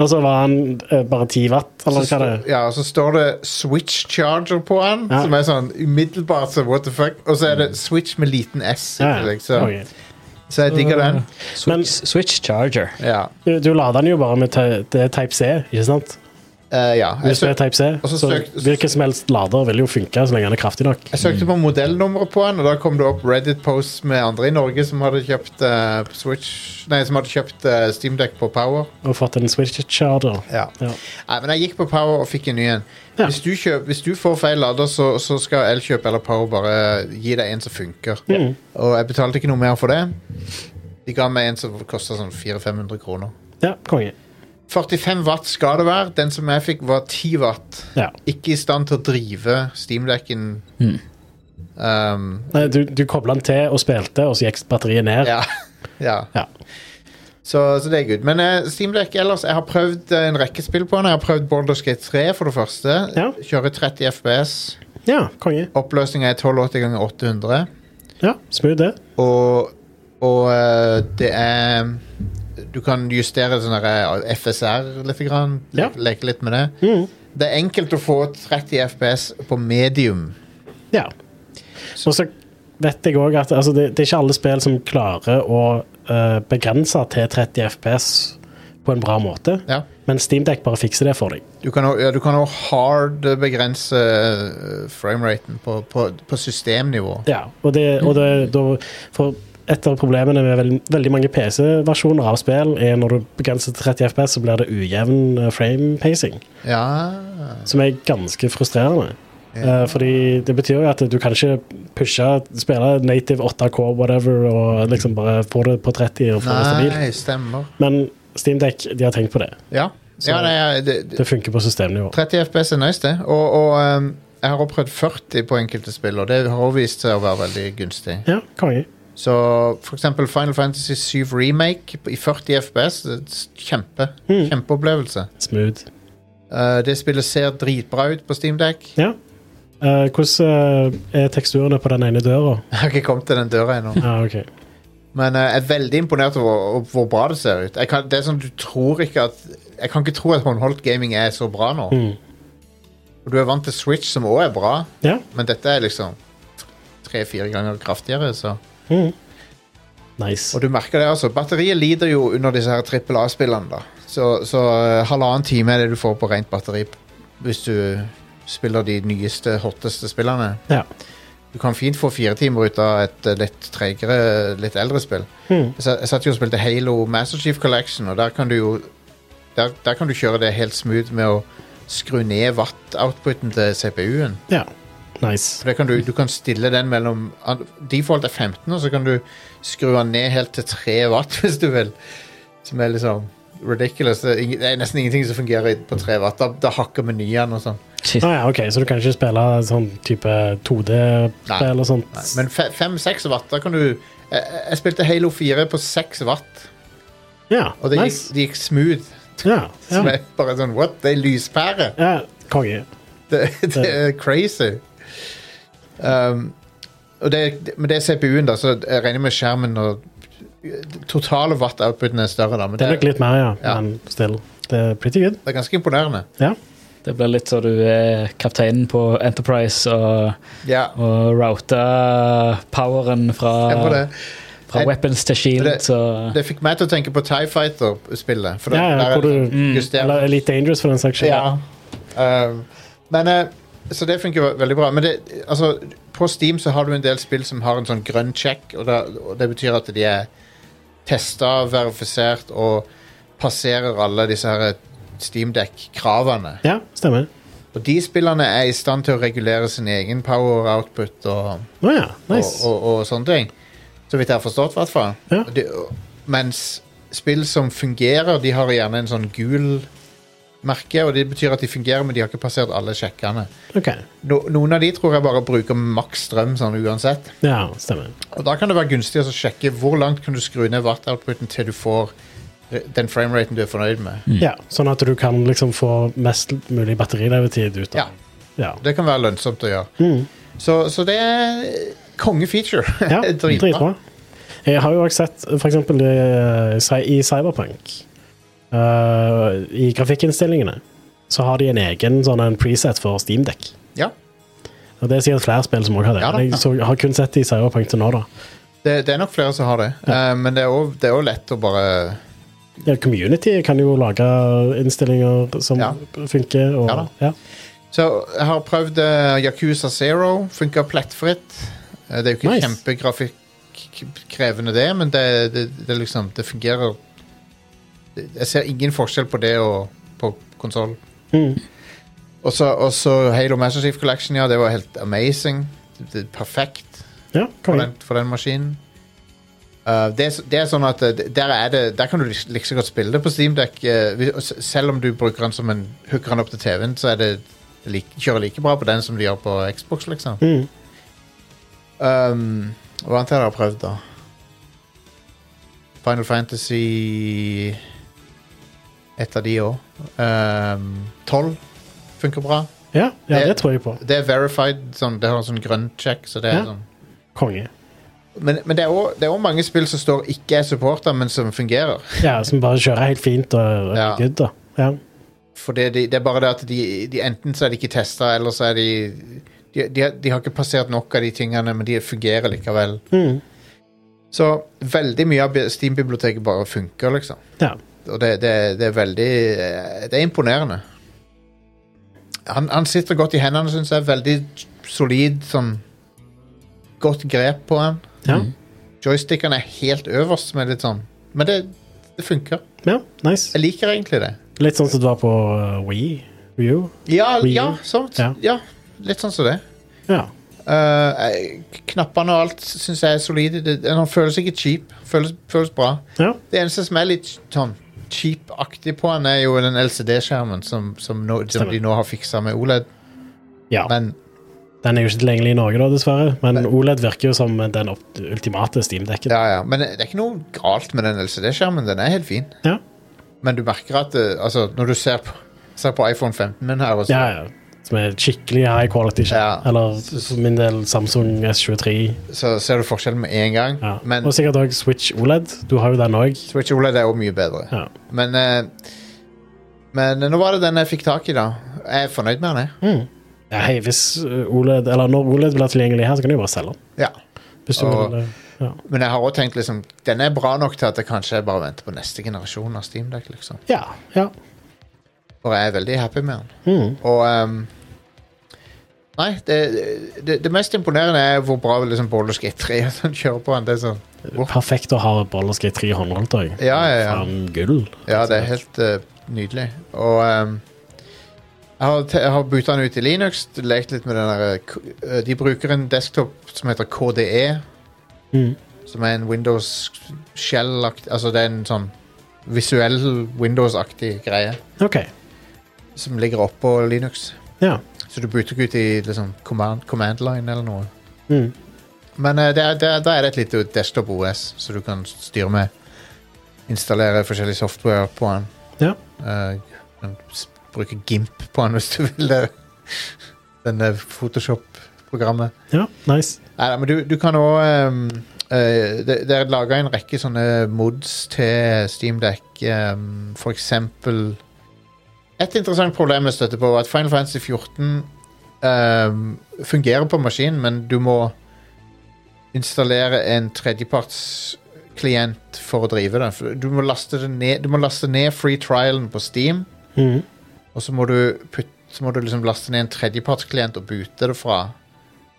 [SPEAKER 3] Og så var han eh, bare 10 watt,
[SPEAKER 1] Så,
[SPEAKER 3] eller hva det er.
[SPEAKER 1] sto- ja, og så står det Switch Charger på den,
[SPEAKER 3] Ja.
[SPEAKER 1] som er sånn umiddelbart så what the fuck. Og så er det Switch med liten S i
[SPEAKER 3] Ja, ja.
[SPEAKER 1] tillegg, så,
[SPEAKER 3] Ok.
[SPEAKER 1] så jeg digger den.
[SPEAKER 3] Men-
[SPEAKER 2] Switch, Switch Charger.
[SPEAKER 1] Ja.
[SPEAKER 3] Du, du lader den jo bare med ty- det er Type C, ikke sant?
[SPEAKER 1] Eh, ja. Jeg
[SPEAKER 3] Hvis det er Type C,
[SPEAKER 1] og så
[SPEAKER 3] så,
[SPEAKER 1] søk-
[SPEAKER 3] hvilken som helst lader vil jo funke så lenge den er kraftig nok.
[SPEAKER 1] Jeg søkte på modellnummeret på den, og da kom det opp Reddit-posts med andre i Norge som hadde kjøpt eh, Switch Nei, som hadde kjøpt eh, Steam Deck på Power.
[SPEAKER 3] Og fått en switch charger.
[SPEAKER 1] Ja.
[SPEAKER 3] Ja.
[SPEAKER 1] Nei, men jeg gikk på Power og fikk en ny en.
[SPEAKER 3] Ja.
[SPEAKER 1] Hvis, du kjøp, hvis du får feil lader, så, så skal Elkjøp eller Power bare gi deg en som funker.
[SPEAKER 3] Mhm.
[SPEAKER 1] Og jeg betalte ikke noe mer for det. De ga meg en som kosta sånn 400-500 kroner.
[SPEAKER 3] ja, konge.
[SPEAKER 1] 45 watt skal det være. Den som jeg fikk, var 10 watt.
[SPEAKER 3] Ja.
[SPEAKER 1] Ikke i stand til å drive steamdekken. Um,
[SPEAKER 3] Nei, Du, du kobla den til og spilte, og så gikk batteriet ned.
[SPEAKER 1] ja. ja.
[SPEAKER 3] Ja.
[SPEAKER 1] Så, så det er good. Men eh, Steam Deck ellers, jeg har prøvd eh, en rekke spill på den. Jeg har prøvd Baldur's Gate 3 for det første.
[SPEAKER 3] Ja.
[SPEAKER 1] Kjører 30 FPS.
[SPEAKER 3] Ja, konge.
[SPEAKER 1] Oppløsninga er 1280 ganger 800.
[SPEAKER 3] Ja, Smooth, det.
[SPEAKER 1] Og, og eh, det er Du kan justere sånn der, eh, FSR litt. Grann,
[SPEAKER 3] Ja.
[SPEAKER 1] leke, leke litt med det.
[SPEAKER 3] Mhm.
[SPEAKER 1] Det er enkelt å få 30 FPS på medium.
[SPEAKER 3] Ja. Og så vet jeg òg at altså, det, det er ikke alle spill som klarer å eh, begrense til 30 FPS på en bra måte,
[SPEAKER 1] Ja.
[SPEAKER 3] men Steamdeck bare fikser det for deg.
[SPEAKER 1] Du kan òg ja, du kan også hard begrense eh, frameraten på, på, på systemnivå.
[SPEAKER 3] Ja, og, det, og det, da, for et av problemene med veld, veldig mange PC-versjoner av spill er når du begrenser til 30 FPS, så blir det ujevn eh, frame pacing,
[SPEAKER 1] Ja
[SPEAKER 3] som er ganske frustrerende.
[SPEAKER 1] Ja.
[SPEAKER 3] Eh, fordi det betyr jo at du kan ikke pushe, spille native 8K whatever og liksom bare få det på 30 og få det stabilt.
[SPEAKER 1] Nei, stemmer.
[SPEAKER 3] Men Steamdeck, de har tenkt på det.
[SPEAKER 1] Ja.
[SPEAKER 3] Så
[SPEAKER 1] Ja, nei, ja, det, det,
[SPEAKER 3] det funker på systemnivå.
[SPEAKER 1] 30 FPS er nice, det. Og, og ehm, jeg har også prøvd 40 på enkelte spill, og det har også vist seg å være veldig gunstig.
[SPEAKER 3] Ja, konge.
[SPEAKER 1] Så for eksempel Final Fantasy 7 Remake i 40 FPS, det er et kjempe,
[SPEAKER 3] Mm.
[SPEAKER 1] kjempeopplevelse.
[SPEAKER 3] Smooth.
[SPEAKER 1] Eh, det spillet ser dritbra ut på SteamDeck.
[SPEAKER 3] Ja. Eh, hvordan eh, er teksturene på den ene døra?
[SPEAKER 1] Jeg har ikke kommet til den døra ennå.
[SPEAKER 3] Ja, ok.
[SPEAKER 1] Men eh, jeg er veldig imponert over over hvor bra det ser ut. Jeg kan, det er sånn, du tror ikke at Jeg kan ikke tro at håndholdt gaming er så bra nå.
[SPEAKER 3] Mm.
[SPEAKER 1] Og du er vant til Switch, som òg er bra,
[SPEAKER 3] Ja.
[SPEAKER 1] men dette er liksom tre-fire ganger kraftigere. så...
[SPEAKER 3] Mm. Nice.
[SPEAKER 1] Og du merker det, altså. Batteriet lider jo under disse her trippel A-spillene, da. Så, så eh, halvannen time er det du får på rent batteri p- hvis du spiller de nyeste, hotteste spillene.
[SPEAKER 3] Ja.
[SPEAKER 1] Du kan fint få fire timer ut av et eh, litt tregere, litt eldre spill.
[SPEAKER 3] Mm.
[SPEAKER 1] Jeg sa- jeg satt jo og spilte Halo Master Chief Collection, og der kan du jo der, der kan du kjøre det helt smooth med å skru ned watt-outputen til CPU-en.
[SPEAKER 3] ja. Nice.
[SPEAKER 1] For det kan du, du kan stille den mellom Default er 15, og så kan du skru den ned helt til 3 watt hvis du vil. Som er liksom ridiculous. Det er, ing- det er nesten ingenting som fungerer i- på 3 watt. Da, da hakker menyen og sånn.
[SPEAKER 2] Shit.
[SPEAKER 3] Ah, ja, ok, Så du kan ikke spille sånn type 2D-spill og sånt?
[SPEAKER 1] Nei, Men 5-6 watt, da kan du jeg, jeg spilte Halo 4 på 6 watt,
[SPEAKER 3] ja,
[SPEAKER 1] og det gikk,
[SPEAKER 3] nice.
[SPEAKER 1] det gikk smooth.
[SPEAKER 3] Ja,
[SPEAKER 1] Som
[SPEAKER 3] ja.
[SPEAKER 1] er bare sånn What? Det er lyspære!
[SPEAKER 3] ja konge.
[SPEAKER 1] Det, det er crazy. Um, og det, men det er CPU-en, da, så jeg regner med skjermen og Totale watt-outputen er større, da, men
[SPEAKER 3] Det
[SPEAKER 1] det,
[SPEAKER 3] er nok litt mer, ja.
[SPEAKER 1] Ja.
[SPEAKER 3] Men still. Det er pretty good.
[SPEAKER 1] det er ganske imponerende.
[SPEAKER 3] Ja.
[SPEAKER 2] Det blir litt så du er kapteinen på Enterprise og,
[SPEAKER 1] Ja,
[SPEAKER 2] og router poweren
[SPEAKER 1] jeg må det.
[SPEAKER 2] fra, fra
[SPEAKER 1] Jeg-
[SPEAKER 2] weapons til shield.
[SPEAKER 1] Det-
[SPEAKER 2] Så.
[SPEAKER 1] Det fikk meg til å tenke på Tie Fighter-spillet. For det-
[SPEAKER 3] Ja, ja,
[SPEAKER 1] der er
[SPEAKER 3] hvor
[SPEAKER 1] det
[SPEAKER 3] du-
[SPEAKER 1] sånn justert-
[SPEAKER 3] Eller Elite Dangerous, for den saks skyld.
[SPEAKER 1] Ja. Um, men eh, Så det funker ve- veldig bra. Men det, altså, på Steam så har du en del spill som har en sånn grønn check, og, da, og det betyr at de er testa, verifisert og passerer alle disse her eh, Steamdeck-kravene.
[SPEAKER 3] Ja, stemmer.
[SPEAKER 1] Og de spillene er i stand til å regulere sin egen power output og
[SPEAKER 3] Å ja, nice.
[SPEAKER 1] og, og, og sånne ting. Så vidt jeg har forstått, i hvert fall.
[SPEAKER 3] Ja.
[SPEAKER 1] Og det- og- Mens spill som fungerer, de har gjerne en sånn gul merke, og det betyr at de fungerer, men de har ikke passert alle sjekkene.
[SPEAKER 3] Ok,
[SPEAKER 1] No, noen av de tror jeg bare bruker maks strøm sånn uansett.
[SPEAKER 3] ja, stemmer.
[SPEAKER 1] Og da kan det være gunstig å sjekke hvor langt kan du skru ned watt-outputen til du får eh, den frameraten du er fornøyd med.
[SPEAKER 3] Ja, sånn at du kan liksom få mest mulig batterilevetid ut
[SPEAKER 1] Ja,
[SPEAKER 3] av Ja.
[SPEAKER 1] det kan være lønnsomt å gjøre. Så, så det er konge-feature.
[SPEAKER 3] Mm. Ja, dritbra. Jeg har jo også sett for eksempel eh, Cy- i Cyberpunk eh, I grafikkinnstillingene så har de en egen sånn en preset for Steamdeck.
[SPEAKER 1] Ja,
[SPEAKER 3] Og det er sikkert flere spill som også har det.
[SPEAKER 1] Ja da.
[SPEAKER 3] men jeg så, har kun sett det i Cyberpunk til nå, da.
[SPEAKER 1] det, det er nok flere som har det, Eh, men det er også- det er òg lett å bare
[SPEAKER 3] Ja, community kan jo lage innstillinger som
[SPEAKER 1] Ja.
[SPEAKER 3] funker, og
[SPEAKER 1] Ja
[SPEAKER 3] ja,
[SPEAKER 1] da. Så jeg har prøvd eh, Yakuza Zero. Funka plettfritt. Eh, det er jo ikke
[SPEAKER 3] Nice.
[SPEAKER 1] kjempegrafikkrevende, det, men det, det, det, er liksom, det fungerer det- Jeg ser ingen forskjell på det og på konsoll.
[SPEAKER 3] Mm.
[SPEAKER 1] Og så og så Halo Master Chief Collection, ja. Det var helt amazing. Det, det, er perfekt
[SPEAKER 3] ja
[SPEAKER 1] for
[SPEAKER 3] konge.
[SPEAKER 1] den, for den maskinen. Eh, det, er så- det er sånn at eh, der, er det, der kan du liksom like så godt spille det på eh, Steamdeck. selv om du bruker den som en hooker den opp til TV-en, så er det like, kjører like bra på den som de gjør på Xbox, liksom.
[SPEAKER 3] Mm.
[SPEAKER 1] Um, hva annet har jeg prøvd, da? Final Fantasy Et av de òg. Um, 12 funker bra.
[SPEAKER 3] Ja, ja,
[SPEAKER 1] Det-
[SPEAKER 3] det tror jeg på.
[SPEAKER 1] Det er verified, sånn, det har en sånn grønn check, så det er
[SPEAKER 3] Ja.
[SPEAKER 1] sånn
[SPEAKER 3] Konge.
[SPEAKER 1] Men, men det er også- det er òg mange spill som står ikke er supporta, men som fungerer.
[SPEAKER 3] Ja, som bare kjører helt fint
[SPEAKER 1] Ja.
[SPEAKER 3] og ja. good, da. Ja.
[SPEAKER 1] For det, det, det er bare det at de, de enten så er de ikke testa, eller så er de de, de har- de har ikke passert nok av de tingene, men de fungerer likevel.
[SPEAKER 3] Mm.
[SPEAKER 1] Så veldig mye av bi- Steam-biblioteket bare funker, liksom.
[SPEAKER 3] ja.
[SPEAKER 1] Og det, det, det er veldig eh, Det er imponerende. Han, han sitter godt i hendene, syns jeg. Veldig solid, sånn Godt grep på han.
[SPEAKER 3] Ja.
[SPEAKER 1] Joystickene er helt øverst, som er litt sånn Men det, det funker.
[SPEAKER 3] ja, nice.
[SPEAKER 1] Jeg liker egentlig det.
[SPEAKER 3] Litt sånn som det var på uh, Wii. Wii U.
[SPEAKER 1] Ja,
[SPEAKER 3] Wii U?
[SPEAKER 1] ja, sånt.
[SPEAKER 3] Ja.
[SPEAKER 1] ja litt sånn som det.
[SPEAKER 3] Ja.
[SPEAKER 1] Eh, jeg- knappene og alt syns jeg er solide. Det, den føles ikke cheap. Føles, føles bra.
[SPEAKER 3] ja.
[SPEAKER 1] Det eneste som er litt sånn cheap-aktig på den, er jo den LCD-skjermen som, som, nå- som
[SPEAKER 3] Stemmer.
[SPEAKER 1] de nå har fiksa med OLED.
[SPEAKER 3] Ja,
[SPEAKER 1] Men
[SPEAKER 3] Den er jo ikke tilgjengelig i Norge, da, dessverre, men
[SPEAKER 1] Men-
[SPEAKER 3] OLED virker jo som den opp- ultimate Steam-dekken.
[SPEAKER 1] Ja, ja, men det er ikke noe galt med den LCD-skjermen. Den er helt fin.
[SPEAKER 3] Ja.
[SPEAKER 1] Men du merker at eh, altså, når du ser på, ser på iPhone 15 min her og så,
[SPEAKER 3] Ja, ja. Som er skikkelig high quality. skjerm.
[SPEAKER 1] Ja.
[SPEAKER 3] Eller for min del Samsung S23.
[SPEAKER 1] så ser du forskjellen med en gang.
[SPEAKER 3] Ja.
[SPEAKER 1] Men
[SPEAKER 3] Og sikkert òg Switch OLED. Du har jo den òg.
[SPEAKER 1] Switch OLED er jo mye bedre.
[SPEAKER 3] Ja.
[SPEAKER 1] Men, eh, men nå var det den jeg fikk tak i, da. Jeg er fornøyd med den. jeg.
[SPEAKER 3] Ja, hei, hvis uh, OLED, eller når OLED blir tilgjengelig her, så kan du jo bare selge den.
[SPEAKER 1] Ja.
[SPEAKER 3] Hvis du
[SPEAKER 1] Og-
[SPEAKER 3] vil, uh, ja.
[SPEAKER 1] Men jeg har også tenkt liksom, den er bra nok til at jeg kanskje bare venter på neste generasjon av Steam Deck. liksom.
[SPEAKER 3] ja, ja.
[SPEAKER 1] Og jeg er veldig happy med den.
[SPEAKER 3] Mm.
[SPEAKER 1] Og ehm, Nei, det, det, det mest imponerende er hvor bra liksom, Baldur's Gate 3 og sånn kjører på den. Det er sånn
[SPEAKER 3] Perfekt å ha Ballerskate 3 håndholdt òg.
[SPEAKER 1] Ja, ja, ja.
[SPEAKER 3] gull.
[SPEAKER 1] Ja, det er helt eh, nydelig. Og ehm, jeg har, te- jeg har bytta den ut i Linux, lekt litt med den der eh, k- eh, De bruker en desktop som heter E, KDE,
[SPEAKER 3] Mm.
[SPEAKER 1] som er en Windows Shell-aktig Altså det er en sånn visuell Windows-aktig greie
[SPEAKER 3] OK.
[SPEAKER 1] som ligger oppå Linux.
[SPEAKER 3] Ja.
[SPEAKER 1] Så du bytter ikke ut i liksom, command, command line eller noe.
[SPEAKER 3] Mm.
[SPEAKER 1] Men eh, det er, det er, da er det et lite desktop OS som du kan styre med. Installere forskjellig software på den.
[SPEAKER 3] Ja.
[SPEAKER 1] Eh, du kan s- bruke GIMP på den hvis du vil det. Denne Photoshop-programmet.
[SPEAKER 3] ja. Nice.
[SPEAKER 1] Nei, nei, men du, du kan òg Det det er laga en rekke sånne mods til Steamdeck. Um, for eksempel Et interessant problem jeg støtter på, er at Final Fantasy 14 ehm, fungerer på maskin, men du må installere en tredjepartsklient for å drive den. For Du må laste, det ned, du må laste ned free trialen på Steam,
[SPEAKER 3] Mm.
[SPEAKER 1] og så må du, putt, så må du liksom laste ned en tredjepartsklient og bute det fra.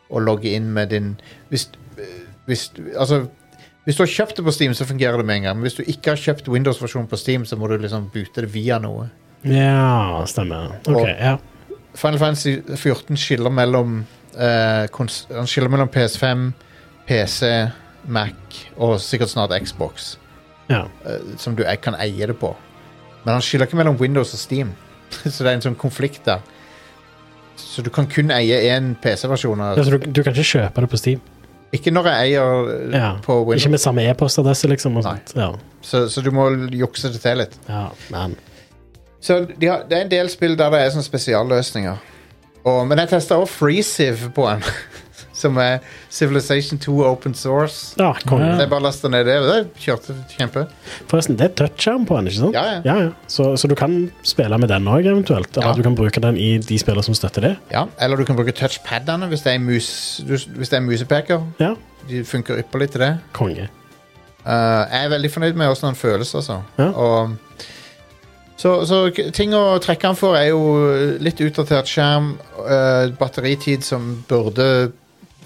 [SPEAKER 1] Og logge inn med din Hvis, øh, hvis du- Altså hvis du har kjøpt det på Steam, så fungerer det med en gang. Men hvis du ikke har kjøpt Windows-versjonen på Steam, så må du liksom bute det via noe.
[SPEAKER 3] Ja, stemmer. OK.
[SPEAKER 1] Og-
[SPEAKER 3] Ja.
[SPEAKER 1] Final Fantasy 14 skiller mellom eh, kons Han skiller mellom PS5, PC, Mac og sikkert snart Xbox,
[SPEAKER 3] ja.
[SPEAKER 1] eh, som du e- kan eie det på. Men han skiller ikke mellom Windows og Steam, så det er en sånn konflikt der. Så du kan kun eie én PC-versjon. av-
[SPEAKER 3] Ja, så du, du kan ikke kjøpe det på Steam?
[SPEAKER 1] Ikke når jeg eier eh,
[SPEAKER 3] Ja.
[SPEAKER 1] på
[SPEAKER 3] Ikke
[SPEAKER 1] Windows,
[SPEAKER 3] med samme e-postadresse, liksom? Og
[SPEAKER 1] Nei.
[SPEAKER 3] sånt. Ja.
[SPEAKER 1] så, så du må jukse det til litt.
[SPEAKER 3] ja, men
[SPEAKER 1] Så de har, det er en del spill der det er sånne spesialløsninger. Og, men jeg testa også FreeSiv på en. Som er Civilization 2 Open Source.
[SPEAKER 3] ja, konge.
[SPEAKER 1] Så jeg bare lasta ned det, og det kjørte kjempe.
[SPEAKER 3] Forresten, det er touchskjerm på den, ikke sant?
[SPEAKER 1] Ja, ja.
[SPEAKER 3] Så, så du kan spille med den òg, eventuelt? Eller
[SPEAKER 1] Ja.
[SPEAKER 3] du kan bruke den i de spillene som støtter det?
[SPEAKER 1] Ja, Eller du kan bruke touchpadene hvis det er, en mus, du- hvis det er en musepeker.
[SPEAKER 3] Ja,
[SPEAKER 1] De funker ypperlig til det.
[SPEAKER 3] konge.
[SPEAKER 1] Eh, jeg er veldig fornøyd med åssen den føles, altså.
[SPEAKER 3] Ja.
[SPEAKER 1] Og, så, så k- ting å trekke den for er jo litt utdatert skjerm, eh, batteritid som burde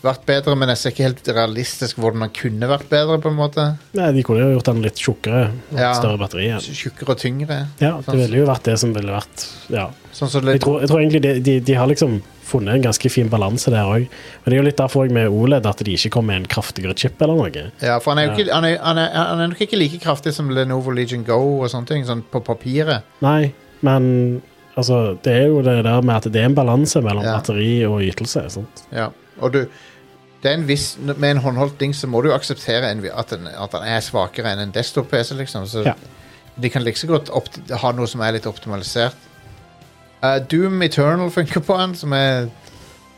[SPEAKER 1] vært bedre, men jeg ser ikke helt realistisk hvordan den kunne vært bedre, på en måte.
[SPEAKER 3] Nei, De kunne jo gjort den litt tjukkere, og
[SPEAKER 1] Ja.
[SPEAKER 3] større batteri igjen.
[SPEAKER 1] Tjukkere og tyngre.
[SPEAKER 3] Ja, det
[SPEAKER 1] Sånn.
[SPEAKER 3] ville jo vært det som ville vært Ja.
[SPEAKER 1] Sånn som
[SPEAKER 3] Jeg
[SPEAKER 1] det,
[SPEAKER 3] tror, jeg tror egentlig de, de, de har liksom funnet en ganske fin balanse der òg. Men det er jo litt derfor også med OLED at de ikke kom med en kraftigere chip eller noe.
[SPEAKER 1] ja, for han er jo ikke, han er, han er, han er nok ikke like kraftig som Lenovo Legion Go og sånne ting, sånn på papiret.
[SPEAKER 3] Nei, men altså, det er jo det der med at det er en balanse mellom
[SPEAKER 1] Ja.
[SPEAKER 3] batteri og ytelse. Sant?
[SPEAKER 1] Ja, og du det er en viss, Med en håndholdt ding så må du jo akseptere en, at, den, at den er svakere enn en desktop-PC, liksom. Så
[SPEAKER 3] Ja.
[SPEAKER 1] de kan like så godt opt, ha noe som er litt optimalisert. Eh, Doom Eternal funker på den, som er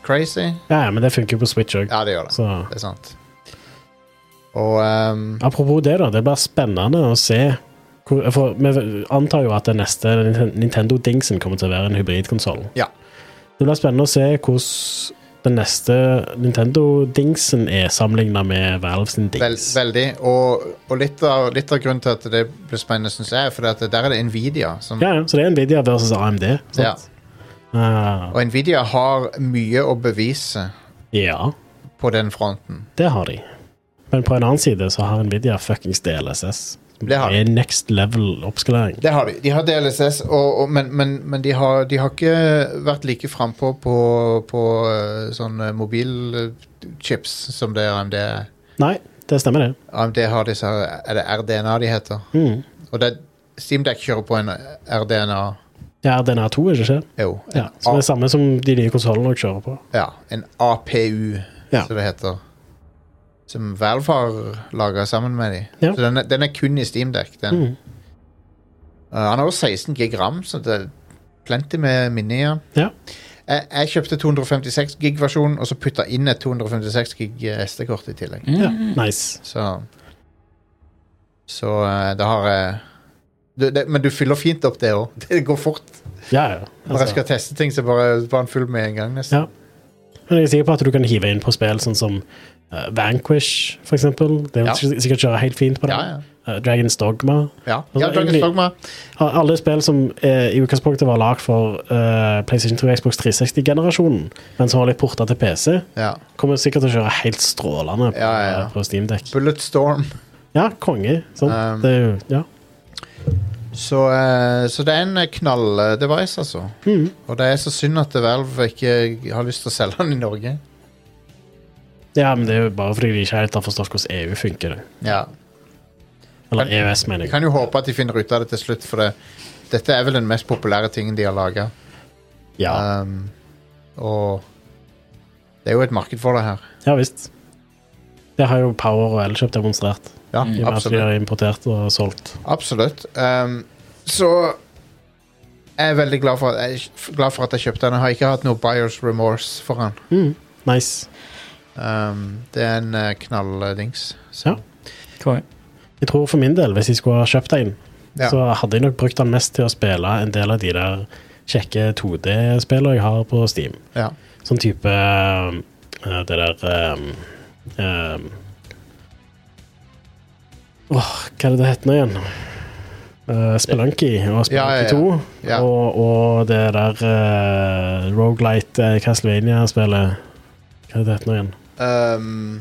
[SPEAKER 1] crazy.
[SPEAKER 3] Ja, ja, men det funker jo på Switch òg.
[SPEAKER 1] Ja, det gjør det.
[SPEAKER 3] Så
[SPEAKER 1] Det er sant. Og ehm,
[SPEAKER 3] apropos det, da. Det blir spennende å se. hvor- For vi antar jo at den neste Ninten- Nintendo-dingsen kommer til å være en hybridkonsoll.
[SPEAKER 1] Ja.
[SPEAKER 3] Det blir spennende å se hvordan den neste Nintendo-dingsen er sammenligna med Valve sin
[SPEAKER 1] vel,
[SPEAKER 3] dings.
[SPEAKER 1] veldig. Og, og litt, av, litt av grunnen til at det blir spennende, syns jeg, er fordi at der er det Nvidia som
[SPEAKER 3] Ja, ja, så det er Nvidia versus AMD. Sant? Eh, Ja.
[SPEAKER 1] Og Nvidia har mye å bevise
[SPEAKER 3] ja,
[SPEAKER 1] på den fronten.
[SPEAKER 3] det har de. Men på en annen side så har Nvidia fuckings DLSS.
[SPEAKER 1] Det har de.
[SPEAKER 3] er next level oppskalering.
[SPEAKER 1] Det har de. De har DLSS, og, og, men, men, men de, har, de har ikke vært like frampå på, på eh, sånne mobilchips som det AMD er.
[SPEAKER 3] Nei, det stemmer, det.
[SPEAKER 1] AMD har disse her- Er det RDNA de heter?
[SPEAKER 3] Mm.
[SPEAKER 1] Og det, Steamdeck kjører på en RDNA
[SPEAKER 3] Ja, DNA2, er det ikke?
[SPEAKER 1] Jo, en,
[SPEAKER 3] Ja, som er det
[SPEAKER 1] A,
[SPEAKER 3] samme som de nye konsollene dere kjører på.
[SPEAKER 1] ja, en APU,
[SPEAKER 3] Ja.
[SPEAKER 1] som det heter. Som Valve har laga sammen med de.
[SPEAKER 3] Ja.
[SPEAKER 1] Så den er, den er kun i Steamdeck. Den.
[SPEAKER 3] Mhm.
[SPEAKER 1] Uh, han har jo 16 gig RAM, så det er plenty med minne igjen.
[SPEAKER 3] Ja.
[SPEAKER 1] Jeg, jeg kjøpte 256 gig-versjonen, og så putta inn et 256 gig SD-kort i tillegg.
[SPEAKER 3] ja.
[SPEAKER 2] Mm.
[SPEAKER 3] Nice.
[SPEAKER 1] Så Så eh, da har jeg du, det, Men du fyller fint opp det òg. Det går fort.
[SPEAKER 3] Ja, Altså, ja.
[SPEAKER 1] Når jeg skal teste ting, så bare var den full med en gang. nesten.
[SPEAKER 3] Ja. Men jeg er sikker på at du kan hive inn på spill sånn som eh, Vanquish, for eksempel. Det vil
[SPEAKER 1] Ja.
[SPEAKER 3] sik- sikkert kjøre helt fint på det.
[SPEAKER 1] Ja, ja.
[SPEAKER 3] Eh, Dragons Dogma.
[SPEAKER 1] Ja,
[SPEAKER 3] Altså,
[SPEAKER 1] ja Dragon's
[SPEAKER 3] egentlig-
[SPEAKER 1] Dogma.
[SPEAKER 3] Ja, Alle spill som eh, i utgangspunktet var lagd for eh, PlayStation 2 og Xbox 360-generasjonen, men som var litt porta til PC,
[SPEAKER 1] Ja.
[SPEAKER 3] kommer sikkert til å kjøre helt strålende på,
[SPEAKER 1] Ja, ja, ja.
[SPEAKER 3] på Steamdeck.
[SPEAKER 1] Bulletstorm.
[SPEAKER 3] Ja, konge. Sånn.
[SPEAKER 1] Um,
[SPEAKER 3] det er jo Ja.
[SPEAKER 1] Så, eh, så det er en knall-device, altså.
[SPEAKER 3] Hmm.
[SPEAKER 1] Og det er så synd at Valve ikke har lyst til å selge den i Norge.
[SPEAKER 3] ja, men det er jo bare fordi de ikke helt har forstått hvordan EU funker. det.
[SPEAKER 1] Ja.
[SPEAKER 3] Eller EØS, mener
[SPEAKER 1] Jeg
[SPEAKER 3] jeg.
[SPEAKER 1] kan jo håpe at de finner ut av det til slutt, for det, dette er vel den mest populære tingen de har laga.
[SPEAKER 3] Ja,
[SPEAKER 1] Um, og det er jo et marked for det her.
[SPEAKER 3] ja visst. Det har jo Power og Elkjøp demonstrert.
[SPEAKER 1] Ja,
[SPEAKER 3] I og med at de
[SPEAKER 1] absolutt.
[SPEAKER 3] har importert og solgt.
[SPEAKER 1] absolutt. Um, så jeg er veldig glad for, at jeg, glad for at jeg kjøpte den. Jeg har ikke hatt noe buyers remorse for den.
[SPEAKER 3] Hmm. Nice.
[SPEAKER 1] Um, det er en eh, knalldings. Så-
[SPEAKER 3] Ja. Jeg tror for min del, hvis jeg skulle ha kjøpt en,
[SPEAKER 1] Ja.
[SPEAKER 3] så hadde jeg nok brukt den mest til å spille en del av de der kjekke 2D-spillene jeg har på Steam.
[SPEAKER 1] ja.
[SPEAKER 3] Sånn type eh, det der eh, eh, Åh, hva er det det heter nå igjen? Uh, Spelunky og Spelunky
[SPEAKER 1] Ja, ja, ja.
[SPEAKER 3] 2.
[SPEAKER 1] Ja.
[SPEAKER 3] Og, og det der uh, Rogelight Castlevania-spillet. Hva er det det heter nå igjen?
[SPEAKER 1] Um,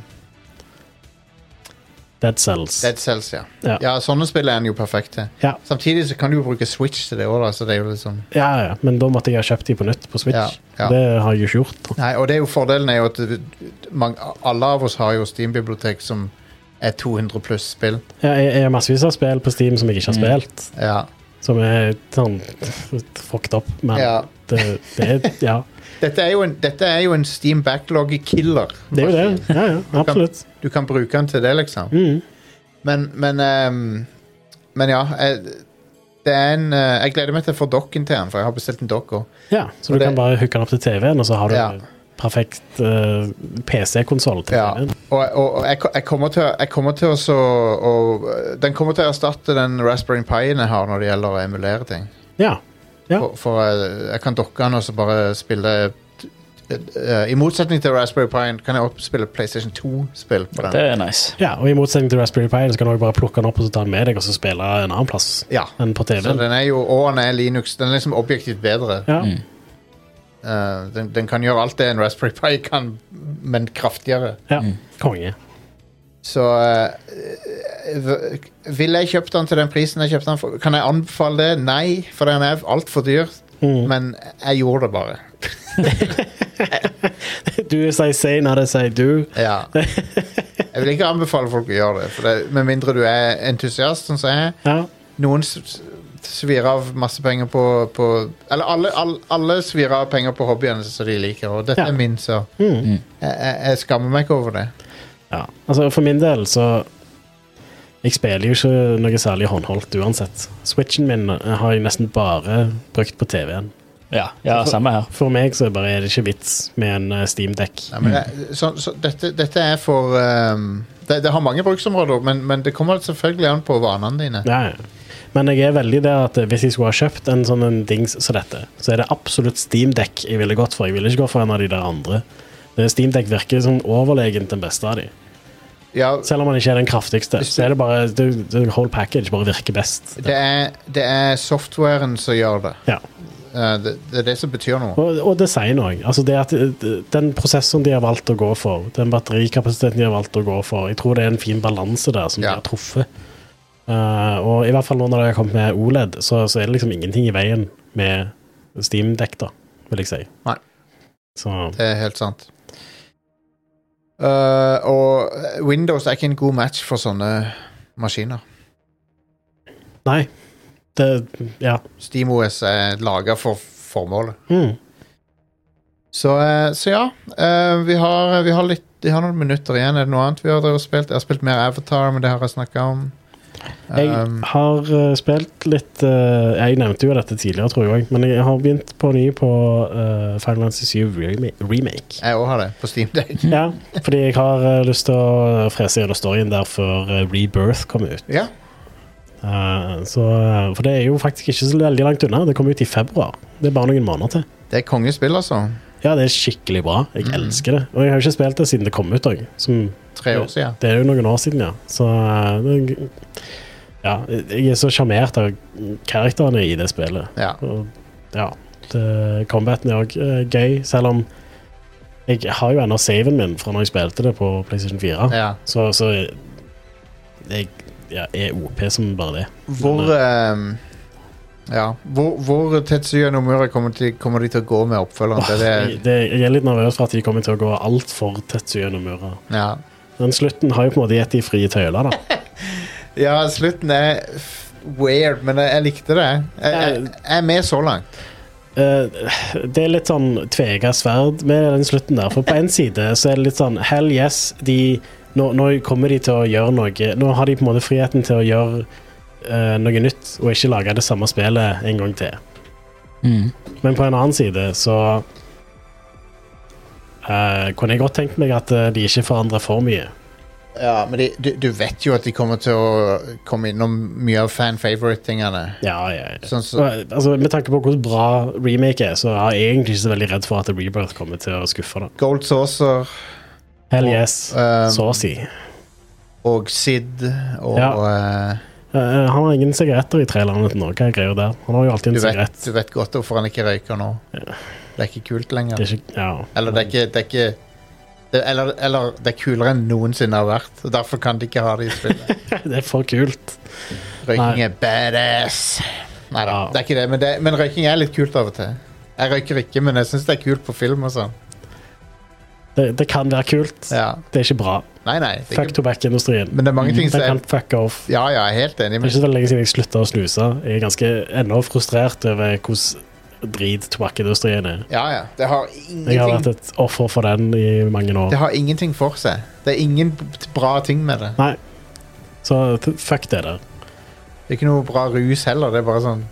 [SPEAKER 3] Dead Cells.
[SPEAKER 1] Dead Cells, ja.
[SPEAKER 3] Ja.
[SPEAKER 1] ja. Sånne spill er den jo perfekt til.
[SPEAKER 3] Ja.
[SPEAKER 1] Samtidig så kan du jo bruke Switch til det òg, da. Så det er jo litt sånn
[SPEAKER 3] Ja, ja, men da måtte jeg ha kjøpt de på nytt på Switch.
[SPEAKER 1] Ja, ja.
[SPEAKER 3] Det har jeg jo ikke gjort.
[SPEAKER 1] Nei, og det er jo fordelen er jo at du- mange, alle av oss har jo Steam-bibliotek som er 200 pluss spill.
[SPEAKER 3] Ja, jeg, jeg har massevis av spill på Steam som jeg ikke har spilt,
[SPEAKER 1] Ja.
[SPEAKER 3] som er sånn fucked up, men
[SPEAKER 1] Ja.
[SPEAKER 3] det, det er Ja,
[SPEAKER 1] Dette er jo en, dette er jo en Steam backlog-killer.
[SPEAKER 3] det er jo det. Ja, ja, absolutt.
[SPEAKER 1] Du kan bruke den til det, liksom.
[SPEAKER 3] Mm.
[SPEAKER 1] Men, men ehm, Men ja. Jeg, det er en, eh, jeg gleder meg til å få dokken til den, for jeg har bestilt en dokk òg.
[SPEAKER 3] Ja, så
[SPEAKER 1] Og
[SPEAKER 3] du
[SPEAKER 1] det-
[SPEAKER 3] kan bare hooke den opp til TV-en, og så har du
[SPEAKER 1] Ja.
[SPEAKER 3] perfekt eh, PC-konsoll til
[SPEAKER 1] Ja.
[SPEAKER 3] TV-en.
[SPEAKER 1] Og, og, og jeg, ko- jeg kommer til, å- jeg kommer til å så, og, øh, Den kommer til å erstatte den Raspberry Pien jeg har når det gjelder å emulere ting.
[SPEAKER 3] Ja. Ja.
[SPEAKER 1] For, for øh, jeg kan dokke den og så bare spille t- øh, I motsetning til Raspberry Pien kan jeg også spille PlayStation 2-spill på den.
[SPEAKER 2] Det er nice.
[SPEAKER 3] ja, og i motsetning til Raspberry Pi, så kan du også bare plukke den opp og så ta den med deg og så spille en annen plass
[SPEAKER 1] Ja.
[SPEAKER 3] enn på
[SPEAKER 1] Så
[SPEAKER 3] TV-en.
[SPEAKER 1] den er jo, og den er Linux. Den er liksom objektivt bedre.
[SPEAKER 3] Ja.
[SPEAKER 1] Eh, den, den kan gjøre alt det en Raspberry Pi kan, men kraftigere.
[SPEAKER 3] ja. Konge.
[SPEAKER 1] Så eh, v- Ville jeg kjøpt den til den prisen jeg kjøpte den for? Kan jeg anbefale det? Nei, for den er altfor dyr. Men jeg gjorde det bare.
[SPEAKER 3] Do as I say, not as I do.
[SPEAKER 1] Ja. Jeg vil ikke anbefale folk å gjøre det, for det med mindre du er entusiast, sånn som jeg. er.
[SPEAKER 3] Ja.
[SPEAKER 1] Noen s- s- svir av masse penger på, på Eller alle, alle, alle svir av penger på hobbyen som de liker, og dette
[SPEAKER 3] Ja.
[SPEAKER 1] er
[SPEAKER 3] Mm.
[SPEAKER 1] min, så jeg, jeg, jeg skammer meg ikke over det.
[SPEAKER 3] Ja, altså for min del så Jeg spiller jo ikke noe særlig håndholdt uansett. Switchen min eh, har jeg nesten bare brukt på TV-en.
[SPEAKER 2] Ja, ja samme her.
[SPEAKER 3] For meg så bare er det ikke vits med en eh, Steam-dekk.
[SPEAKER 1] Nei, men det, så, så dette, dette er for ehm, det, det har mange bruksområder, men, men det kommer selvfølgelig an på vanene dine.
[SPEAKER 3] Ja, ja. Men jeg er veldig der at eh, hvis jeg skulle ha kjøpt en sånn en dings som dette, så er det absolutt Steam-dekk jeg ville gått for. Jeg ville ikke gått for en av de der andre. Steam-dekk virker som overlegent den beste av de.
[SPEAKER 1] Ja,
[SPEAKER 3] Selv om den ikke er den kraftigste, så er det bare det, det whole package bare virker best.
[SPEAKER 1] det er, det er softwaren som gjør det.
[SPEAKER 3] Ja.
[SPEAKER 1] Eh, det. Det er det som betyr noe.
[SPEAKER 3] Og, og design òg. Altså det at, eh, den prosessoren de har valgt å gå for, den batterikapasiteten de har valgt å gå for, jeg tror det er en fin balanse der som
[SPEAKER 1] Ja.
[SPEAKER 3] de har truffet. Eh, og i hvert fall nå når det har kommet med OLED, så, så er det liksom ingenting i veien med Steam-dekk, da, vil jeg si.
[SPEAKER 1] Nei.
[SPEAKER 3] Så
[SPEAKER 1] Det er helt sant. Eh, og Windows er ikke en god match for sånne maskiner.
[SPEAKER 3] nei, det Ja.
[SPEAKER 1] SteamOS er laga for formålet.
[SPEAKER 3] Mm.
[SPEAKER 1] Så, eh, så ja, eh, vi har, vi, har litt, vi har noen minutter igjen. Er det noe annet vi har drevet og spilt? Jeg har spilt mer Avatar, men det har jeg snakka om.
[SPEAKER 3] Jeg
[SPEAKER 1] Um,
[SPEAKER 3] har eh, spilt litt eh, Jeg nevnte jo dette tidligere, tror jeg også, men jeg har begynt på ny på uh, Final Fantasy 7 Rema- Remake.
[SPEAKER 1] jeg òg har det, på Steam Deck.
[SPEAKER 3] Ja, fordi jeg har eh, lyst til å frese gjennom storyen der før eh, Rebirth kom ut.
[SPEAKER 1] Ja.
[SPEAKER 3] Eh, så, eh, for det er jo faktisk ikke så veldig langt unna. Det kommer ut i februar. Det er bare noen måneder til.
[SPEAKER 1] Det er kongespill, altså.
[SPEAKER 3] Ja, det er skikkelig bra. Jeg elsker det. Og jeg har jo ikke spilt det siden det kom ut òg. Det
[SPEAKER 1] Tre år siden.
[SPEAKER 3] er jo noen år siden, ja. Så eh, det, ja, jeg er så sjarmert av karakterene i det spillet.
[SPEAKER 1] Ja.
[SPEAKER 3] Og, ja, det, combaten er òg gøy, selv om jeg har jo ennå saven min fra når jeg spilte det på PlayStation 4.
[SPEAKER 1] ja.
[SPEAKER 3] Så, så jeg, jeg ja, er OP som bare det.
[SPEAKER 1] Hvor ehm, Ja. Hvor, hvor Tetsuya Nomura kommer, til, kommer de til å gå med oppfølgeren?
[SPEAKER 3] Åh,
[SPEAKER 1] til
[SPEAKER 3] jeg,
[SPEAKER 1] det,
[SPEAKER 3] det, jeg er litt nervøs for at de kommer til å gå altfor tett gjennom murer.
[SPEAKER 1] ja.
[SPEAKER 3] Men slutten har jo på en måte gitt de frie tøyler, da.
[SPEAKER 1] ja, slutten er f- weird, men jeg, jeg likte det. Jeg, jeg, jeg er med så langt.
[SPEAKER 3] Eh, det er litt sånn tvega sverd med den slutten der. For på en side så er det litt sånn hell yes, de nå, nå kommer de til å gjøre noe Nå har de på en måte friheten til å gjøre eh, noe nytt og ikke lage det samme spillet en gang til.
[SPEAKER 2] Mm.
[SPEAKER 3] Men på en annen side så eh, kunne jeg godt tenkt meg at eh, de ikke forandrer for mye.
[SPEAKER 1] Ja, men de, du, du vet jo at de kommer til å komme innom mye av fan favorite-tingene.
[SPEAKER 3] Ja, ja, ja.
[SPEAKER 1] Sånn
[SPEAKER 3] Så,
[SPEAKER 1] som
[SPEAKER 3] altså, med tanke på hvor bra remake er, så er jeg egentlig ikke så veldig redd for at Rebirth kommer til å skuffe. da
[SPEAKER 1] Gold Saucer
[SPEAKER 3] Hell yes,
[SPEAKER 1] eh,
[SPEAKER 3] så å si.
[SPEAKER 1] og Sid og eh,
[SPEAKER 3] Eh, eh, han har ingen sigaretter i trailerne til Norge. Jeg greier der. Han har jo alltid
[SPEAKER 1] du,
[SPEAKER 3] en
[SPEAKER 1] vet,
[SPEAKER 3] sigarett.
[SPEAKER 1] du vet godt hvorfor han ikke røyker nå. Det er ikke kult lenger.
[SPEAKER 3] Det er ikke, ja.
[SPEAKER 1] Eller det er ikke, det er ikke det, eller, eller det er kulere enn noensinne har vært. Og Derfor kan de ikke ha det i spillet.
[SPEAKER 3] det er for kult.
[SPEAKER 1] Røyking
[SPEAKER 3] Nei.
[SPEAKER 1] er badass! Nei da,
[SPEAKER 3] Ja.
[SPEAKER 1] det er ikke det. Men, det, men røyking er litt kult av og til. Jeg røyker ikke, men jeg syns det er kult på film og sånn.
[SPEAKER 3] Det, det kan være kult.
[SPEAKER 1] Ja.
[SPEAKER 3] Det er ikke bra.
[SPEAKER 1] Nei, nei. Det er
[SPEAKER 3] Fuck Mm,
[SPEAKER 1] ikke,
[SPEAKER 3] tobakkindustrien.
[SPEAKER 1] men det er mange ting som
[SPEAKER 3] Den kan
[SPEAKER 1] er
[SPEAKER 3] fuck off.
[SPEAKER 1] Ja, ja, jeg er helt enig.
[SPEAKER 3] Det er
[SPEAKER 1] Men
[SPEAKER 3] ikke så veldig lenge siden jeg slutta å snuse. Jeg er ganske ennå frustrert over hvordan drit tobakkindustrien er.
[SPEAKER 1] ja, ja. Det har
[SPEAKER 3] Jeg har
[SPEAKER 1] Mm. ingenting
[SPEAKER 3] vært et offer for den i mange år.
[SPEAKER 1] Det har ingenting for seg. Det er ingen b- bra ting med det.
[SPEAKER 3] Nei. Så t- fuck det der.
[SPEAKER 1] Det er ikke noe bra rus heller. Det er bare sånn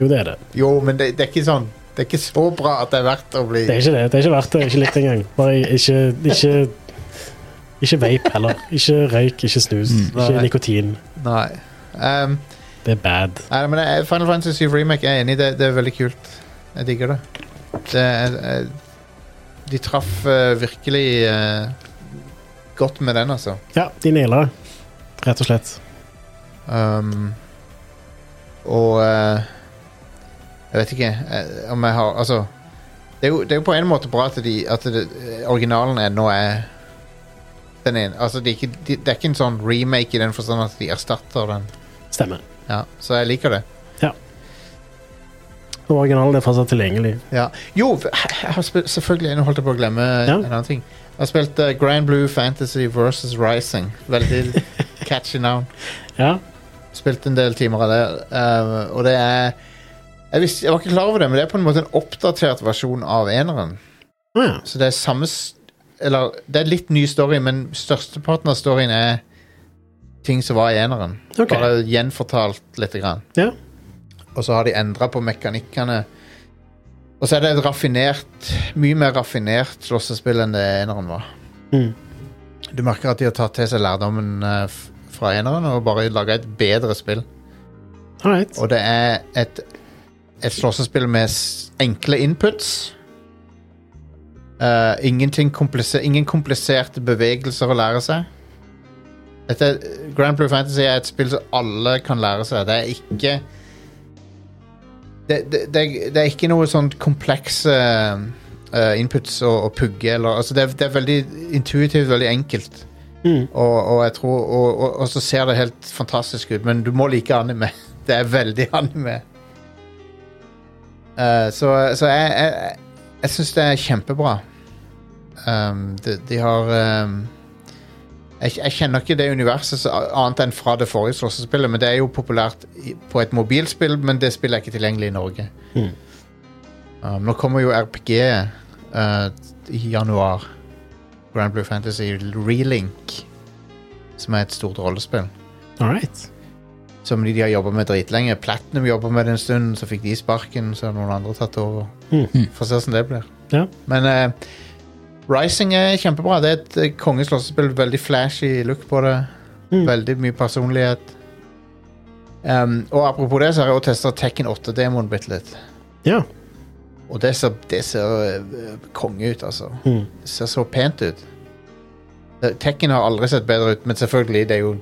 [SPEAKER 3] Jo, det er det.
[SPEAKER 1] Jo, men det, det er ikke sånn Det er ikke så bra at det er verdt å bli
[SPEAKER 3] Det er ikke det. Det er ikke verdt det. Ikke litt engang. Bare ikke Ikke, ikke vape heller. Ikke røyk, ikke snus,
[SPEAKER 1] Nei.
[SPEAKER 3] ikke nikotin.
[SPEAKER 1] Nei. Um,
[SPEAKER 3] Det er bad.
[SPEAKER 1] nei, men jeg- Final Fantasy 7 Remake jeg er enig i. Det, det er veldig kult. Jeg digger det. det er, jeg- de traff eh, virkelig eh, godt med den, altså.
[SPEAKER 3] Ja, de naila det. Rett og slett.
[SPEAKER 1] Um, og eh, Jeg vet ikke eh, om jeg har Altså Det er jo, det er jo på en måte bra at, de, at det, øh, originalen ennå er den ene. Altså, det, er ikke, de, det er ikke en sånn remake i den forstand at de erstatter den.
[SPEAKER 3] Stemmer.
[SPEAKER 1] Ja, så jeg liker det.
[SPEAKER 3] Og originalen er fortsatt tilgjengelig.
[SPEAKER 1] Ja. Jo, f- jeg har spilt, selvfølgelig nå holdt jeg på å glemme
[SPEAKER 3] Ja.
[SPEAKER 1] en annen ting. Jeg har spilt eh, Grand Blue Fantasy versus Rising. Veldig catchy navn.
[SPEAKER 3] Ja.
[SPEAKER 1] Spilt en del timer av det. eh, og det er jeg, visste, jeg var ikke klar over det, men det er på en måte en oppdatert versjon av eneren.
[SPEAKER 3] Ah, ja.
[SPEAKER 1] Så det er samme s- Eller det er litt ny story, men størsteparten av storyen er ting som var i eneren.
[SPEAKER 3] Ok.
[SPEAKER 1] Bare gjenfortalt lite grann.
[SPEAKER 3] Ja.
[SPEAKER 1] Og så har de endra på mekanikkene. Og så er det et raffinert, mye mer raffinert slåssespill enn det eneren var.
[SPEAKER 3] Mm.
[SPEAKER 1] Du merker at de har tatt til seg lærdommen eh, f- fra eneren og bare laga et bedre spill.
[SPEAKER 3] All right.
[SPEAKER 1] Og det er et, et slåssespill med s- enkle inputs. Eh, ingenting kompliser ingen kompliserte bevegelser å lære seg. Dette, er- Grand Blue Fantasy er et spill som alle kan lære seg. Det er ikke Det, det, det, er- det er ikke noe sånn komplekse eh, inputs å, å pugge eller altså det, er, det er veldig intuitivt, veldig enkelt.
[SPEAKER 3] Mm.
[SPEAKER 1] Og, og jeg tror og, og, og så ser det helt fantastisk ut, men du må like anime. Det er veldig anime. Eh, så så jeg, jeg, jeg syns det er kjempebra. Um, de, de har um, Jeg, jeg kjenner ikke det universet så annet enn fra det forrige slåssespillet, men det er jo populært i- på et mobilspill, men det spillet er ikke tilgjengelig i Norge.
[SPEAKER 3] Mhm.
[SPEAKER 1] Um, nå kommer jo RPG eh, i januar. Grand Blue Fantasy Relink, som er et stort rollespill.
[SPEAKER 3] All right.
[SPEAKER 1] Som de, de har jobba med dritlenge. Platinum jobba med det en stund, så fikk de sparken, så har noen andre tatt over.
[SPEAKER 3] Mhm.
[SPEAKER 1] Får se hvordan det blir.
[SPEAKER 3] Ja.
[SPEAKER 1] Men eh, Rising er kjempebra. Det er et eh, kongeslåssespill. Veldig flashy look på det.
[SPEAKER 3] Mhm.
[SPEAKER 1] Veldig mye personlighet. Um, og apropos det, så har jeg også testa Tekken 8-demoen bitte litt.
[SPEAKER 3] Ja.
[SPEAKER 1] Og det ser, det ser eh, konge ut, altså.
[SPEAKER 3] Mhm.
[SPEAKER 1] Det ser så pent ut. Eh, Tekken har aldri sett bedre ut, men selvfølgelig, det er jo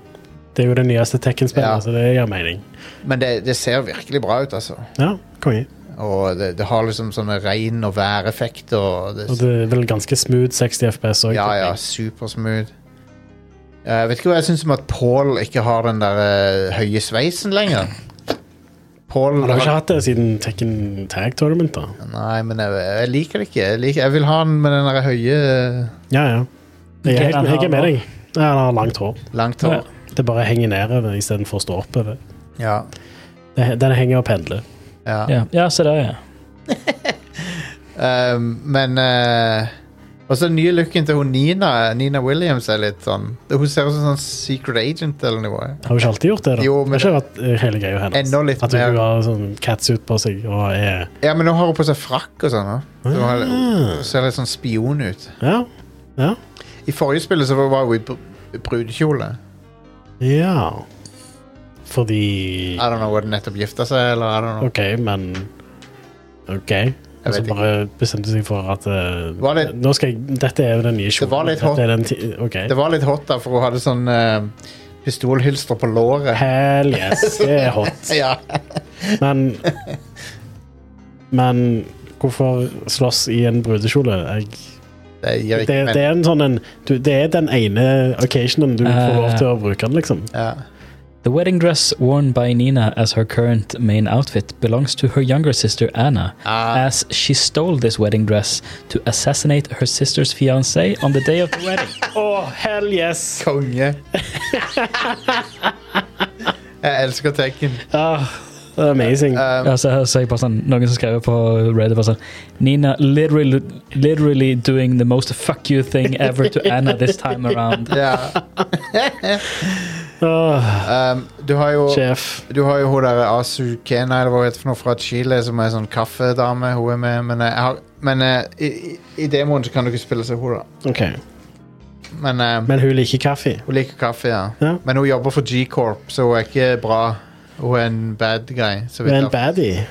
[SPEAKER 3] Det er jo det nyeste Tekken-spillet,
[SPEAKER 1] Ja.
[SPEAKER 3] så det gir mening.
[SPEAKER 1] Men det, det ser virkelig bra ut, altså.
[SPEAKER 3] Ja, konge.
[SPEAKER 1] Og det, det har liksom sånne regn- og væreffekter. Og det,
[SPEAKER 3] Og det er vel ganske smooth 60 FPS òg.
[SPEAKER 1] ja, ja, supersmooth. Jeg vet ikke hva jeg syns om at Paul ikke har den der eh, høye sveisen lenger. Paul
[SPEAKER 3] Han har jo ikke hatt det siden Tekken Tag Tournament, da.
[SPEAKER 1] Nei, men jeg, jeg liker det ikke. Jeg, liker, jeg vil ha den med den der høye, eh,
[SPEAKER 3] Ja, ja. Jeg er,
[SPEAKER 2] Det han har
[SPEAKER 3] helt, jeg er med
[SPEAKER 2] nå.
[SPEAKER 3] deg. Ja, han har langt hår.
[SPEAKER 1] langt hår.
[SPEAKER 3] Det bare henger nedover istedenfor å stå oppover.
[SPEAKER 1] Ja.
[SPEAKER 3] Det- Den henger og pendler.
[SPEAKER 1] ja.
[SPEAKER 2] Ja, ja se der, er ja.
[SPEAKER 1] Eh, men uh, også den nye looken til hun Nina Nina Williams er litt sånn Hun ser ut som en sånn secret agent eller noe.
[SPEAKER 3] Har hun ikke alltid gjort det? da?
[SPEAKER 1] Jo,
[SPEAKER 3] det
[SPEAKER 1] men-
[SPEAKER 3] har ikke vært eh, hele greia hennes.
[SPEAKER 1] Enda litt
[SPEAKER 3] At hun
[SPEAKER 1] mer.
[SPEAKER 3] har sånn catsuit på seg og er
[SPEAKER 1] Ja, men nå har hun på seg frakk og sånn. da. Så Hun har- hun
[SPEAKER 3] ah,
[SPEAKER 1] ser litt sånn spion ut.
[SPEAKER 3] Ja. Ja.
[SPEAKER 1] I forrige spillet så var hun i br- brudekjole.
[SPEAKER 3] ja.
[SPEAKER 1] I
[SPEAKER 3] Fordi
[SPEAKER 1] don't know, Var det nettopp gifta seg, eller? I don't know.
[SPEAKER 3] OK, men OK. Og så
[SPEAKER 1] vet ikke.
[SPEAKER 3] bare bestemte seg for at eh,
[SPEAKER 1] Var det-
[SPEAKER 3] Nå skal jeg Dette er jo den nye
[SPEAKER 1] var
[SPEAKER 3] kjolen.
[SPEAKER 1] litt hot.
[SPEAKER 3] Dette er den ti- OK.
[SPEAKER 1] Det var litt hot, da, for hun hadde sånn eh, pistolhylster på låret.
[SPEAKER 3] Hell yes, det er hot.
[SPEAKER 1] Ja.
[SPEAKER 3] Men Men hvorfor slåss i en brudekjole? Jeg,
[SPEAKER 1] Det gir
[SPEAKER 3] det,
[SPEAKER 1] ikke
[SPEAKER 3] det er en sånn en du, Det er den ene occasionen du får lov til å bruke den, liksom.
[SPEAKER 1] Ja.
[SPEAKER 2] The wedding dress worn by Nina as her current main outfit belongs to her younger sister Anna,
[SPEAKER 1] Ah.
[SPEAKER 2] as she stole this wedding dress to assassinate her sister's fiance on the day of the wedding.
[SPEAKER 3] Oh, hell yes!
[SPEAKER 1] Konge. Jeg elsker Tekken.
[SPEAKER 3] Ah, det er amazing.
[SPEAKER 1] Eh, Um.
[SPEAKER 2] Ja, så, så jeg bare sånn, noen som skrev på Reddit bare sånn Nina literally, literally doing the most fuck you thing ever to Anna this time around.
[SPEAKER 1] Ja. eh,
[SPEAKER 3] Åh,
[SPEAKER 1] Um, du har jo
[SPEAKER 3] sjef.
[SPEAKER 1] Du har jo hun der Asu Kena eller hva hun heter for noe fra Chile, som er sånn kaffedame. Hun er med, men, jeg har, men eh, i, i- i demoen så kan du ikke spille som hun, da.
[SPEAKER 3] OK.
[SPEAKER 1] Men eh,
[SPEAKER 3] Men hun liker kaffe.
[SPEAKER 1] hun liker kaffe, ja.
[SPEAKER 3] Ja.
[SPEAKER 1] Men hun jobber for G-Corp, så hun er ikke bra. Hun er en bad guy. Så
[SPEAKER 3] Hun
[SPEAKER 1] vidt
[SPEAKER 3] er en
[SPEAKER 1] jeg-
[SPEAKER 3] baddie.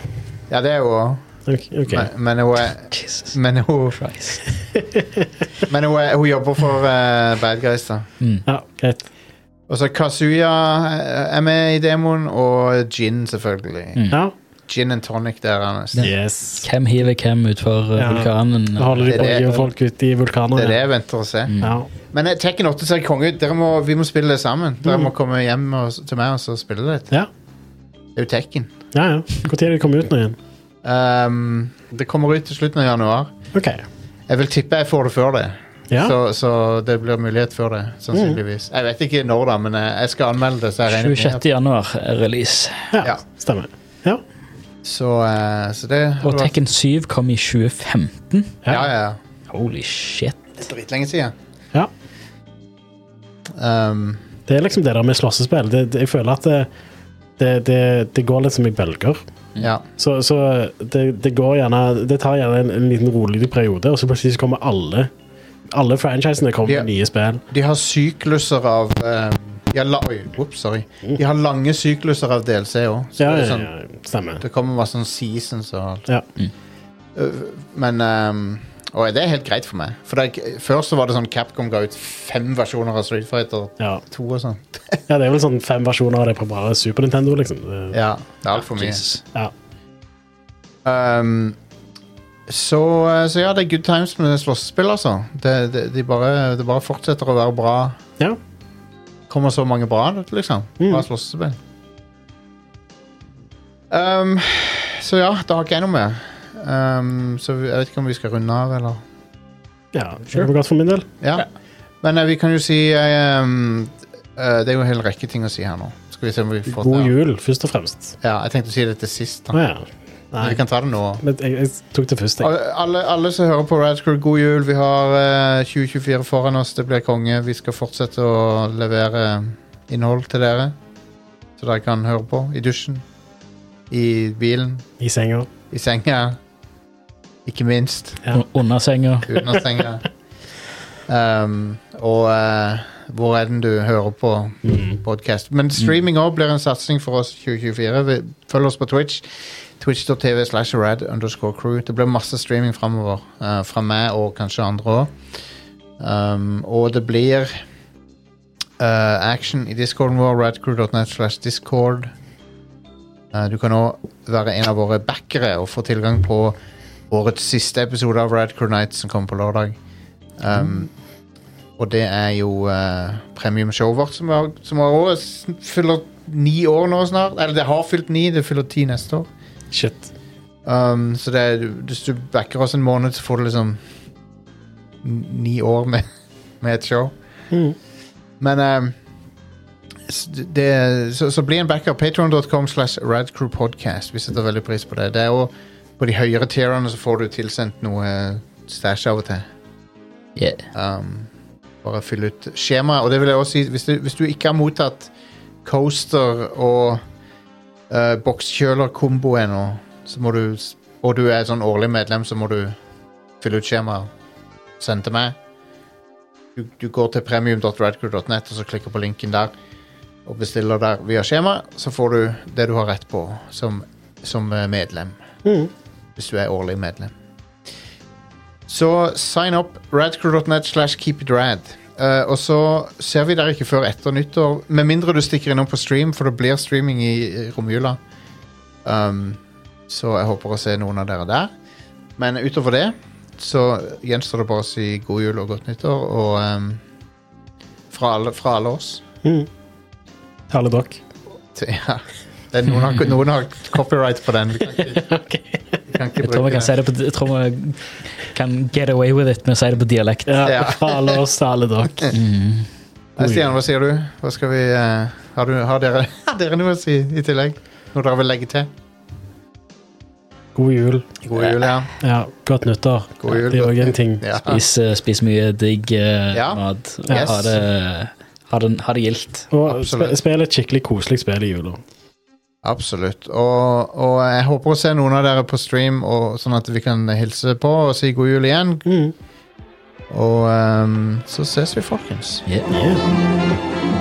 [SPEAKER 1] Ja, det er hun òg.
[SPEAKER 3] OK. ok.
[SPEAKER 1] Men, men hun er
[SPEAKER 2] Jesus
[SPEAKER 1] men hun,
[SPEAKER 2] Christ.
[SPEAKER 1] men hun, er, hun jobber for eh, bad guys, da.
[SPEAKER 2] Mm.
[SPEAKER 3] Ja, greit.
[SPEAKER 1] Og så Kazuya eh, er med i demoen, og Gin, selvfølgelig.
[SPEAKER 3] Ja.
[SPEAKER 1] Gin and tonic der, Anders.
[SPEAKER 3] Yes.
[SPEAKER 2] Hvem hiver hvem utfor
[SPEAKER 3] Ja.
[SPEAKER 2] ja. vulkanen?
[SPEAKER 3] Nå holder de
[SPEAKER 1] Det
[SPEAKER 3] på å
[SPEAKER 1] er det-
[SPEAKER 3] hive folk ut i vulkaner.
[SPEAKER 1] Det er det jeg venter å se.
[SPEAKER 3] Ja. Mm.
[SPEAKER 1] Men eh, Tekken 8 ser konge ut. Dere må, vi må spille det sammen. Dere må komme hjem og, s- til meg og så spille litt.
[SPEAKER 3] Ja.
[SPEAKER 1] Det er jo Tekken.
[SPEAKER 3] ja, ja. Når er det kommer ut nå igjen?
[SPEAKER 1] Ehm, det kommer ut til slutten av januar.
[SPEAKER 3] OK.
[SPEAKER 1] Jeg vil tippe jeg får det før det.
[SPEAKER 3] Ja.
[SPEAKER 1] Så, så det blir mulighet før det, sannsynligvis. Jeg vet ikke når, da, men eh, jeg skal anmelde det. Så, jeg regner med
[SPEAKER 2] 26.
[SPEAKER 1] at-
[SPEAKER 2] januar er release.
[SPEAKER 3] Ja,
[SPEAKER 1] Ja.
[SPEAKER 3] stemmer. Ja.
[SPEAKER 1] så, eh, så det
[SPEAKER 2] Og Tekken 7 kom i 2015.
[SPEAKER 1] Ja, ja. ja.
[SPEAKER 2] Holy shit.
[SPEAKER 1] Det er dritlenge siden.
[SPEAKER 3] Ja.
[SPEAKER 1] Ehm,
[SPEAKER 3] Det er liksom det der med slåssespill. Det, det, jeg føler at det, det, det, det går litt som i bølger.
[SPEAKER 1] ja.
[SPEAKER 3] Så, så det, det går gjerne Det tar gjerne en, en liten rolig periode, og så plutselig så kommer alle Alle franchisene kommer
[SPEAKER 1] Ja.
[SPEAKER 3] med nye spill.
[SPEAKER 1] De har sykluser av ehm, de har la, Oi, ups, sorry. De har lange sykluser av DLC òg. Så
[SPEAKER 3] Mm. Ja,
[SPEAKER 1] det,
[SPEAKER 3] ja,
[SPEAKER 1] er sånn,
[SPEAKER 3] ja, stemmer.
[SPEAKER 1] det kommer masse sånn seasons og alt. Eh,
[SPEAKER 3] Ja.
[SPEAKER 1] Men ehm, Og det er helt greit for meg. For det, er ikke- før så var det sånn Capcom ga ut fem versjoner av Street Fighter
[SPEAKER 3] Ja.
[SPEAKER 1] 2 og sånn.
[SPEAKER 3] ja, det er vel sånn fem versjoner av det på bare Super Nintendo, liksom. Det-
[SPEAKER 1] Ja, det er altfor mye.
[SPEAKER 2] Jesus.
[SPEAKER 3] Ja.
[SPEAKER 1] Ehm, så, eh, så ja, det er good times med slåssespill, altså. Det, det, de bare, det bare fortsetter å være bra.
[SPEAKER 3] ja.
[SPEAKER 1] Kommer så mange bra, liksom.
[SPEAKER 3] Mm.
[SPEAKER 1] Bra slåssespill. Ehm, så ja, da har ikke jeg noe mer. Ehm, så vi- jeg vet ikke om vi skal runde av, eller
[SPEAKER 3] ja. Det var godt for min del.
[SPEAKER 1] Ja. Men eh, vi kan jo si eh, um, eh, Det er jo en hel rekke ting å si her nå. Skal vi se om vi får
[SPEAKER 3] God
[SPEAKER 1] til-
[SPEAKER 3] jul, først og fremst.
[SPEAKER 1] Ja, jeg tenkte å si det til sist. da
[SPEAKER 3] Å ja. Nei,
[SPEAKER 1] Men Vi kan ta det nå.
[SPEAKER 3] men jeg, jeg tok det først, jeg.
[SPEAKER 1] Alle, alle- alle som hører på Radcrew, god jul. Vi har eh, 2024 foran oss. Det blir konge. Vi skal fortsette å levere eh, innhold til dere. Så dere kan høre på i dusjen, i bilen,
[SPEAKER 3] I senga.
[SPEAKER 1] i senga. Ikke minst
[SPEAKER 3] Ja.
[SPEAKER 2] Un- Under senga.
[SPEAKER 1] under senga. Um, og eh, hvor enn du hører på Mm. podkast. Men streaming òg blir en satsing for oss 2024. Vi, følg oss på Twitch. Twitch.tv slash rad underscore crew. Det blir masse streaming framover. eh, fra meg og kanskje andre òg. Um, og det blir eh, action i discorden vår, radcrew.net slash discord. Eh, du kan òg være en av våre backere og få tilgang på årets siste episode av Radcrew Night som kommer på lørdag. Um, og det er jo eh, premiumshowet vårt som, er, som er året, fyller ni år nå snart. Eller det har fylt ni, det fyller ti neste år.
[SPEAKER 3] Shit.
[SPEAKER 1] Um, så det er, hvis du backer oss en måned, så får du liksom n- ni år med, med et show.
[SPEAKER 3] Mhm.
[SPEAKER 1] Men um, s- det, så, så bli en backer. Patreon.com slash radcrewpodcast. Vi setter veldig pris på det. Det er jo På de høyere tierene så får du tilsendt noe eh, stæsj av og til.
[SPEAKER 2] Yeah.
[SPEAKER 1] Um, bare fyll ut skjemaet. Og det vil jeg også si, hvis du, hvis du ikke har mottatt coaster og uh, bokskjøler-kombo ennå, så må du s- og du er sånn årlig medlem, så må du fylle ut skjemaet. Send til meg. Du, du går til premium.radcrew.net og så klikker på linken der og bestiller der via skjema, så får du det du har rett på som, som eh, medlem. Hvis du er årlig medlem. Så sign up radcrew.net slash keepitrad. Eh, og så ser vi dere ikke før etter nyttår, med mindre du stikker innom på stream, for det blir streaming i i romjula. Um, så jeg håper å se noen av dere der. Men utover det så gjenstår det bare å si god jul og godt nyttår og um, fra, alle, fra alle oss.
[SPEAKER 3] Til alle dere.
[SPEAKER 1] til- Ja. Det er noen, har, noen har copyright på den. Vi kan ikke, vi kan ikke
[SPEAKER 2] Jeg tror vi
[SPEAKER 1] bruke
[SPEAKER 2] kan si
[SPEAKER 1] den.
[SPEAKER 2] det på Jeg tror vi kan get away with it med å si det på dialekt. Mm.
[SPEAKER 3] Ja,
[SPEAKER 1] Ja.
[SPEAKER 3] Fra alle oss til alle dere.
[SPEAKER 1] Nei, Stian, hva sier du? Hva skal vi, eh, har, du har, dere, har dere noe å si i tillegg? Noe dere vil legge til?
[SPEAKER 3] God jul.
[SPEAKER 1] God jul, ja.
[SPEAKER 3] Ja, godt nyttår.
[SPEAKER 1] God jul,
[SPEAKER 3] det er
[SPEAKER 1] godt
[SPEAKER 3] òg en ting.
[SPEAKER 1] ja.
[SPEAKER 2] Spis, eh, spis mye digg eh,
[SPEAKER 1] Ja.
[SPEAKER 2] mat. og
[SPEAKER 1] Yes.
[SPEAKER 2] Ha det, ha det, ha det gildt.
[SPEAKER 3] Og
[SPEAKER 1] Absolutt.
[SPEAKER 3] sp spill et skikkelig koselig spill i jula.
[SPEAKER 1] Absolutt. Og, og jeg håper å se noen av dere på stream, og, sånn at vi kan hilse på og si god jul igjen. Mm. Og ehm, så ses vi, folkens.
[SPEAKER 2] Yeah.
[SPEAKER 3] Yeah.